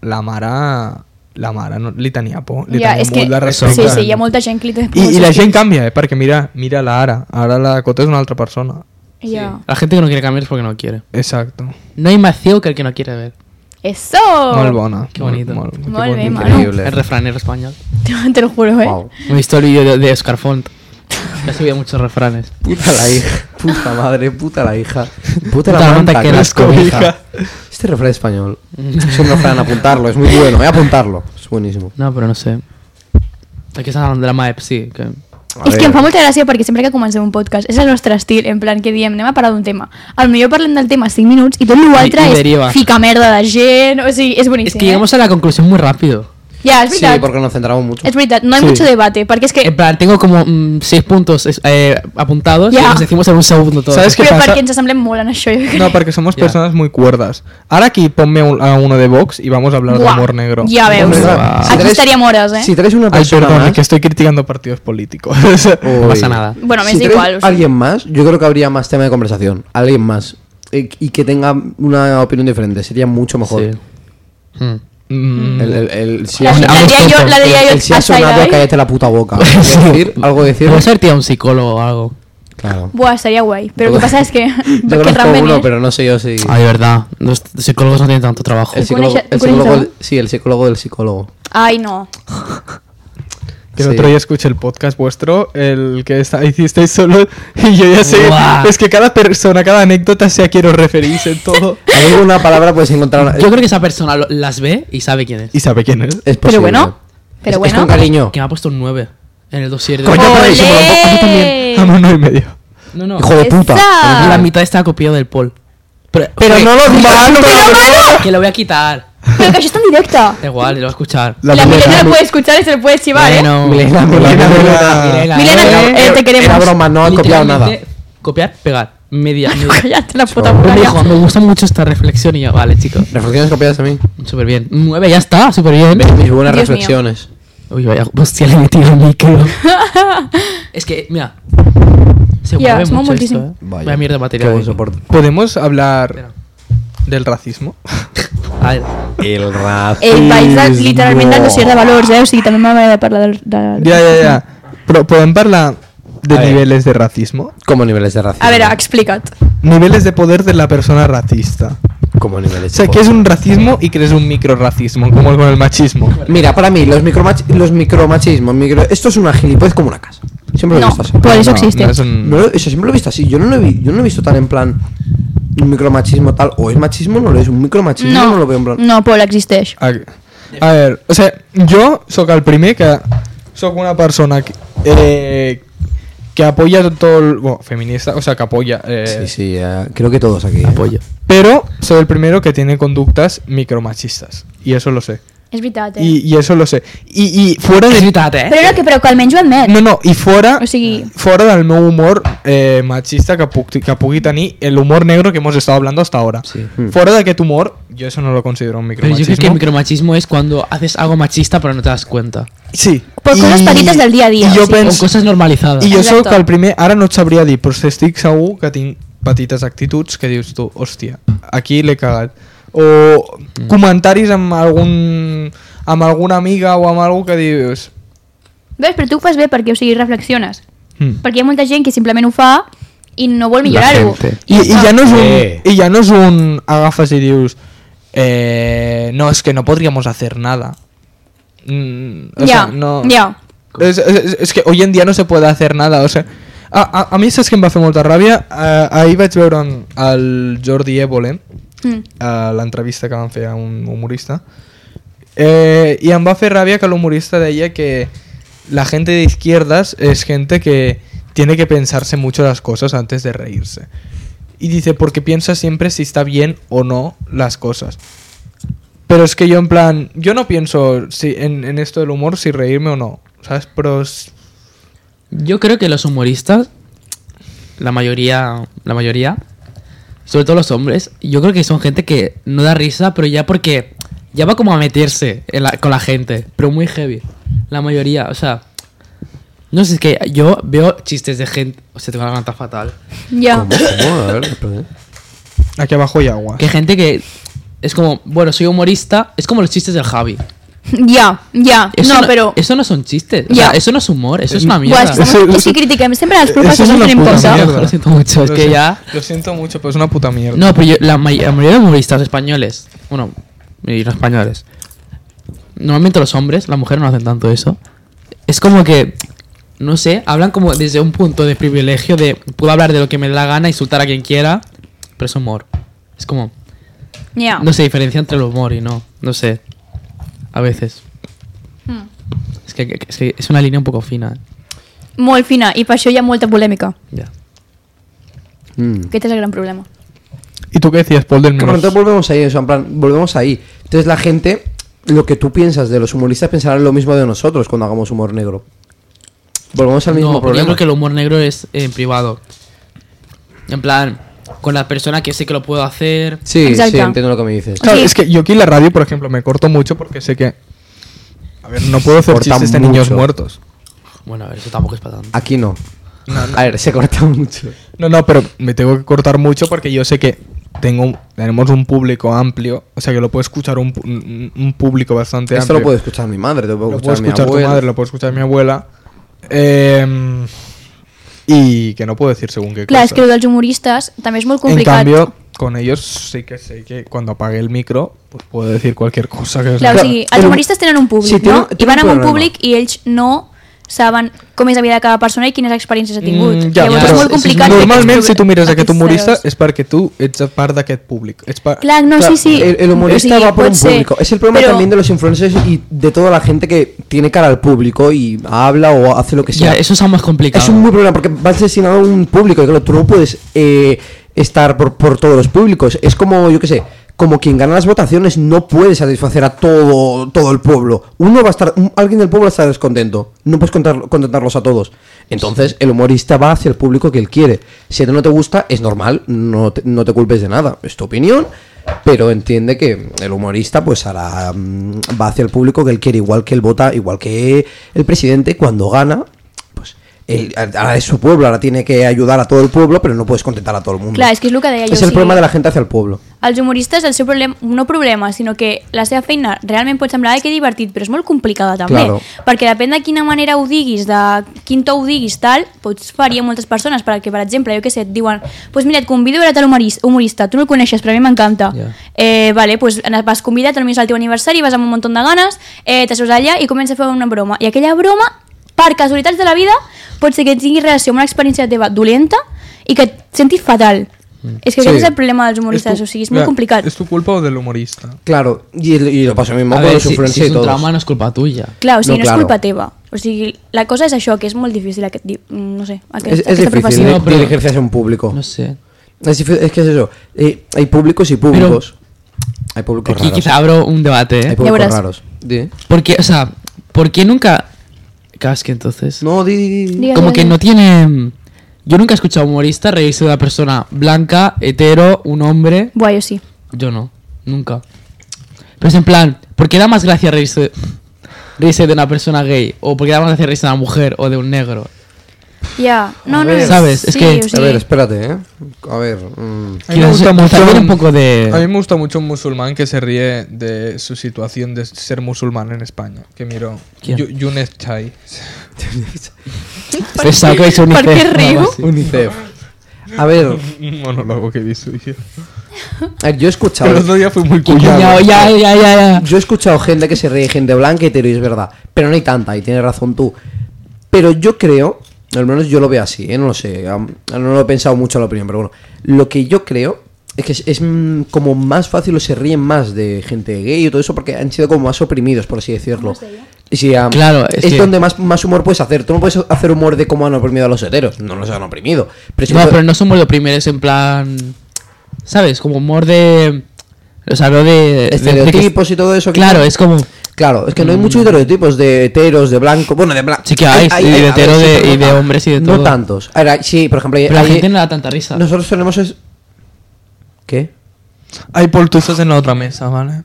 [SPEAKER 1] La Mara. La Mara no, li tenia por. Li
[SPEAKER 2] Ja,
[SPEAKER 1] tenia
[SPEAKER 2] és que...
[SPEAKER 1] molt de respecte.
[SPEAKER 2] Sí, sí, hi ha molta gent que li té...
[SPEAKER 1] I, I la gent canvia, eh? Perquè mira, mira la Ara. Ara la Dakota és una altra persona.
[SPEAKER 2] Ja.
[SPEAKER 3] La gente que no quiere cambiar es porque no quiere.
[SPEAKER 1] Exacto.
[SPEAKER 3] No hay más ciego que el que no quiere ver.
[SPEAKER 2] Eso!
[SPEAKER 1] Molt bona.
[SPEAKER 3] que bonito.
[SPEAKER 1] Molt, molt,
[SPEAKER 2] Oh. Molt bé, mano.
[SPEAKER 4] Increíble.
[SPEAKER 3] El refranero español.
[SPEAKER 2] [laughs] Te lo juro, eh?
[SPEAKER 4] Wow.
[SPEAKER 3] Me he visto el vídeo de, de Oscar Font. Que ha subido muchos refranes.
[SPEAKER 4] Puta la hija, puta madre, puta la
[SPEAKER 3] [laughs]
[SPEAKER 4] hija, puta la
[SPEAKER 3] Puta la
[SPEAKER 4] manta
[SPEAKER 3] manta
[SPEAKER 4] que
[SPEAKER 3] que
[SPEAKER 4] las
[SPEAKER 3] las
[SPEAKER 4] cobija. Este refrán español
[SPEAKER 3] Mm.
[SPEAKER 4] es un refrán, apuntarlo, es muy bueno, voy a apuntarlo, es buenísimo.
[SPEAKER 3] No, pero no sé. Aquí están hablando de la MAEP, sí. Que...
[SPEAKER 4] A
[SPEAKER 2] És
[SPEAKER 4] ver,
[SPEAKER 2] que em fa molta gràcia perquè sempre que comencem un podcast és el nostre estil, en plan que diem anem a parar d'un tema. Al millor parlem del tema 5 minuts i tot l'altre
[SPEAKER 3] I- i
[SPEAKER 2] és
[SPEAKER 3] deriva.
[SPEAKER 2] ficar merda de gent, o sigui, és
[SPEAKER 3] Es
[SPEAKER 2] boníssim.
[SPEAKER 3] que llegamos a la conclusión muy rápido.
[SPEAKER 2] eh? Ja, és
[SPEAKER 4] Sí,
[SPEAKER 2] veritat.
[SPEAKER 4] porque nos centramos mucho.
[SPEAKER 2] És veritat, no hi ha
[SPEAKER 1] Sí.
[SPEAKER 2] mucho debate, perquè és que...
[SPEAKER 3] En plan, tengo como mm, seis puntos es- eh, apuntados y
[SPEAKER 2] Ya.
[SPEAKER 3] los decimos en un segundo todo.
[SPEAKER 1] ¿Sabes qué?
[SPEAKER 2] Però
[SPEAKER 1] pasa?
[SPEAKER 2] perquè ens assemblem molt en això, jo crec.
[SPEAKER 1] No, porque somos
[SPEAKER 3] Ya.
[SPEAKER 1] personas muy cuerdas. Ahora aquí ponme un- a uno de Vox y vamos a hablar de
[SPEAKER 2] Buah,
[SPEAKER 1] humor negro.
[SPEAKER 2] Ja veus.
[SPEAKER 4] Hombre,
[SPEAKER 3] Wow.
[SPEAKER 4] si
[SPEAKER 2] Aquí
[SPEAKER 4] traes-
[SPEAKER 2] estaríem hores, eh?
[SPEAKER 4] Si traes una
[SPEAKER 1] Ay,
[SPEAKER 4] persona
[SPEAKER 1] perdón,
[SPEAKER 4] más, Oh.
[SPEAKER 1] es que estoy criticando partidos políticos. [laughs]
[SPEAKER 4] uy.
[SPEAKER 3] No pasa nada.
[SPEAKER 2] Bueno, me
[SPEAKER 4] si
[SPEAKER 2] es
[SPEAKER 4] traes
[SPEAKER 2] igual. O sigui.
[SPEAKER 4] alguien más, yo creo que habría más tema de conversación, alguien más y, y que tenga una opinión diferente, sería mucho mejor.
[SPEAKER 3] Sí. Mm.
[SPEAKER 1] Mm,
[SPEAKER 4] El, el, el- si
[SPEAKER 2] La,
[SPEAKER 4] ha,
[SPEAKER 3] Aún-
[SPEAKER 2] la
[SPEAKER 3] aún
[SPEAKER 2] diria jo,
[SPEAKER 3] tonto.
[SPEAKER 2] la diria
[SPEAKER 4] el-
[SPEAKER 2] jo,
[SPEAKER 4] el si ha
[SPEAKER 2] hasta
[SPEAKER 4] sonado,
[SPEAKER 2] ahí.
[SPEAKER 4] cállate la
[SPEAKER 2] [laughs]
[SPEAKER 4] puta
[SPEAKER 3] [laughs]
[SPEAKER 4] boca. Algo Ah, decir, algo decir.
[SPEAKER 3] Debe ser, tío, un psicólogo o algo.
[SPEAKER 4] Claro.
[SPEAKER 2] Buah, estaria guai. Però el que passa és que... [laughs]
[SPEAKER 4] Yo
[SPEAKER 2] que
[SPEAKER 4] conozco
[SPEAKER 2] realment
[SPEAKER 4] uno,
[SPEAKER 2] és-
[SPEAKER 4] pero no sé yo si...
[SPEAKER 3] Ay, de verdad. Los psicólogos no tienen tanto trabajo.
[SPEAKER 4] El
[SPEAKER 2] ¿Tú conoces-
[SPEAKER 4] psicólogo,
[SPEAKER 2] tú
[SPEAKER 4] el
[SPEAKER 2] conoces
[SPEAKER 4] psicólogo-
[SPEAKER 2] algo?
[SPEAKER 4] sí, el psicólogo del psicólogo.
[SPEAKER 2] Ai, no.
[SPEAKER 1] que el
[SPEAKER 4] Sí.
[SPEAKER 1] otro día escuché el podcast vuestro, el que está, [laughs] hicisteis solo, y yo ya sé.
[SPEAKER 3] Buah.
[SPEAKER 1] Es que cada persona, cada anécdota sea quiero referirse en
[SPEAKER 4] [laughs]
[SPEAKER 1] todo.
[SPEAKER 4] Hay una palabra puedes encontrar una...
[SPEAKER 3] Yo creo que esa persona lo- las ve y sabe quién es.
[SPEAKER 1] ¿Y sabe quién es?
[SPEAKER 4] Es
[SPEAKER 2] Però
[SPEAKER 4] posible.
[SPEAKER 2] bueno... Però
[SPEAKER 4] Es- es
[SPEAKER 2] bueno... [laughs]
[SPEAKER 4] con cariño.
[SPEAKER 3] Que me ha puesto un 9 en el dossier de...
[SPEAKER 4] Coño, pero si me
[SPEAKER 2] Olé!
[SPEAKER 4] lo pongo-
[SPEAKER 1] A mano y medio.
[SPEAKER 3] No, no.
[SPEAKER 4] Hijo de puta.
[SPEAKER 2] Esa.
[SPEAKER 3] La mitad está copiado del Paul. Pero, Oye,
[SPEAKER 1] [laughs]
[SPEAKER 4] mando,
[SPEAKER 3] Que lo voy a quitar.
[SPEAKER 2] Però que això està en directe.
[SPEAKER 3] Da igual, lo voy a escuchar.
[SPEAKER 2] La, la
[SPEAKER 1] primera-
[SPEAKER 2] Milena lo puede escuchar y se lo puede chivar, ¿eh? [laughs]
[SPEAKER 3] Bueno,
[SPEAKER 4] Milena, Milena,
[SPEAKER 1] Milena,
[SPEAKER 4] Milena.
[SPEAKER 2] Milena,
[SPEAKER 3] eh,
[SPEAKER 2] eh, te queremos.
[SPEAKER 4] Era broma, no han copiado nada.
[SPEAKER 3] Literalmente, Copiar, pegar. media.
[SPEAKER 2] [laughs] Bueno,
[SPEAKER 3] media-
[SPEAKER 2] cállate la puta
[SPEAKER 3] Un
[SPEAKER 2] boca ya.
[SPEAKER 3] hijo, me gusta mucho esta reflexión y yo, vale, chicos.
[SPEAKER 4] Reflexiones copiadas de mí.
[SPEAKER 3] Súper bien. Nueve, ya está, súper bien.
[SPEAKER 4] Mis buenas
[SPEAKER 2] Dios mío.
[SPEAKER 4] reflexiones.
[SPEAKER 3] Uy, vaya, hostia, le he metido el micro.
[SPEAKER 2] [laughs]
[SPEAKER 3] es que, mira. Se
[SPEAKER 2] Ya,
[SPEAKER 3] mueve
[SPEAKER 2] se mueve
[SPEAKER 3] mucho
[SPEAKER 2] muchísimo.
[SPEAKER 3] esto, ¿eh? Vaya mierda de
[SPEAKER 4] que
[SPEAKER 3] material.
[SPEAKER 4] soporto.
[SPEAKER 1] ¿Podemos hablar
[SPEAKER 3] Espera.
[SPEAKER 1] del racismo?
[SPEAKER 3] A ver,
[SPEAKER 4] El racismo.
[SPEAKER 2] El país de- literalment del dossier de valors, eh? O sigui, també m'agrada parlar del... De...
[SPEAKER 1] ya, ya, ya. Pero ¿Podemos hablar de
[SPEAKER 4] A ver.
[SPEAKER 1] niveles de racismo?
[SPEAKER 4] Como niveles de racismo.
[SPEAKER 2] A veure, explica't.
[SPEAKER 1] Niveles de poder de la persona racista.
[SPEAKER 4] Como
[SPEAKER 1] O
[SPEAKER 4] niveles de
[SPEAKER 1] sea, que es un racismo y que es un micro racismo, como con el machismo.
[SPEAKER 4] Mira, para mí, los, micromach los micromachismos. Micro... Esto es una gilipollez como una casa. Siempre lo he
[SPEAKER 2] No, pues-
[SPEAKER 4] visto así.
[SPEAKER 2] por eso
[SPEAKER 1] No,
[SPEAKER 2] existe.
[SPEAKER 1] no es un-
[SPEAKER 4] No lo- eso siempre lo he visto así. Yo no lo he, vi- yo no lo he visto tan en plan. Un micromachismo tal. O es machismo, no lo es. Un micromachismo no, lo veo en plan.
[SPEAKER 2] no, Pol, existeix.
[SPEAKER 1] A, a veure, o sigui, jo sóc el primer que sóc una persona que, eh, que apoya todo el... Bueno, feminista, o sea, que apoya... Eh,
[SPEAKER 4] Sí, sí, eh, creo que todos aquí. Apoyo.
[SPEAKER 1] Pero soy el primero que tiene conductas micromachistas. Y eso lo sé.
[SPEAKER 2] És veritat, eh?
[SPEAKER 1] Y, y eso lo sé. Y, y fuera
[SPEAKER 3] és
[SPEAKER 1] de...
[SPEAKER 3] veritat, eh?
[SPEAKER 2] Però no, que, però que almenys ho admet.
[SPEAKER 1] No, no, i fora,
[SPEAKER 2] O sigui-
[SPEAKER 1] fora del meu humor eh, machista que, puc, que pugui tenir el humor negro que hemos estado hablando hasta ahora.
[SPEAKER 4] Sí. Mm.
[SPEAKER 1] Fuera de aquest humor, yo eso no lo considero un
[SPEAKER 3] Pero yo
[SPEAKER 1] micromachismo.
[SPEAKER 3] creo que el micromachismo es cuando haces algo machista pero no te das cuenta.
[SPEAKER 1] Sí.
[SPEAKER 2] Por cosas patitas del día a día,
[SPEAKER 1] I jo
[SPEAKER 2] sí.
[SPEAKER 3] O
[SPEAKER 1] penso...
[SPEAKER 3] cosas normalizadas.
[SPEAKER 1] I jo
[SPEAKER 2] Exacte.
[SPEAKER 1] sóc el primer, ara no et sabria dir, però estic segur que tinc petites actituds que dius tu, hòstia, aquí l'he cagat. O comentaris amb algun amb alguna amiga o amb algú que dius...
[SPEAKER 2] Ves, però tu ho fas bé perquè, o sigui, reflexiones.
[SPEAKER 1] "Hm".
[SPEAKER 2] Perquè hi ha molta gent que simplement ho fa i no vol millorar-ho.
[SPEAKER 4] gente.
[SPEAKER 1] I, i, ja no és un,
[SPEAKER 4] Eh.
[SPEAKER 1] I ja no és un agafes i dius... Eh, no, és que no podríamos hacer nada. Mm, o
[SPEAKER 2] Ja,
[SPEAKER 1] sea, no...
[SPEAKER 2] ja.
[SPEAKER 1] Es, es- es que hoy en día no se puede hacer nada, o sea... A, a, a mi saps que em va fer molta ràbia? Uh, ahir vaig veure en- el Jordi Évole,
[SPEAKER 2] Mm.
[SPEAKER 1] a l'entrevista que van fer a un humorista, eh, y em va fer ràbia que el humorista deia que la gente de izquierdas es gente que tiene que pensarse mucho las cosas antes de reírse. Y dice, porque piensa siempre si está bien o no las cosas. Pero es que yo en plan, yo no pienso si, en, en esto del humor, si reírme o no, ¿sabes? Pero es-
[SPEAKER 3] Yo creo que los humoristas, la mayoría, la mayoría, sobre todo los hombres, yo creo que son gente que no da risa, pero ya porque ya va como a meterse en la- con la gente, pero muy heavy. La mayoría, o sea, no sé, es que yo veo chistes de gente, o sea, tengo la garganta fatal.
[SPEAKER 2] Ja.
[SPEAKER 1] Oh.
[SPEAKER 4] ¿Cómo? ¿Cómo? A
[SPEAKER 3] [laughs]
[SPEAKER 4] ver, eh. espérate.
[SPEAKER 1] aquí abajo hay agua.
[SPEAKER 3] Que gente que es como, bueno, soy humorista, es como los chistes del Javi.
[SPEAKER 2] Ja, ja.
[SPEAKER 3] Eso
[SPEAKER 2] No, però...
[SPEAKER 3] Eso no son chistes, o
[SPEAKER 2] Ya. Pues
[SPEAKER 3] sea, eso no es humor, eso es una
[SPEAKER 2] Buah,
[SPEAKER 3] mierda.
[SPEAKER 2] és que, som, és que critiquem sempre els
[SPEAKER 1] Eso
[SPEAKER 2] professors,
[SPEAKER 1] es
[SPEAKER 2] no
[SPEAKER 1] una
[SPEAKER 2] tenim
[SPEAKER 1] puta
[SPEAKER 2] compte.
[SPEAKER 1] mierda.
[SPEAKER 3] Lo siento mucho, es que
[SPEAKER 1] sé-
[SPEAKER 3] ya-
[SPEAKER 1] Lo siento mucho, pero es una puta mierda.
[SPEAKER 3] No, pero yo- la, may- la mayoría de humoristas españoles, bueno, y no españoles, normalmente los hombres, las mujeres no hacen tanto eso. Es como que, no sé, hablan como desde un punto de privilegio de puedo hablar de lo que me dé la gana, insultar a quien quiera, pero es humor. Es como,
[SPEAKER 2] Ja.
[SPEAKER 3] no se diferencia entre el humor y no, no sé. A veces.
[SPEAKER 2] Mm.
[SPEAKER 3] Es que, que- es, que es una línea un poco fina. eh.
[SPEAKER 2] Molt fina, i per això hi ha molta polèmica.
[SPEAKER 3] Ya.
[SPEAKER 4] Mm.
[SPEAKER 2] Aquest és el gran problema.
[SPEAKER 1] ¿Y tú qué decías, Paul, del
[SPEAKER 4] Claro,
[SPEAKER 1] menos?
[SPEAKER 4] entonces volvemos ahí, eso, en plan, volvemos ahí. Entonces la gente, lo que tú piensas de los humoristas pensarán lo mismo de nosotros cuando hagamos humor negro. Volvemos al mismo
[SPEAKER 3] No, pero yo
[SPEAKER 4] problema.
[SPEAKER 3] creo que el humor negro es eh, en privado. En plan, con la persona que sé que lo puedo hacer.
[SPEAKER 4] Sí,
[SPEAKER 2] Exacto.
[SPEAKER 4] sí, entiendo lo que me dices.
[SPEAKER 1] Claro,
[SPEAKER 2] Sí.
[SPEAKER 1] es que yo aquí en la radio, por ejemplo, me corto mucho porque sé que. A ver, no puedo hacer
[SPEAKER 4] Corta
[SPEAKER 1] chistes de
[SPEAKER 4] mucho.
[SPEAKER 1] niños muertos.
[SPEAKER 3] Bueno, a ver, eso tampoco es para tanto.
[SPEAKER 4] Aquí no. A ver, se corta mucho.
[SPEAKER 1] No, no, pero me tengo que cortar mucho porque yo sé que tengo, tenemos un público amplio. O sea, que lo puede escuchar un, pu- un- un público bastante
[SPEAKER 4] Esto
[SPEAKER 1] amplio.
[SPEAKER 4] lo puede escuchar mi madre, lo puede
[SPEAKER 1] Lo puedo
[SPEAKER 4] escuchar,
[SPEAKER 1] escuchar
[SPEAKER 4] mi
[SPEAKER 1] tu
[SPEAKER 4] abuela.
[SPEAKER 1] madre, lo puede escuchar mi abuela. Eh, y que no puedo decir según qué
[SPEAKER 2] Clar, és
[SPEAKER 1] cosas.
[SPEAKER 2] que el dels humoristes també és molt
[SPEAKER 1] en
[SPEAKER 2] complicat.
[SPEAKER 1] cambio, con ellos sí que sé que cuando apague el micro, pues puedo decir cualquier cosa que
[SPEAKER 2] Clar, o sigui, els
[SPEAKER 4] Però-
[SPEAKER 2] humoristes tenen un públic,
[SPEAKER 4] Sí, tenen-
[SPEAKER 2] no? I
[SPEAKER 4] tenen
[SPEAKER 2] van
[SPEAKER 4] un
[SPEAKER 2] amb un
[SPEAKER 4] problema.
[SPEAKER 2] públic i ells no saben com és la vida de cada persona i quines experiències ha tingut.
[SPEAKER 1] Mm,
[SPEAKER 2] ja, Llavors
[SPEAKER 3] però
[SPEAKER 2] és molt
[SPEAKER 3] és- és
[SPEAKER 2] complicat. fer
[SPEAKER 1] Normalment,
[SPEAKER 2] aquests
[SPEAKER 1] si tu mires
[SPEAKER 2] problemes.
[SPEAKER 1] aquest humorista,
[SPEAKER 2] Aquests
[SPEAKER 1] és perquè tu ets part d'aquest públic. Ets pa...
[SPEAKER 2] ceros. Clar, no,
[SPEAKER 4] Claro,
[SPEAKER 2] sí, sí.
[SPEAKER 4] El, el humorista
[SPEAKER 2] O sigui,
[SPEAKER 4] va por
[SPEAKER 2] pot
[SPEAKER 4] un
[SPEAKER 2] ser,
[SPEAKER 4] público. Es el problema
[SPEAKER 2] però-
[SPEAKER 4] también de los influencers y de toda la gente que tiene cara al público y habla o hace lo que sea.
[SPEAKER 3] Ya, eso es aún más complicado.
[SPEAKER 4] Es un muy problema porque vas destinado a un público. y Claro, tú no puedes eh, estar por, por todos los públicos. Es como, yo qué sé, como quien gana las votaciones no puede satisfacer a todo, todo el pueblo. Uno va a estar, un- alguien del pueblo va a estar descontento. No puedes contar- contentarlos a todos. Entonces, el humorista va hacia el público que él quiere. Si a ti no te gusta, es normal, no te, no te culpes de nada. Es tu opinión, pero entiende que el humorista pues hará, mm, va hacia el público que él quiere, igual que él vota, igual que el presidente cuando gana. pues él- Ahora es su pueblo, ahora tiene que ayudar a todo el pueblo, pero no puedes contentar a todo el mundo.
[SPEAKER 2] Clar, és que és el que deia jo,
[SPEAKER 4] És el
[SPEAKER 2] o sigui-
[SPEAKER 4] problema de la gente hacia el pueblo.
[SPEAKER 2] Els humoristes, el seu problema, no problema, sinó que la seva feina realment pot semblar "Ai, que divertit, però és molt complicada també,
[SPEAKER 4] Claro.
[SPEAKER 2] perquè depèn de quina manera ho diguis, de quin to ho diguis, tal, pots faria moltes persones, perquè, per exemple, jo que sé, et diuen, doncs pues mira, et convido a veure tal humoris- humorista, tu no el coneixes, però a mi m'encanta.
[SPEAKER 3] Ja.
[SPEAKER 2] Eh, vale, pues en- vas convidat, potser és el teu aniversari, vas amb un munt de ganes, eh, t'asseus allà i comença a fer una broma. I aquella broma, per casualitats de la vida, pot ser que tingui relació amb una experiència teva dolenta i que et sentis fatal. És que
[SPEAKER 4] Mm. Sí.
[SPEAKER 2] aquest és el problema dels
[SPEAKER 1] Es
[SPEAKER 2] humoristes,
[SPEAKER 1] tu-
[SPEAKER 2] o sigui, és molt
[SPEAKER 1] Mira,
[SPEAKER 2] complicat.
[SPEAKER 1] ¿Es tu culpa o del humorista?
[SPEAKER 4] Claro, y, y lo pasa mismo
[SPEAKER 3] A
[SPEAKER 4] con
[SPEAKER 3] ver,
[SPEAKER 4] los
[SPEAKER 3] si, si
[SPEAKER 4] influencers
[SPEAKER 3] es
[SPEAKER 4] y
[SPEAKER 3] un
[SPEAKER 4] todos.
[SPEAKER 3] trauma no es culpa tuya.
[SPEAKER 2] Clar, o sigui, no, no
[SPEAKER 4] No,
[SPEAKER 2] és
[SPEAKER 4] claro.
[SPEAKER 2] culpa teva. O sigui, la cosa és això, que és molt difícil, aquest, di- mm, no sé, aquest,
[SPEAKER 4] Es, es
[SPEAKER 2] aquesta
[SPEAKER 4] difícil
[SPEAKER 2] professió.
[SPEAKER 4] ¿eh?
[SPEAKER 3] No, pero-
[SPEAKER 4] dirigirse hacia un público.
[SPEAKER 3] No sé.
[SPEAKER 4] Es, difí- es que es eso. eh, hay públicos y públicos. hay públicos
[SPEAKER 3] Aquí
[SPEAKER 4] raros.
[SPEAKER 3] quizá abro un debate, ¿eh?
[SPEAKER 4] Hay públicos
[SPEAKER 2] verás.
[SPEAKER 4] raros. Di.
[SPEAKER 3] Porque, o sea, ¿por qué nunca... Claro, es que entonces...
[SPEAKER 4] No, di, di, di.
[SPEAKER 2] Diga.
[SPEAKER 3] Como que no tiene... Yo nunca he escuchado a un humorista reírse de una persona blanca, hetero, un hombre...
[SPEAKER 2] Buah, jo sí.
[SPEAKER 3] Yo no, nunca. Pero es en plan, ¿por qué da más gracia reírse, reírse de una persona gay? ¿O por qué da más gracia reírse de una mujer o de un negro?
[SPEAKER 2] Ja, no,
[SPEAKER 4] A
[SPEAKER 2] no,
[SPEAKER 4] ver.
[SPEAKER 2] no.
[SPEAKER 3] Sabes, és
[SPEAKER 2] sí,
[SPEAKER 3] que-
[SPEAKER 2] o
[SPEAKER 4] A ver,
[SPEAKER 2] sigui,
[SPEAKER 4] espérate, ¿eh? A ver. mm.
[SPEAKER 1] A mí me
[SPEAKER 3] Quizás
[SPEAKER 1] gusta mucho
[SPEAKER 3] también un poco
[SPEAKER 1] A mí
[SPEAKER 3] de...
[SPEAKER 1] me gusta mucho un musulmán que se ríe de su situación de ser musulmán en España. Que miro.
[SPEAKER 3] ¿Quién?
[SPEAKER 1] Yu- Younes Chai.
[SPEAKER 3] Pensaba que habéis unido
[SPEAKER 2] per què
[SPEAKER 3] o algo
[SPEAKER 2] riu?
[SPEAKER 3] así.
[SPEAKER 4] UNICEF. A ver,
[SPEAKER 1] [laughs] Un monólogo que vi suyo.
[SPEAKER 4] a ver, yo he escuchado.
[SPEAKER 1] El otro día fue muy
[SPEAKER 3] Que cuñado,
[SPEAKER 1] cuñado.
[SPEAKER 3] ya, ya, ya, ya.
[SPEAKER 4] Yo he escuchado gente que se ríe, gente blanca y hetero, y es verdad. Pero no hay tanta, y tienes razón tú. Pero yo creo, al menos yo lo veo así, ¿eh? no lo sé, am- no lo he pensado mucho la opinión, pero bueno. Lo que yo creo es que es, es, mm, como más fácil o se ríen más de gente gay y todo eso porque han sido como más oprimidos, por así decirlo. Y si, am,
[SPEAKER 3] Claro, es
[SPEAKER 4] es,
[SPEAKER 3] que-
[SPEAKER 4] donde más, más humor puedes hacer. Tú no puedes hacer humor de cómo han oprimido a los heteros, no los han oprimido. Pero si
[SPEAKER 3] No,
[SPEAKER 4] puedes-
[SPEAKER 3] pero no somos los primeros en plan... ¿Sabes? Como humor de... O sea, hablo de... de-
[SPEAKER 4] Estereotipos
[SPEAKER 3] de-
[SPEAKER 4] y todo eso,
[SPEAKER 3] Claro, Eh,
[SPEAKER 4] quizá.
[SPEAKER 3] es como...
[SPEAKER 4] Claro, es que no hay muchos estereotipos de heteros, de blanco. Bueno, de blanco.
[SPEAKER 3] Mm. Sí que hay, y de hetero de- y de hombres y de
[SPEAKER 4] No
[SPEAKER 3] todo.
[SPEAKER 4] tantos. A ver, sí, por ejemplo, hay-
[SPEAKER 3] Pero la
[SPEAKER 4] hay-
[SPEAKER 3] gente no da tanta risa.
[SPEAKER 4] nosotros tenemos. es- ¿Qué?
[SPEAKER 1] Hay portuzos en la otra mesa, ¿vale?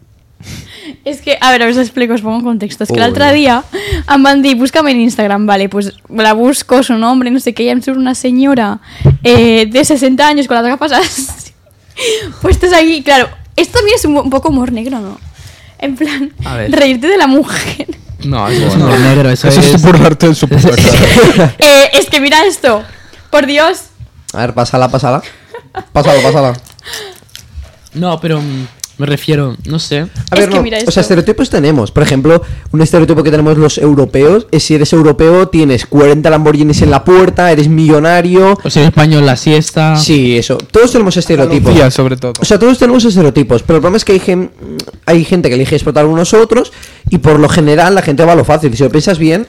[SPEAKER 2] És que, a veure, us explico, us pongo en context. És que
[SPEAKER 4] Ui.
[SPEAKER 2] l'altre dia em van dir, busca'm en Instagram, vale, pues la busco, su nombre, no sé què, i em surt una senyora eh, de 60 años con las gafas [laughs] así, puestas Pues aquí, claro, esto también es un, un poco humor negro, ¿no? En plan,
[SPEAKER 3] A ver.
[SPEAKER 2] reírte de la mujer.
[SPEAKER 3] No, eso es humor negro, eso,
[SPEAKER 1] Eso
[SPEAKER 3] es...
[SPEAKER 1] es
[SPEAKER 3] [laughs]
[SPEAKER 1] burlarte de su puta cara.
[SPEAKER 2] [laughs] Eh, es que mira esto, por Dios,
[SPEAKER 4] A ver, pásala, pásala. Pásala, pásala.
[SPEAKER 3] No, pero mm, me refiero, no sé.
[SPEAKER 4] A
[SPEAKER 2] Es
[SPEAKER 4] ver,
[SPEAKER 2] que
[SPEAKER 4] no,
[SPEAKER 2] mira
[SPEAKER 4] o sea,
[SPEAKER 2] esto.
[SPEAKER 4] estereotipos tenemos. Por ejemplo, un estereotipo que tenemos los europeos es si eres europeo, tienes 40 Lamborghinis en la puerta, eres millonario.
[SPEAKER 3] O sea, en español la siesta.
[SPEAKER 4] Sí, eso. Todos tenemos estereotipos.
[SPEAKER 1] Tía, sobre todo.
[SPEAKER 4] O sea, todos tenemos estereotipos, pero el problema es que hay, gen- hay gente que elige explotar unos a otros y por lo general la gente va a lo fácil. Si lo piensas bien,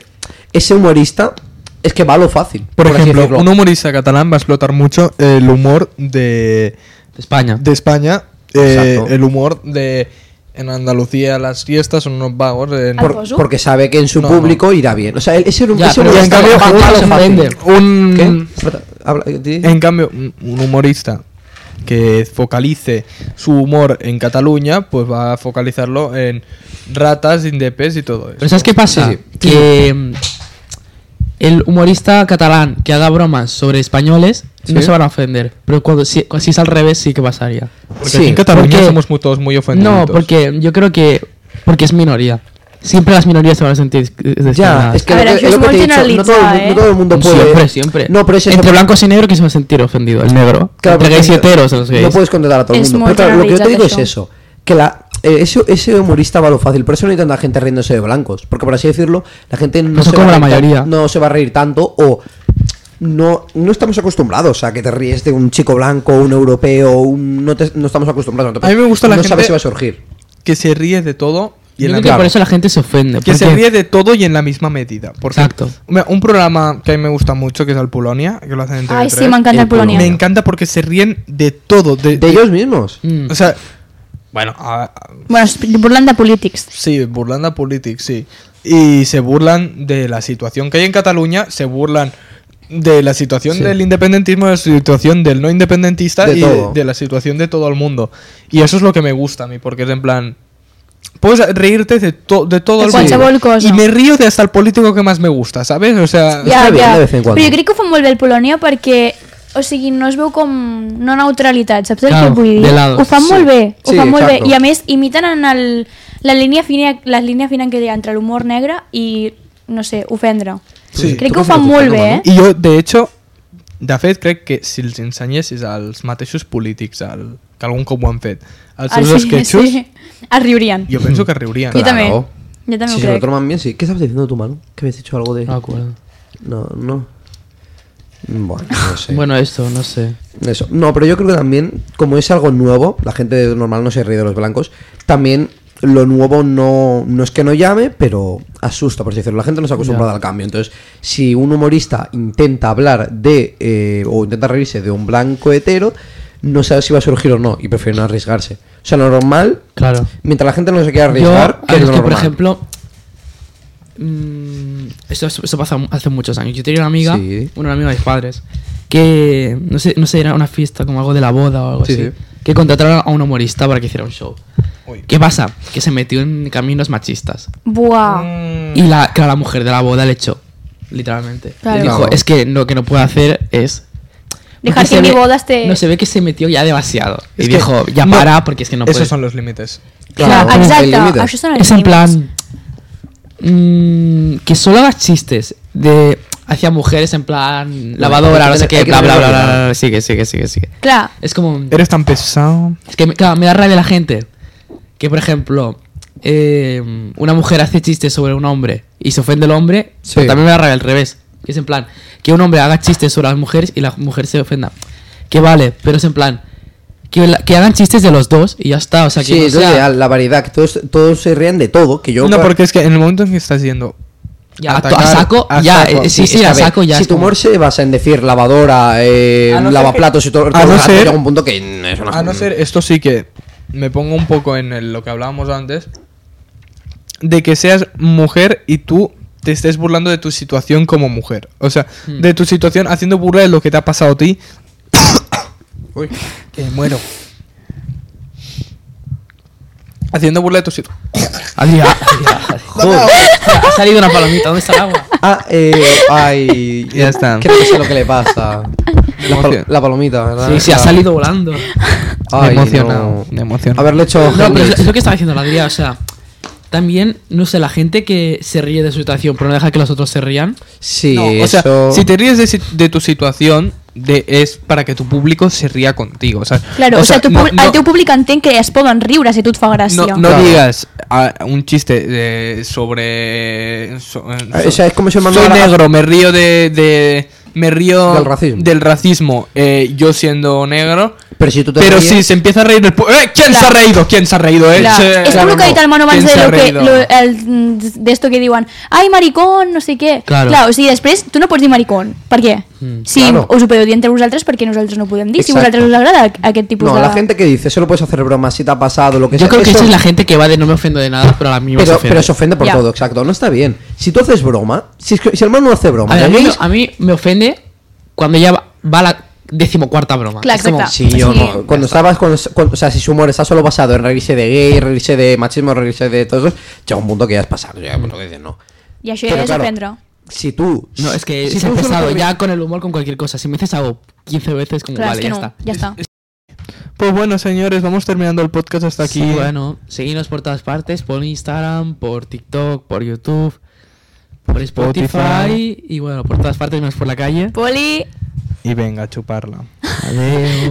[SPEAKER 4] ese humorista es que va a lo fácil.
[SPEAKER 1] por
[SPEAKER 4] así
[SPEAKER 1] ejemplo,
[SPEAKER 4] decirlo.
[SPEAKER 1] un humorista catalán va a explotar mucho el humor de,
[SPEAKER 3] De España.
[SPEAKER 1] de España, eh,
[SPEAKER 4] Exacto.
[SPEAKER 1] el humor de en Andalucía las fiestas son unos vagos. en-
[SPEAKER 2] Al
[SPEAKER 3] Ah.
[SPEAKER 4] Por-
[SPEAKER 2] Alfonso.
[SPEAKER 4] porque sabe que en su
[SPEAKER 1] No,
[SPEAKER 4] público irá bien. O sea, él- ese,
[SPEAKER 3] Ya,
[SPEAKER 4] ese
[SPEAKER 3] pero
[SPEAKER 1] y en
[SPEAKER 4] humorista
[SPEAKER 1] cambio,
[SPEAKER 4] va a
[SPEAKER 1] uno
[SPEAKER 4] lo
[SPEAKER 1] se
[SPEAKER 4] fácil.
[SPEAKER 3] ofende.
[SPEAKER 1] un,
[SPEAKER 4] ¿Qué? Habla- di.
[SPEAKER 1] En cambio, un un humorista que focalice su humor en Cataluña, pues va a focalizarlo en ratas, indepes y todo eso. Ah.
[SPEAKER 3] Pero ¿sabes qué pasa?
[SPEAKER 4] Sí, sí.
[SPEAKER 3] Que mm, el humorista catalán que haga bromas sobre españoles no
[SPEAKER 4] Sí.
[SPEAKER 3] se van a ofender. Pero cuando si, si es al revés sí que pasaría.
[SPEAKER 1] Porque
[SPEAKER 4] Sí,
[SPEAKER 1] aquí en Cataluña
[SPEAKER 3] porque-
[SPEAKER 1] somos muy- todos muy ofendidos.
[SPEAKER 3] No, porque yo creo que porque es minoría. Siempre las minorías se van a sentir eh,
[SPEAKER 4] Ya,
[SPEAKER 3] discriminadas.
[SPEAKER 4] es que,
[SPEAKER 2] A
[SPEAKER 4] lo
[SPEAKER 2] ver,
[SPEAKER 4] que-
[SPEAKER 2] aquí
[SPEAKER 4] es lo
[SPEAKER 2] es
[SPEAKER 4] que te he dicho, no todo, el
[SPEAKER 2] multinacionalizada,
[SPEAKER 4] mu- no
[SPEAKER 2] ¿eh?
[SPEAKER 4] todo el mundo puede.
[SPEAKER 3] Siempre, siempre.
[SPEAKER 4] No, pero ese es
[SPEAKER 3] Entre
[SPEAKER 4] el-
[SPEAKER 3] blancos y negros que se va a sentir ofendido, el negro.
[SPEAKER 4] Claro,
[SPEAKER 3] Entre
[SPEAKER 4] porque
[SPEAKER 3] gays y
[SPEAKER 4] no-
[SPEAKER 3] heteros, los gays.
[SPEAKER 4] No puedes contentar a todo el
[SPEAKER 2] Es
[SPEAKER 4] mundo.
[SPEAKER 2] muy
[SPEAKER 4] Pero claro, lo que yo te digo es
[SPEAKER 2] generalizado
[SPEAKER 4] eso. Que la, eh, ese, ese humorista va a lo fácil. Por eso no hay tanta gente riéndose de blancos. Porque por así decirlo, la gente no,
[SPEAKER 3] Pues
[SPEAKER 4] se,
[SPEAKER 3] son como
[SPEAKER 4] va a
[SPEAKER 3] la
[SPEAKER 4] reír tan-
[SPEAKER 3] mayoría.
[SPEAKER 4] no se va a reír tanto o... No, no estamos acostumbrados a que te ríes de un chico blanco, un europeo, un- no, te- no estamos acostumbrados. Entonces,
[SPEAKER 1] A mí me gusta la
[SPEAKER 4] no
[SPEAKER 1] gente-
[SPEAKER 4] sabes si va a surgir.
[SPEAKER 1] Que se ríe de todo y
[SPEAKER 3] Yo
[SPEAKER 1] en la
[SPEAKER 3] creo que por eso la gente se ofende.
[SPEAKER 1] Que se
[SPEAKER 3] porque-
[SPEAKER 1] ríe de todo y en la misma medida. Porque,
[SPEAKER 3] Exacto.
[SPEAKER 1] Mira, Un programa que a mí me gusta mucho, que es el Polonia, que lo hacen en TV3.
[SPEAKER 2] ay sí, m'encanta
[SPEAKER 4] el
[SPEAKER 2] el Polònia.
[SPEAKER 3] Eh,
[SPEAKER 1] Me encanta porque se ríen de todo. De,
[SPEAKER 4] De ellos mismos.
[SPEAKER 3] Mm.
[SPEAKER 1] O sea, Bueno, a- a-
[SPEAKER 2] Bueno, es burlen de polítics.
[SPEAKER 1] sí, burlan de polítics, sí. Y se burlan de la situación que hay en Cataluña, se burlan de la situación
[SPEAKER 4] Sí.
[SPEAKER 1] del independentismo, de la situación del no independentista
[SPEAKER 4] De
[SPEAKER 1] y
[SPEAKER 4] todo.
[SPEAKER 1] de la situación de todo el mundo. Y eso es lo que me gusta a mí, porque es en plan... Puedes reírte de, to- de todo
[SPEAKER 2] De
[SPEAKER 1] el mundo.
[SPEAKER 2] qualsevol cosa.
[SPEAKER 1] Y me río de hasta el político que más me gusta, ¿sabes? O sea...
[SPEAKER 4] Ja. Està bé, de vez en cuando.
[SPEAKER 2] Però jo crec que ho fa molt bé el Polònia perquè o sigui, no es veu com no neutralitat, saps el
[SPEAKER 3] Claro,
[SPEAKER 2] que vull dir?
[SPEAKER 3] de lado.
[SPEAKER 2] Ho fan
[SPEAKER 4] Sí.
[SPEAKER 2] molt bé, ho
[SPEAKER 4] Sí,
[SPEAKER 2] fan molt
[SPEAKER 4] exacto.
[SPEAKER 2] bé. I a més, imiten en el, la línia fina, la línia fina que hi ha entre l'humor negre i, no sé, ofendre.
[SPEAKER 1] Sí.
[SPEAKER 2] Crec
[SPEAKER 4] Tu
[SPEAKER 2] que ho
[SPEAKER 4] fas
[SPEAKER 2] fan
[SPEAKER 4] el
[SPEAKER 2] molt
[SPEAKER 4] teu
[SPEAKER 2] bé,
[SPEAKER 4] fenomen,
[SPEAKER 2] eh?
[SPEAKER 1] I jo, de hecho, de fet, crec que si els ensenyessis als mateixos polítics, al, que algun cop ho han fet, els seus
[SPEAKER 2] [laughs] Ah,
[SPEAKER 1] esquetxos,
[SPEAKER 2] Es riurien. Jo,
[SPEAKER 1] jo penso
[SPEAKER 4] [laughs]
[SPEAKER 1] que riurien.
[SPEAKER 4] Clar.
[SPEAKER 2] també.
[SPEAKER 4] Claro.
[SPEAKER 2] Jo també
[SPEAKER 4] Si
[SPEAKER 2] ho
[SPEAKER 4] se lo
[SPEAKER 2] crec.
[SPEAKER 4] toman bien, sí. ¿Qué estabas diciendo tú, Manu? Que habías dicho algo de...
[SPEAKER 3] No me acuerdo.
[SPEAKER 4] No, no. Bueno, no sé.
[SPEAKER 3] Bueno, esto, no sé.
[SPEAKER 4] Eso. No, pero yo creo que también, como es algo nuevo, la gente normal no se ríe de los blancos, también lo nuevo no, no es que no llame, pero asusta, por así decirlo. La gente no se ha acostumbrado al cambio. Entonces, si un humorista intenta hablar de, eh, o intenta reírse de un blanco hetero, no sabe si va a surgir o no, y prefiere no arriesgarse. O sea, lo normal,
[SPEAKER 3] Claro.
[SPEAKER 4] mientras la gente no se quiera
[SPEAKER 3] Yo,
[SPEAKER 4] arriesgar,
[SPEAKER 3] a ver,
[SPEAKER 4] es
[SPEAKER 3] es
[SPEAKER 4] lo
[SPEAKER 3] que, por
[SPEAKER 4] normal.
[SPEAKER 3] ejemplo, mm, esto, esto pasa hace muchos años. Yo tenía una amiga,
[SPEAKER 4] Sí.
[SPEAKER 3] una amiga de mis padres, que no sé, no sé, era una fiesta como algo de la boda o algo
[SPEAKER 4] Sí,
[SPEAKER 3] así,
[SPEAKER 4] sí.
[SPEAKER 3] que contrataron a un humorista para que hiciera un show.
[SPEAKER 1] Uy.
[SPEAKER 3] ¿Qué pasa? Que se metió en caminos machistas.
[SPEAKER 2] Buah.
[SPEAKER 3] Y la, claro, la mujer de la boda le echó, literalmente.
[SPEAKER 2] Claro.
[SPEAKER 3] Le dijo,
[SPEAKER 4] Claro.
[SPEAKER 3] es que lo que no puedo hacer es...
[SPEAKER 2] Dejar
[SPEAKER 3] porque
[SPEAKER 2] que
[SPEAKER 3] se
[SPEAKER 2] mi
[SPEAKER 3] ve-
[SPEAKER 2] boda esté-
[SPEAKER 3] No, se ve que se metió ya demasiado.
[SPEAKER 1] Es
[SPEAKER 3] y
[SPEAKER 1] que-
[SPEAKER 3] dijo, ya
[SPEAKER 1] no,
[SPEAKER 3] para, porque es que no puedo.
[SPEAKER 1] Esos son los límites.
[SPEAKER 2] Clar,
[SPEAKER 4] Claro, el límite.
[SPEAKER 2] exacte. Això són els
[SPEAKER 3] Es en
[SPEAKER 2] límits.
[SPEAKER 3] plan. mm, que solo hagas chistes de hacia mujeres en plan
[SPEAKER 4] hay
[SPEAKER 3] lavadora,
[SPEAKER 4] que
[SPEAKER 3] no sé
[SPEAKER 4] tener- hay
[SPEAKER 3] qué,
[SPEAKER 4] que
[SPEAKER 3] bla bla bla,
[SPEAKER 4] tener
[SPEAKER 3] bla,
[SPEAKER 4] cuidado.
[SPEAKER 3] bla, bla, sigue, sigue, sigue, sigue.
[SPEAKER 2] Clar,
[SPEAKER 3] Es como un-
[SPEAKER 1] Eres tan pesado.
[SPEAKER 3] es que me, claro, me da rabia la gente que por ejemplo eh, una mujer hace chistes sobre un hombre y se ofende el hombre,
[SPEAKER 4] Sí.
[SPEAKER 3] pero también me da rabia al revés, que es en plan que un hombre haga chistes sobre las mujeres y la mujer se ofenda. Que vale, pero es en plan que, la- que hagan chistes de los dos y ya está, o sea que
[SPEAKER 4] Sí,
[SPEAKER 3] no
[SPEAKER 4] es lo
[SPEAKER 3] sea-
[SPEAKER 4] ideal, la variedad, que todos, todos se rían de todo, que yo...
[SPEAKER 1] No, porque es que en el momento en que estás yendo...
[SPEAKER 3] Ya, a, to-
[SPEAKER 1] atacar,
[SPEAKER 3] a saco,
[SPEAKER 1] a
[SPEAKER 3] ya,
[SPEAKER 1] saco.
[SPEAKER 3] eh, sí,
[SPEAKER 4] Es
[SPEAKER 3] sí,
[SPEAKER 4] que,
[SPEAKER 3] a
[SPEAKER 4] ver,
[SPEAKER 3] saco ya.
[SPEAKER 4] Si
[SPEAKER 3] es
[SPEAKER 4] tu
[SPEAKER 3] como-
[SPEAKER 4] humor se basa en decir lavadora, eh,
[SPEAKER 1] A no ser
[SPEAKER 4] lavaplatos y todo,
[SPEAKER 1] que-
[SPEAKER 4] todo
[SPEAKER 1] a
[SPEAKER 4] el
[SPEAKER 1] no
[SPEAKER 4] rato,
[SPEAKER 1] ser-
[SPEAKER 4] llega un punto que mm, es una
[SPEAKER 1] A no ser, esto sí que me pongo un poco en el- lo que hablábamos antes, de que seas mujer y tú te estés burlando de tu situación como mujer. O sea,
[SPEAKER 3] Hmm.
[SPEAKER 1] de tu situación haciendo burla de lo que te ha pasado a ti. Uy, que muero. Haciendo burla de tu situación.
[SPEAKER 3] Adiós, adiós.
[SPEAKER 4] Joder.
[SPEAKER 3] Ha salido una palomita, ¿dónde está el agua?
[SPEAKER 4] Ah, eh,
[SPEAKER 3] [laughs]
[SPEAKER 4] ay,
[SPEAKER 1] Ya está.
[SPEAKER 4] Creo que sé lo que le pasa. La, pal- la palomita, ¿verdad?
[SPEAKER 3] Sí, sí, ha
[SPEAKER 4] La-
[SPEAKER 3] salido volando.
[SPEAKER 1] Me
[SPEAKER 4] Ay,
[SPEAKER 1] he emocionado,
[SPEAKER 4] no.
[SPEAKER 1] me he emocionado.
[SPEAKER 4] Haberle hecho.
[SPEAKER 3] No, pero es, es lo que estaba diciendo la Adrià, o sea, también, no sé, la gente que se ríe de su situación, pero no deja que los otros se rían.
[SPEAKER 4] Sí,
[SPEAKER 1] No, o sea,
[SPEAKER 4] eso.
[SPEAKER 1] si te ríes de, si- de tu situación, de, es para que tu público se ría contigo. O sea,
[SPEAKER 2] claro, o, sea, tu,
[SPEAKER 1] no-
[SPEAKER 2] pub- el
[SPEAKER 1] no-
[SPEAKER 2] teu públic entén que es poden riure si tu et fa
[SPEAKER 1] no,
[SPEAKER 2] gràcia.
[SPEAKER 1] no
[SPEAKER 4] Claro.
[SPEAKER 1] digas ah, un chiste eh, sobre. so-
[SPEAKER 4] Ah, o sea, es como si el mando
[SPEAKER 1] Soy
[SPEAKER 4] de la-
[SPEAKER 1] negro, me río de. de- me río
[SPEAKER 4] Del racismo.
[SPEAKER 1] del racismo, eh, yo siendo negro.
[SPEAKER 4] Pero si tú te
[SPEAKER 1] Pero
[SPEAKER 4] ríes-
[SPEAKER 1] si se empieza a reír el pu- ¡Eh! ¿Quién se
[SPEAKER 2] Claro.
[SPEAKER 1] ha reído? ¿Quién se ha reído? Eh?
[SPEAKER 2] Clar,
[SPEAKER 1] Se-
[SPEAKER 2] és com el que ha dit el Manu abans
[SPEAKER 1] ¿Quién
[SPEAKER 2] de
[SPEAKER 1] se ha
[SPEAKER 2] lo que,
[SPEAKER 1] reído?
[SPEAKER 2] lo, eh, el, d'esto que diuen ai, maricón, no sé què.
[SPEAKER 3] Claro.
[SPEAKER 2] Clar, o sigui, després tu no pots dir maricón. Per què? si
[SPEAKER 4] Mm, Claro.
[SPEAKER 2] us ho podeu dir entre vosaltres, perquè nosaltres no ho podem dir? Si
[SPEAKER 4] Exacto.
[SPEAKER 2] a vosaltres us agrada aquest tipus
[SPEAKER 4] No,
[SPEAKER 1] Pues
[SPEAKER 2] de...
[SPEAKER 4] la gente que dice, solo puedes hacer bromas si te ha pasado, lo que
[SPEAKER 3] Yo
[SPEAKER 4] sea.
[SPEAKER 3] creo que
[SPEAKER 4] eso-
[SPEAKER 3] esa es la gente que va de no me ofendo de nada, pero a mí me
[SPEAKER 4] Pero,
[SPEAKER 3] se ofende.
[SPEAKER 4] pero se ofende por
[SPEAKER 2] Ya.
[SPEAKER 4] todo, exacto. No está bien. Si tú haces broma, si, es que- si el man no hace broma,
[SPEAKER 3] A ver, a
[SPEAKER 4] ¿ya
[SPEAKER 3] mí,
[SPEAKER 4] veis?
[SPEAKER 3] a mí me ofende cuando ella va, va a la decimocuarta broma.
[SPEAKER 2] Clar,
[SPEAKER 3] Es como,
[SPEAKER 2] exacto.
[SPEAKER 4] Sí, yo
[SPEAKER 2] Sí.
[SPEAKER 4] no. Cuando estabas, cuando, cuando- o sea, si su humor está solo basado en reírse de gay, reírse de machismo, reírse de todo eso, llega un punto que ya es pasar, llega un punto que dices no.
[SPEAKER 2] I això
[SPEAKER 4] Pero
[SPEAKER 2] ja és
[SPEAKER 4] claro,
[SPEAKER 2] ofendre.
[SPEAKER 1] Mm,
[SPEAKER 4] Si tú.
[SPEAKER 3] No, es que
[SPEAKER 4] si
[SPEAKER 3] se ha
[SPEAKER 4] tú solo
[SPEAKER 3] empezado
[SPEAKER 4] te ríes-
[SPEAKER 3] ya con el humor, con cualquier cosa. Si me dices algo 15 veces, como
[SPEAKER 2] Clar,
[SPEAKER 3] vale,
[SPEAKER 2] és que
[SPEAKER 3] ya
[SPEAKER 2] no,
[SPEAKER 3] está.
[SPEAKER 2] ja està.
[SPEAKER 1] Pues bueno, señores, vamos terminando el podcast hasta aquí.
[SPEAKER 3] Sí, bueno, seguimos por todas partes, por Instagram, por TikTok, por YouTube, por Spotify,
[SPEAKER 1] Spotify.
[SPEAKER 3] y bueno, por todas partes menos por la calle.
[SPEAKER 2] Poli,
[SPEAKER 1] Y venga, a chuparla.
[SPEAKER 3] Adiós.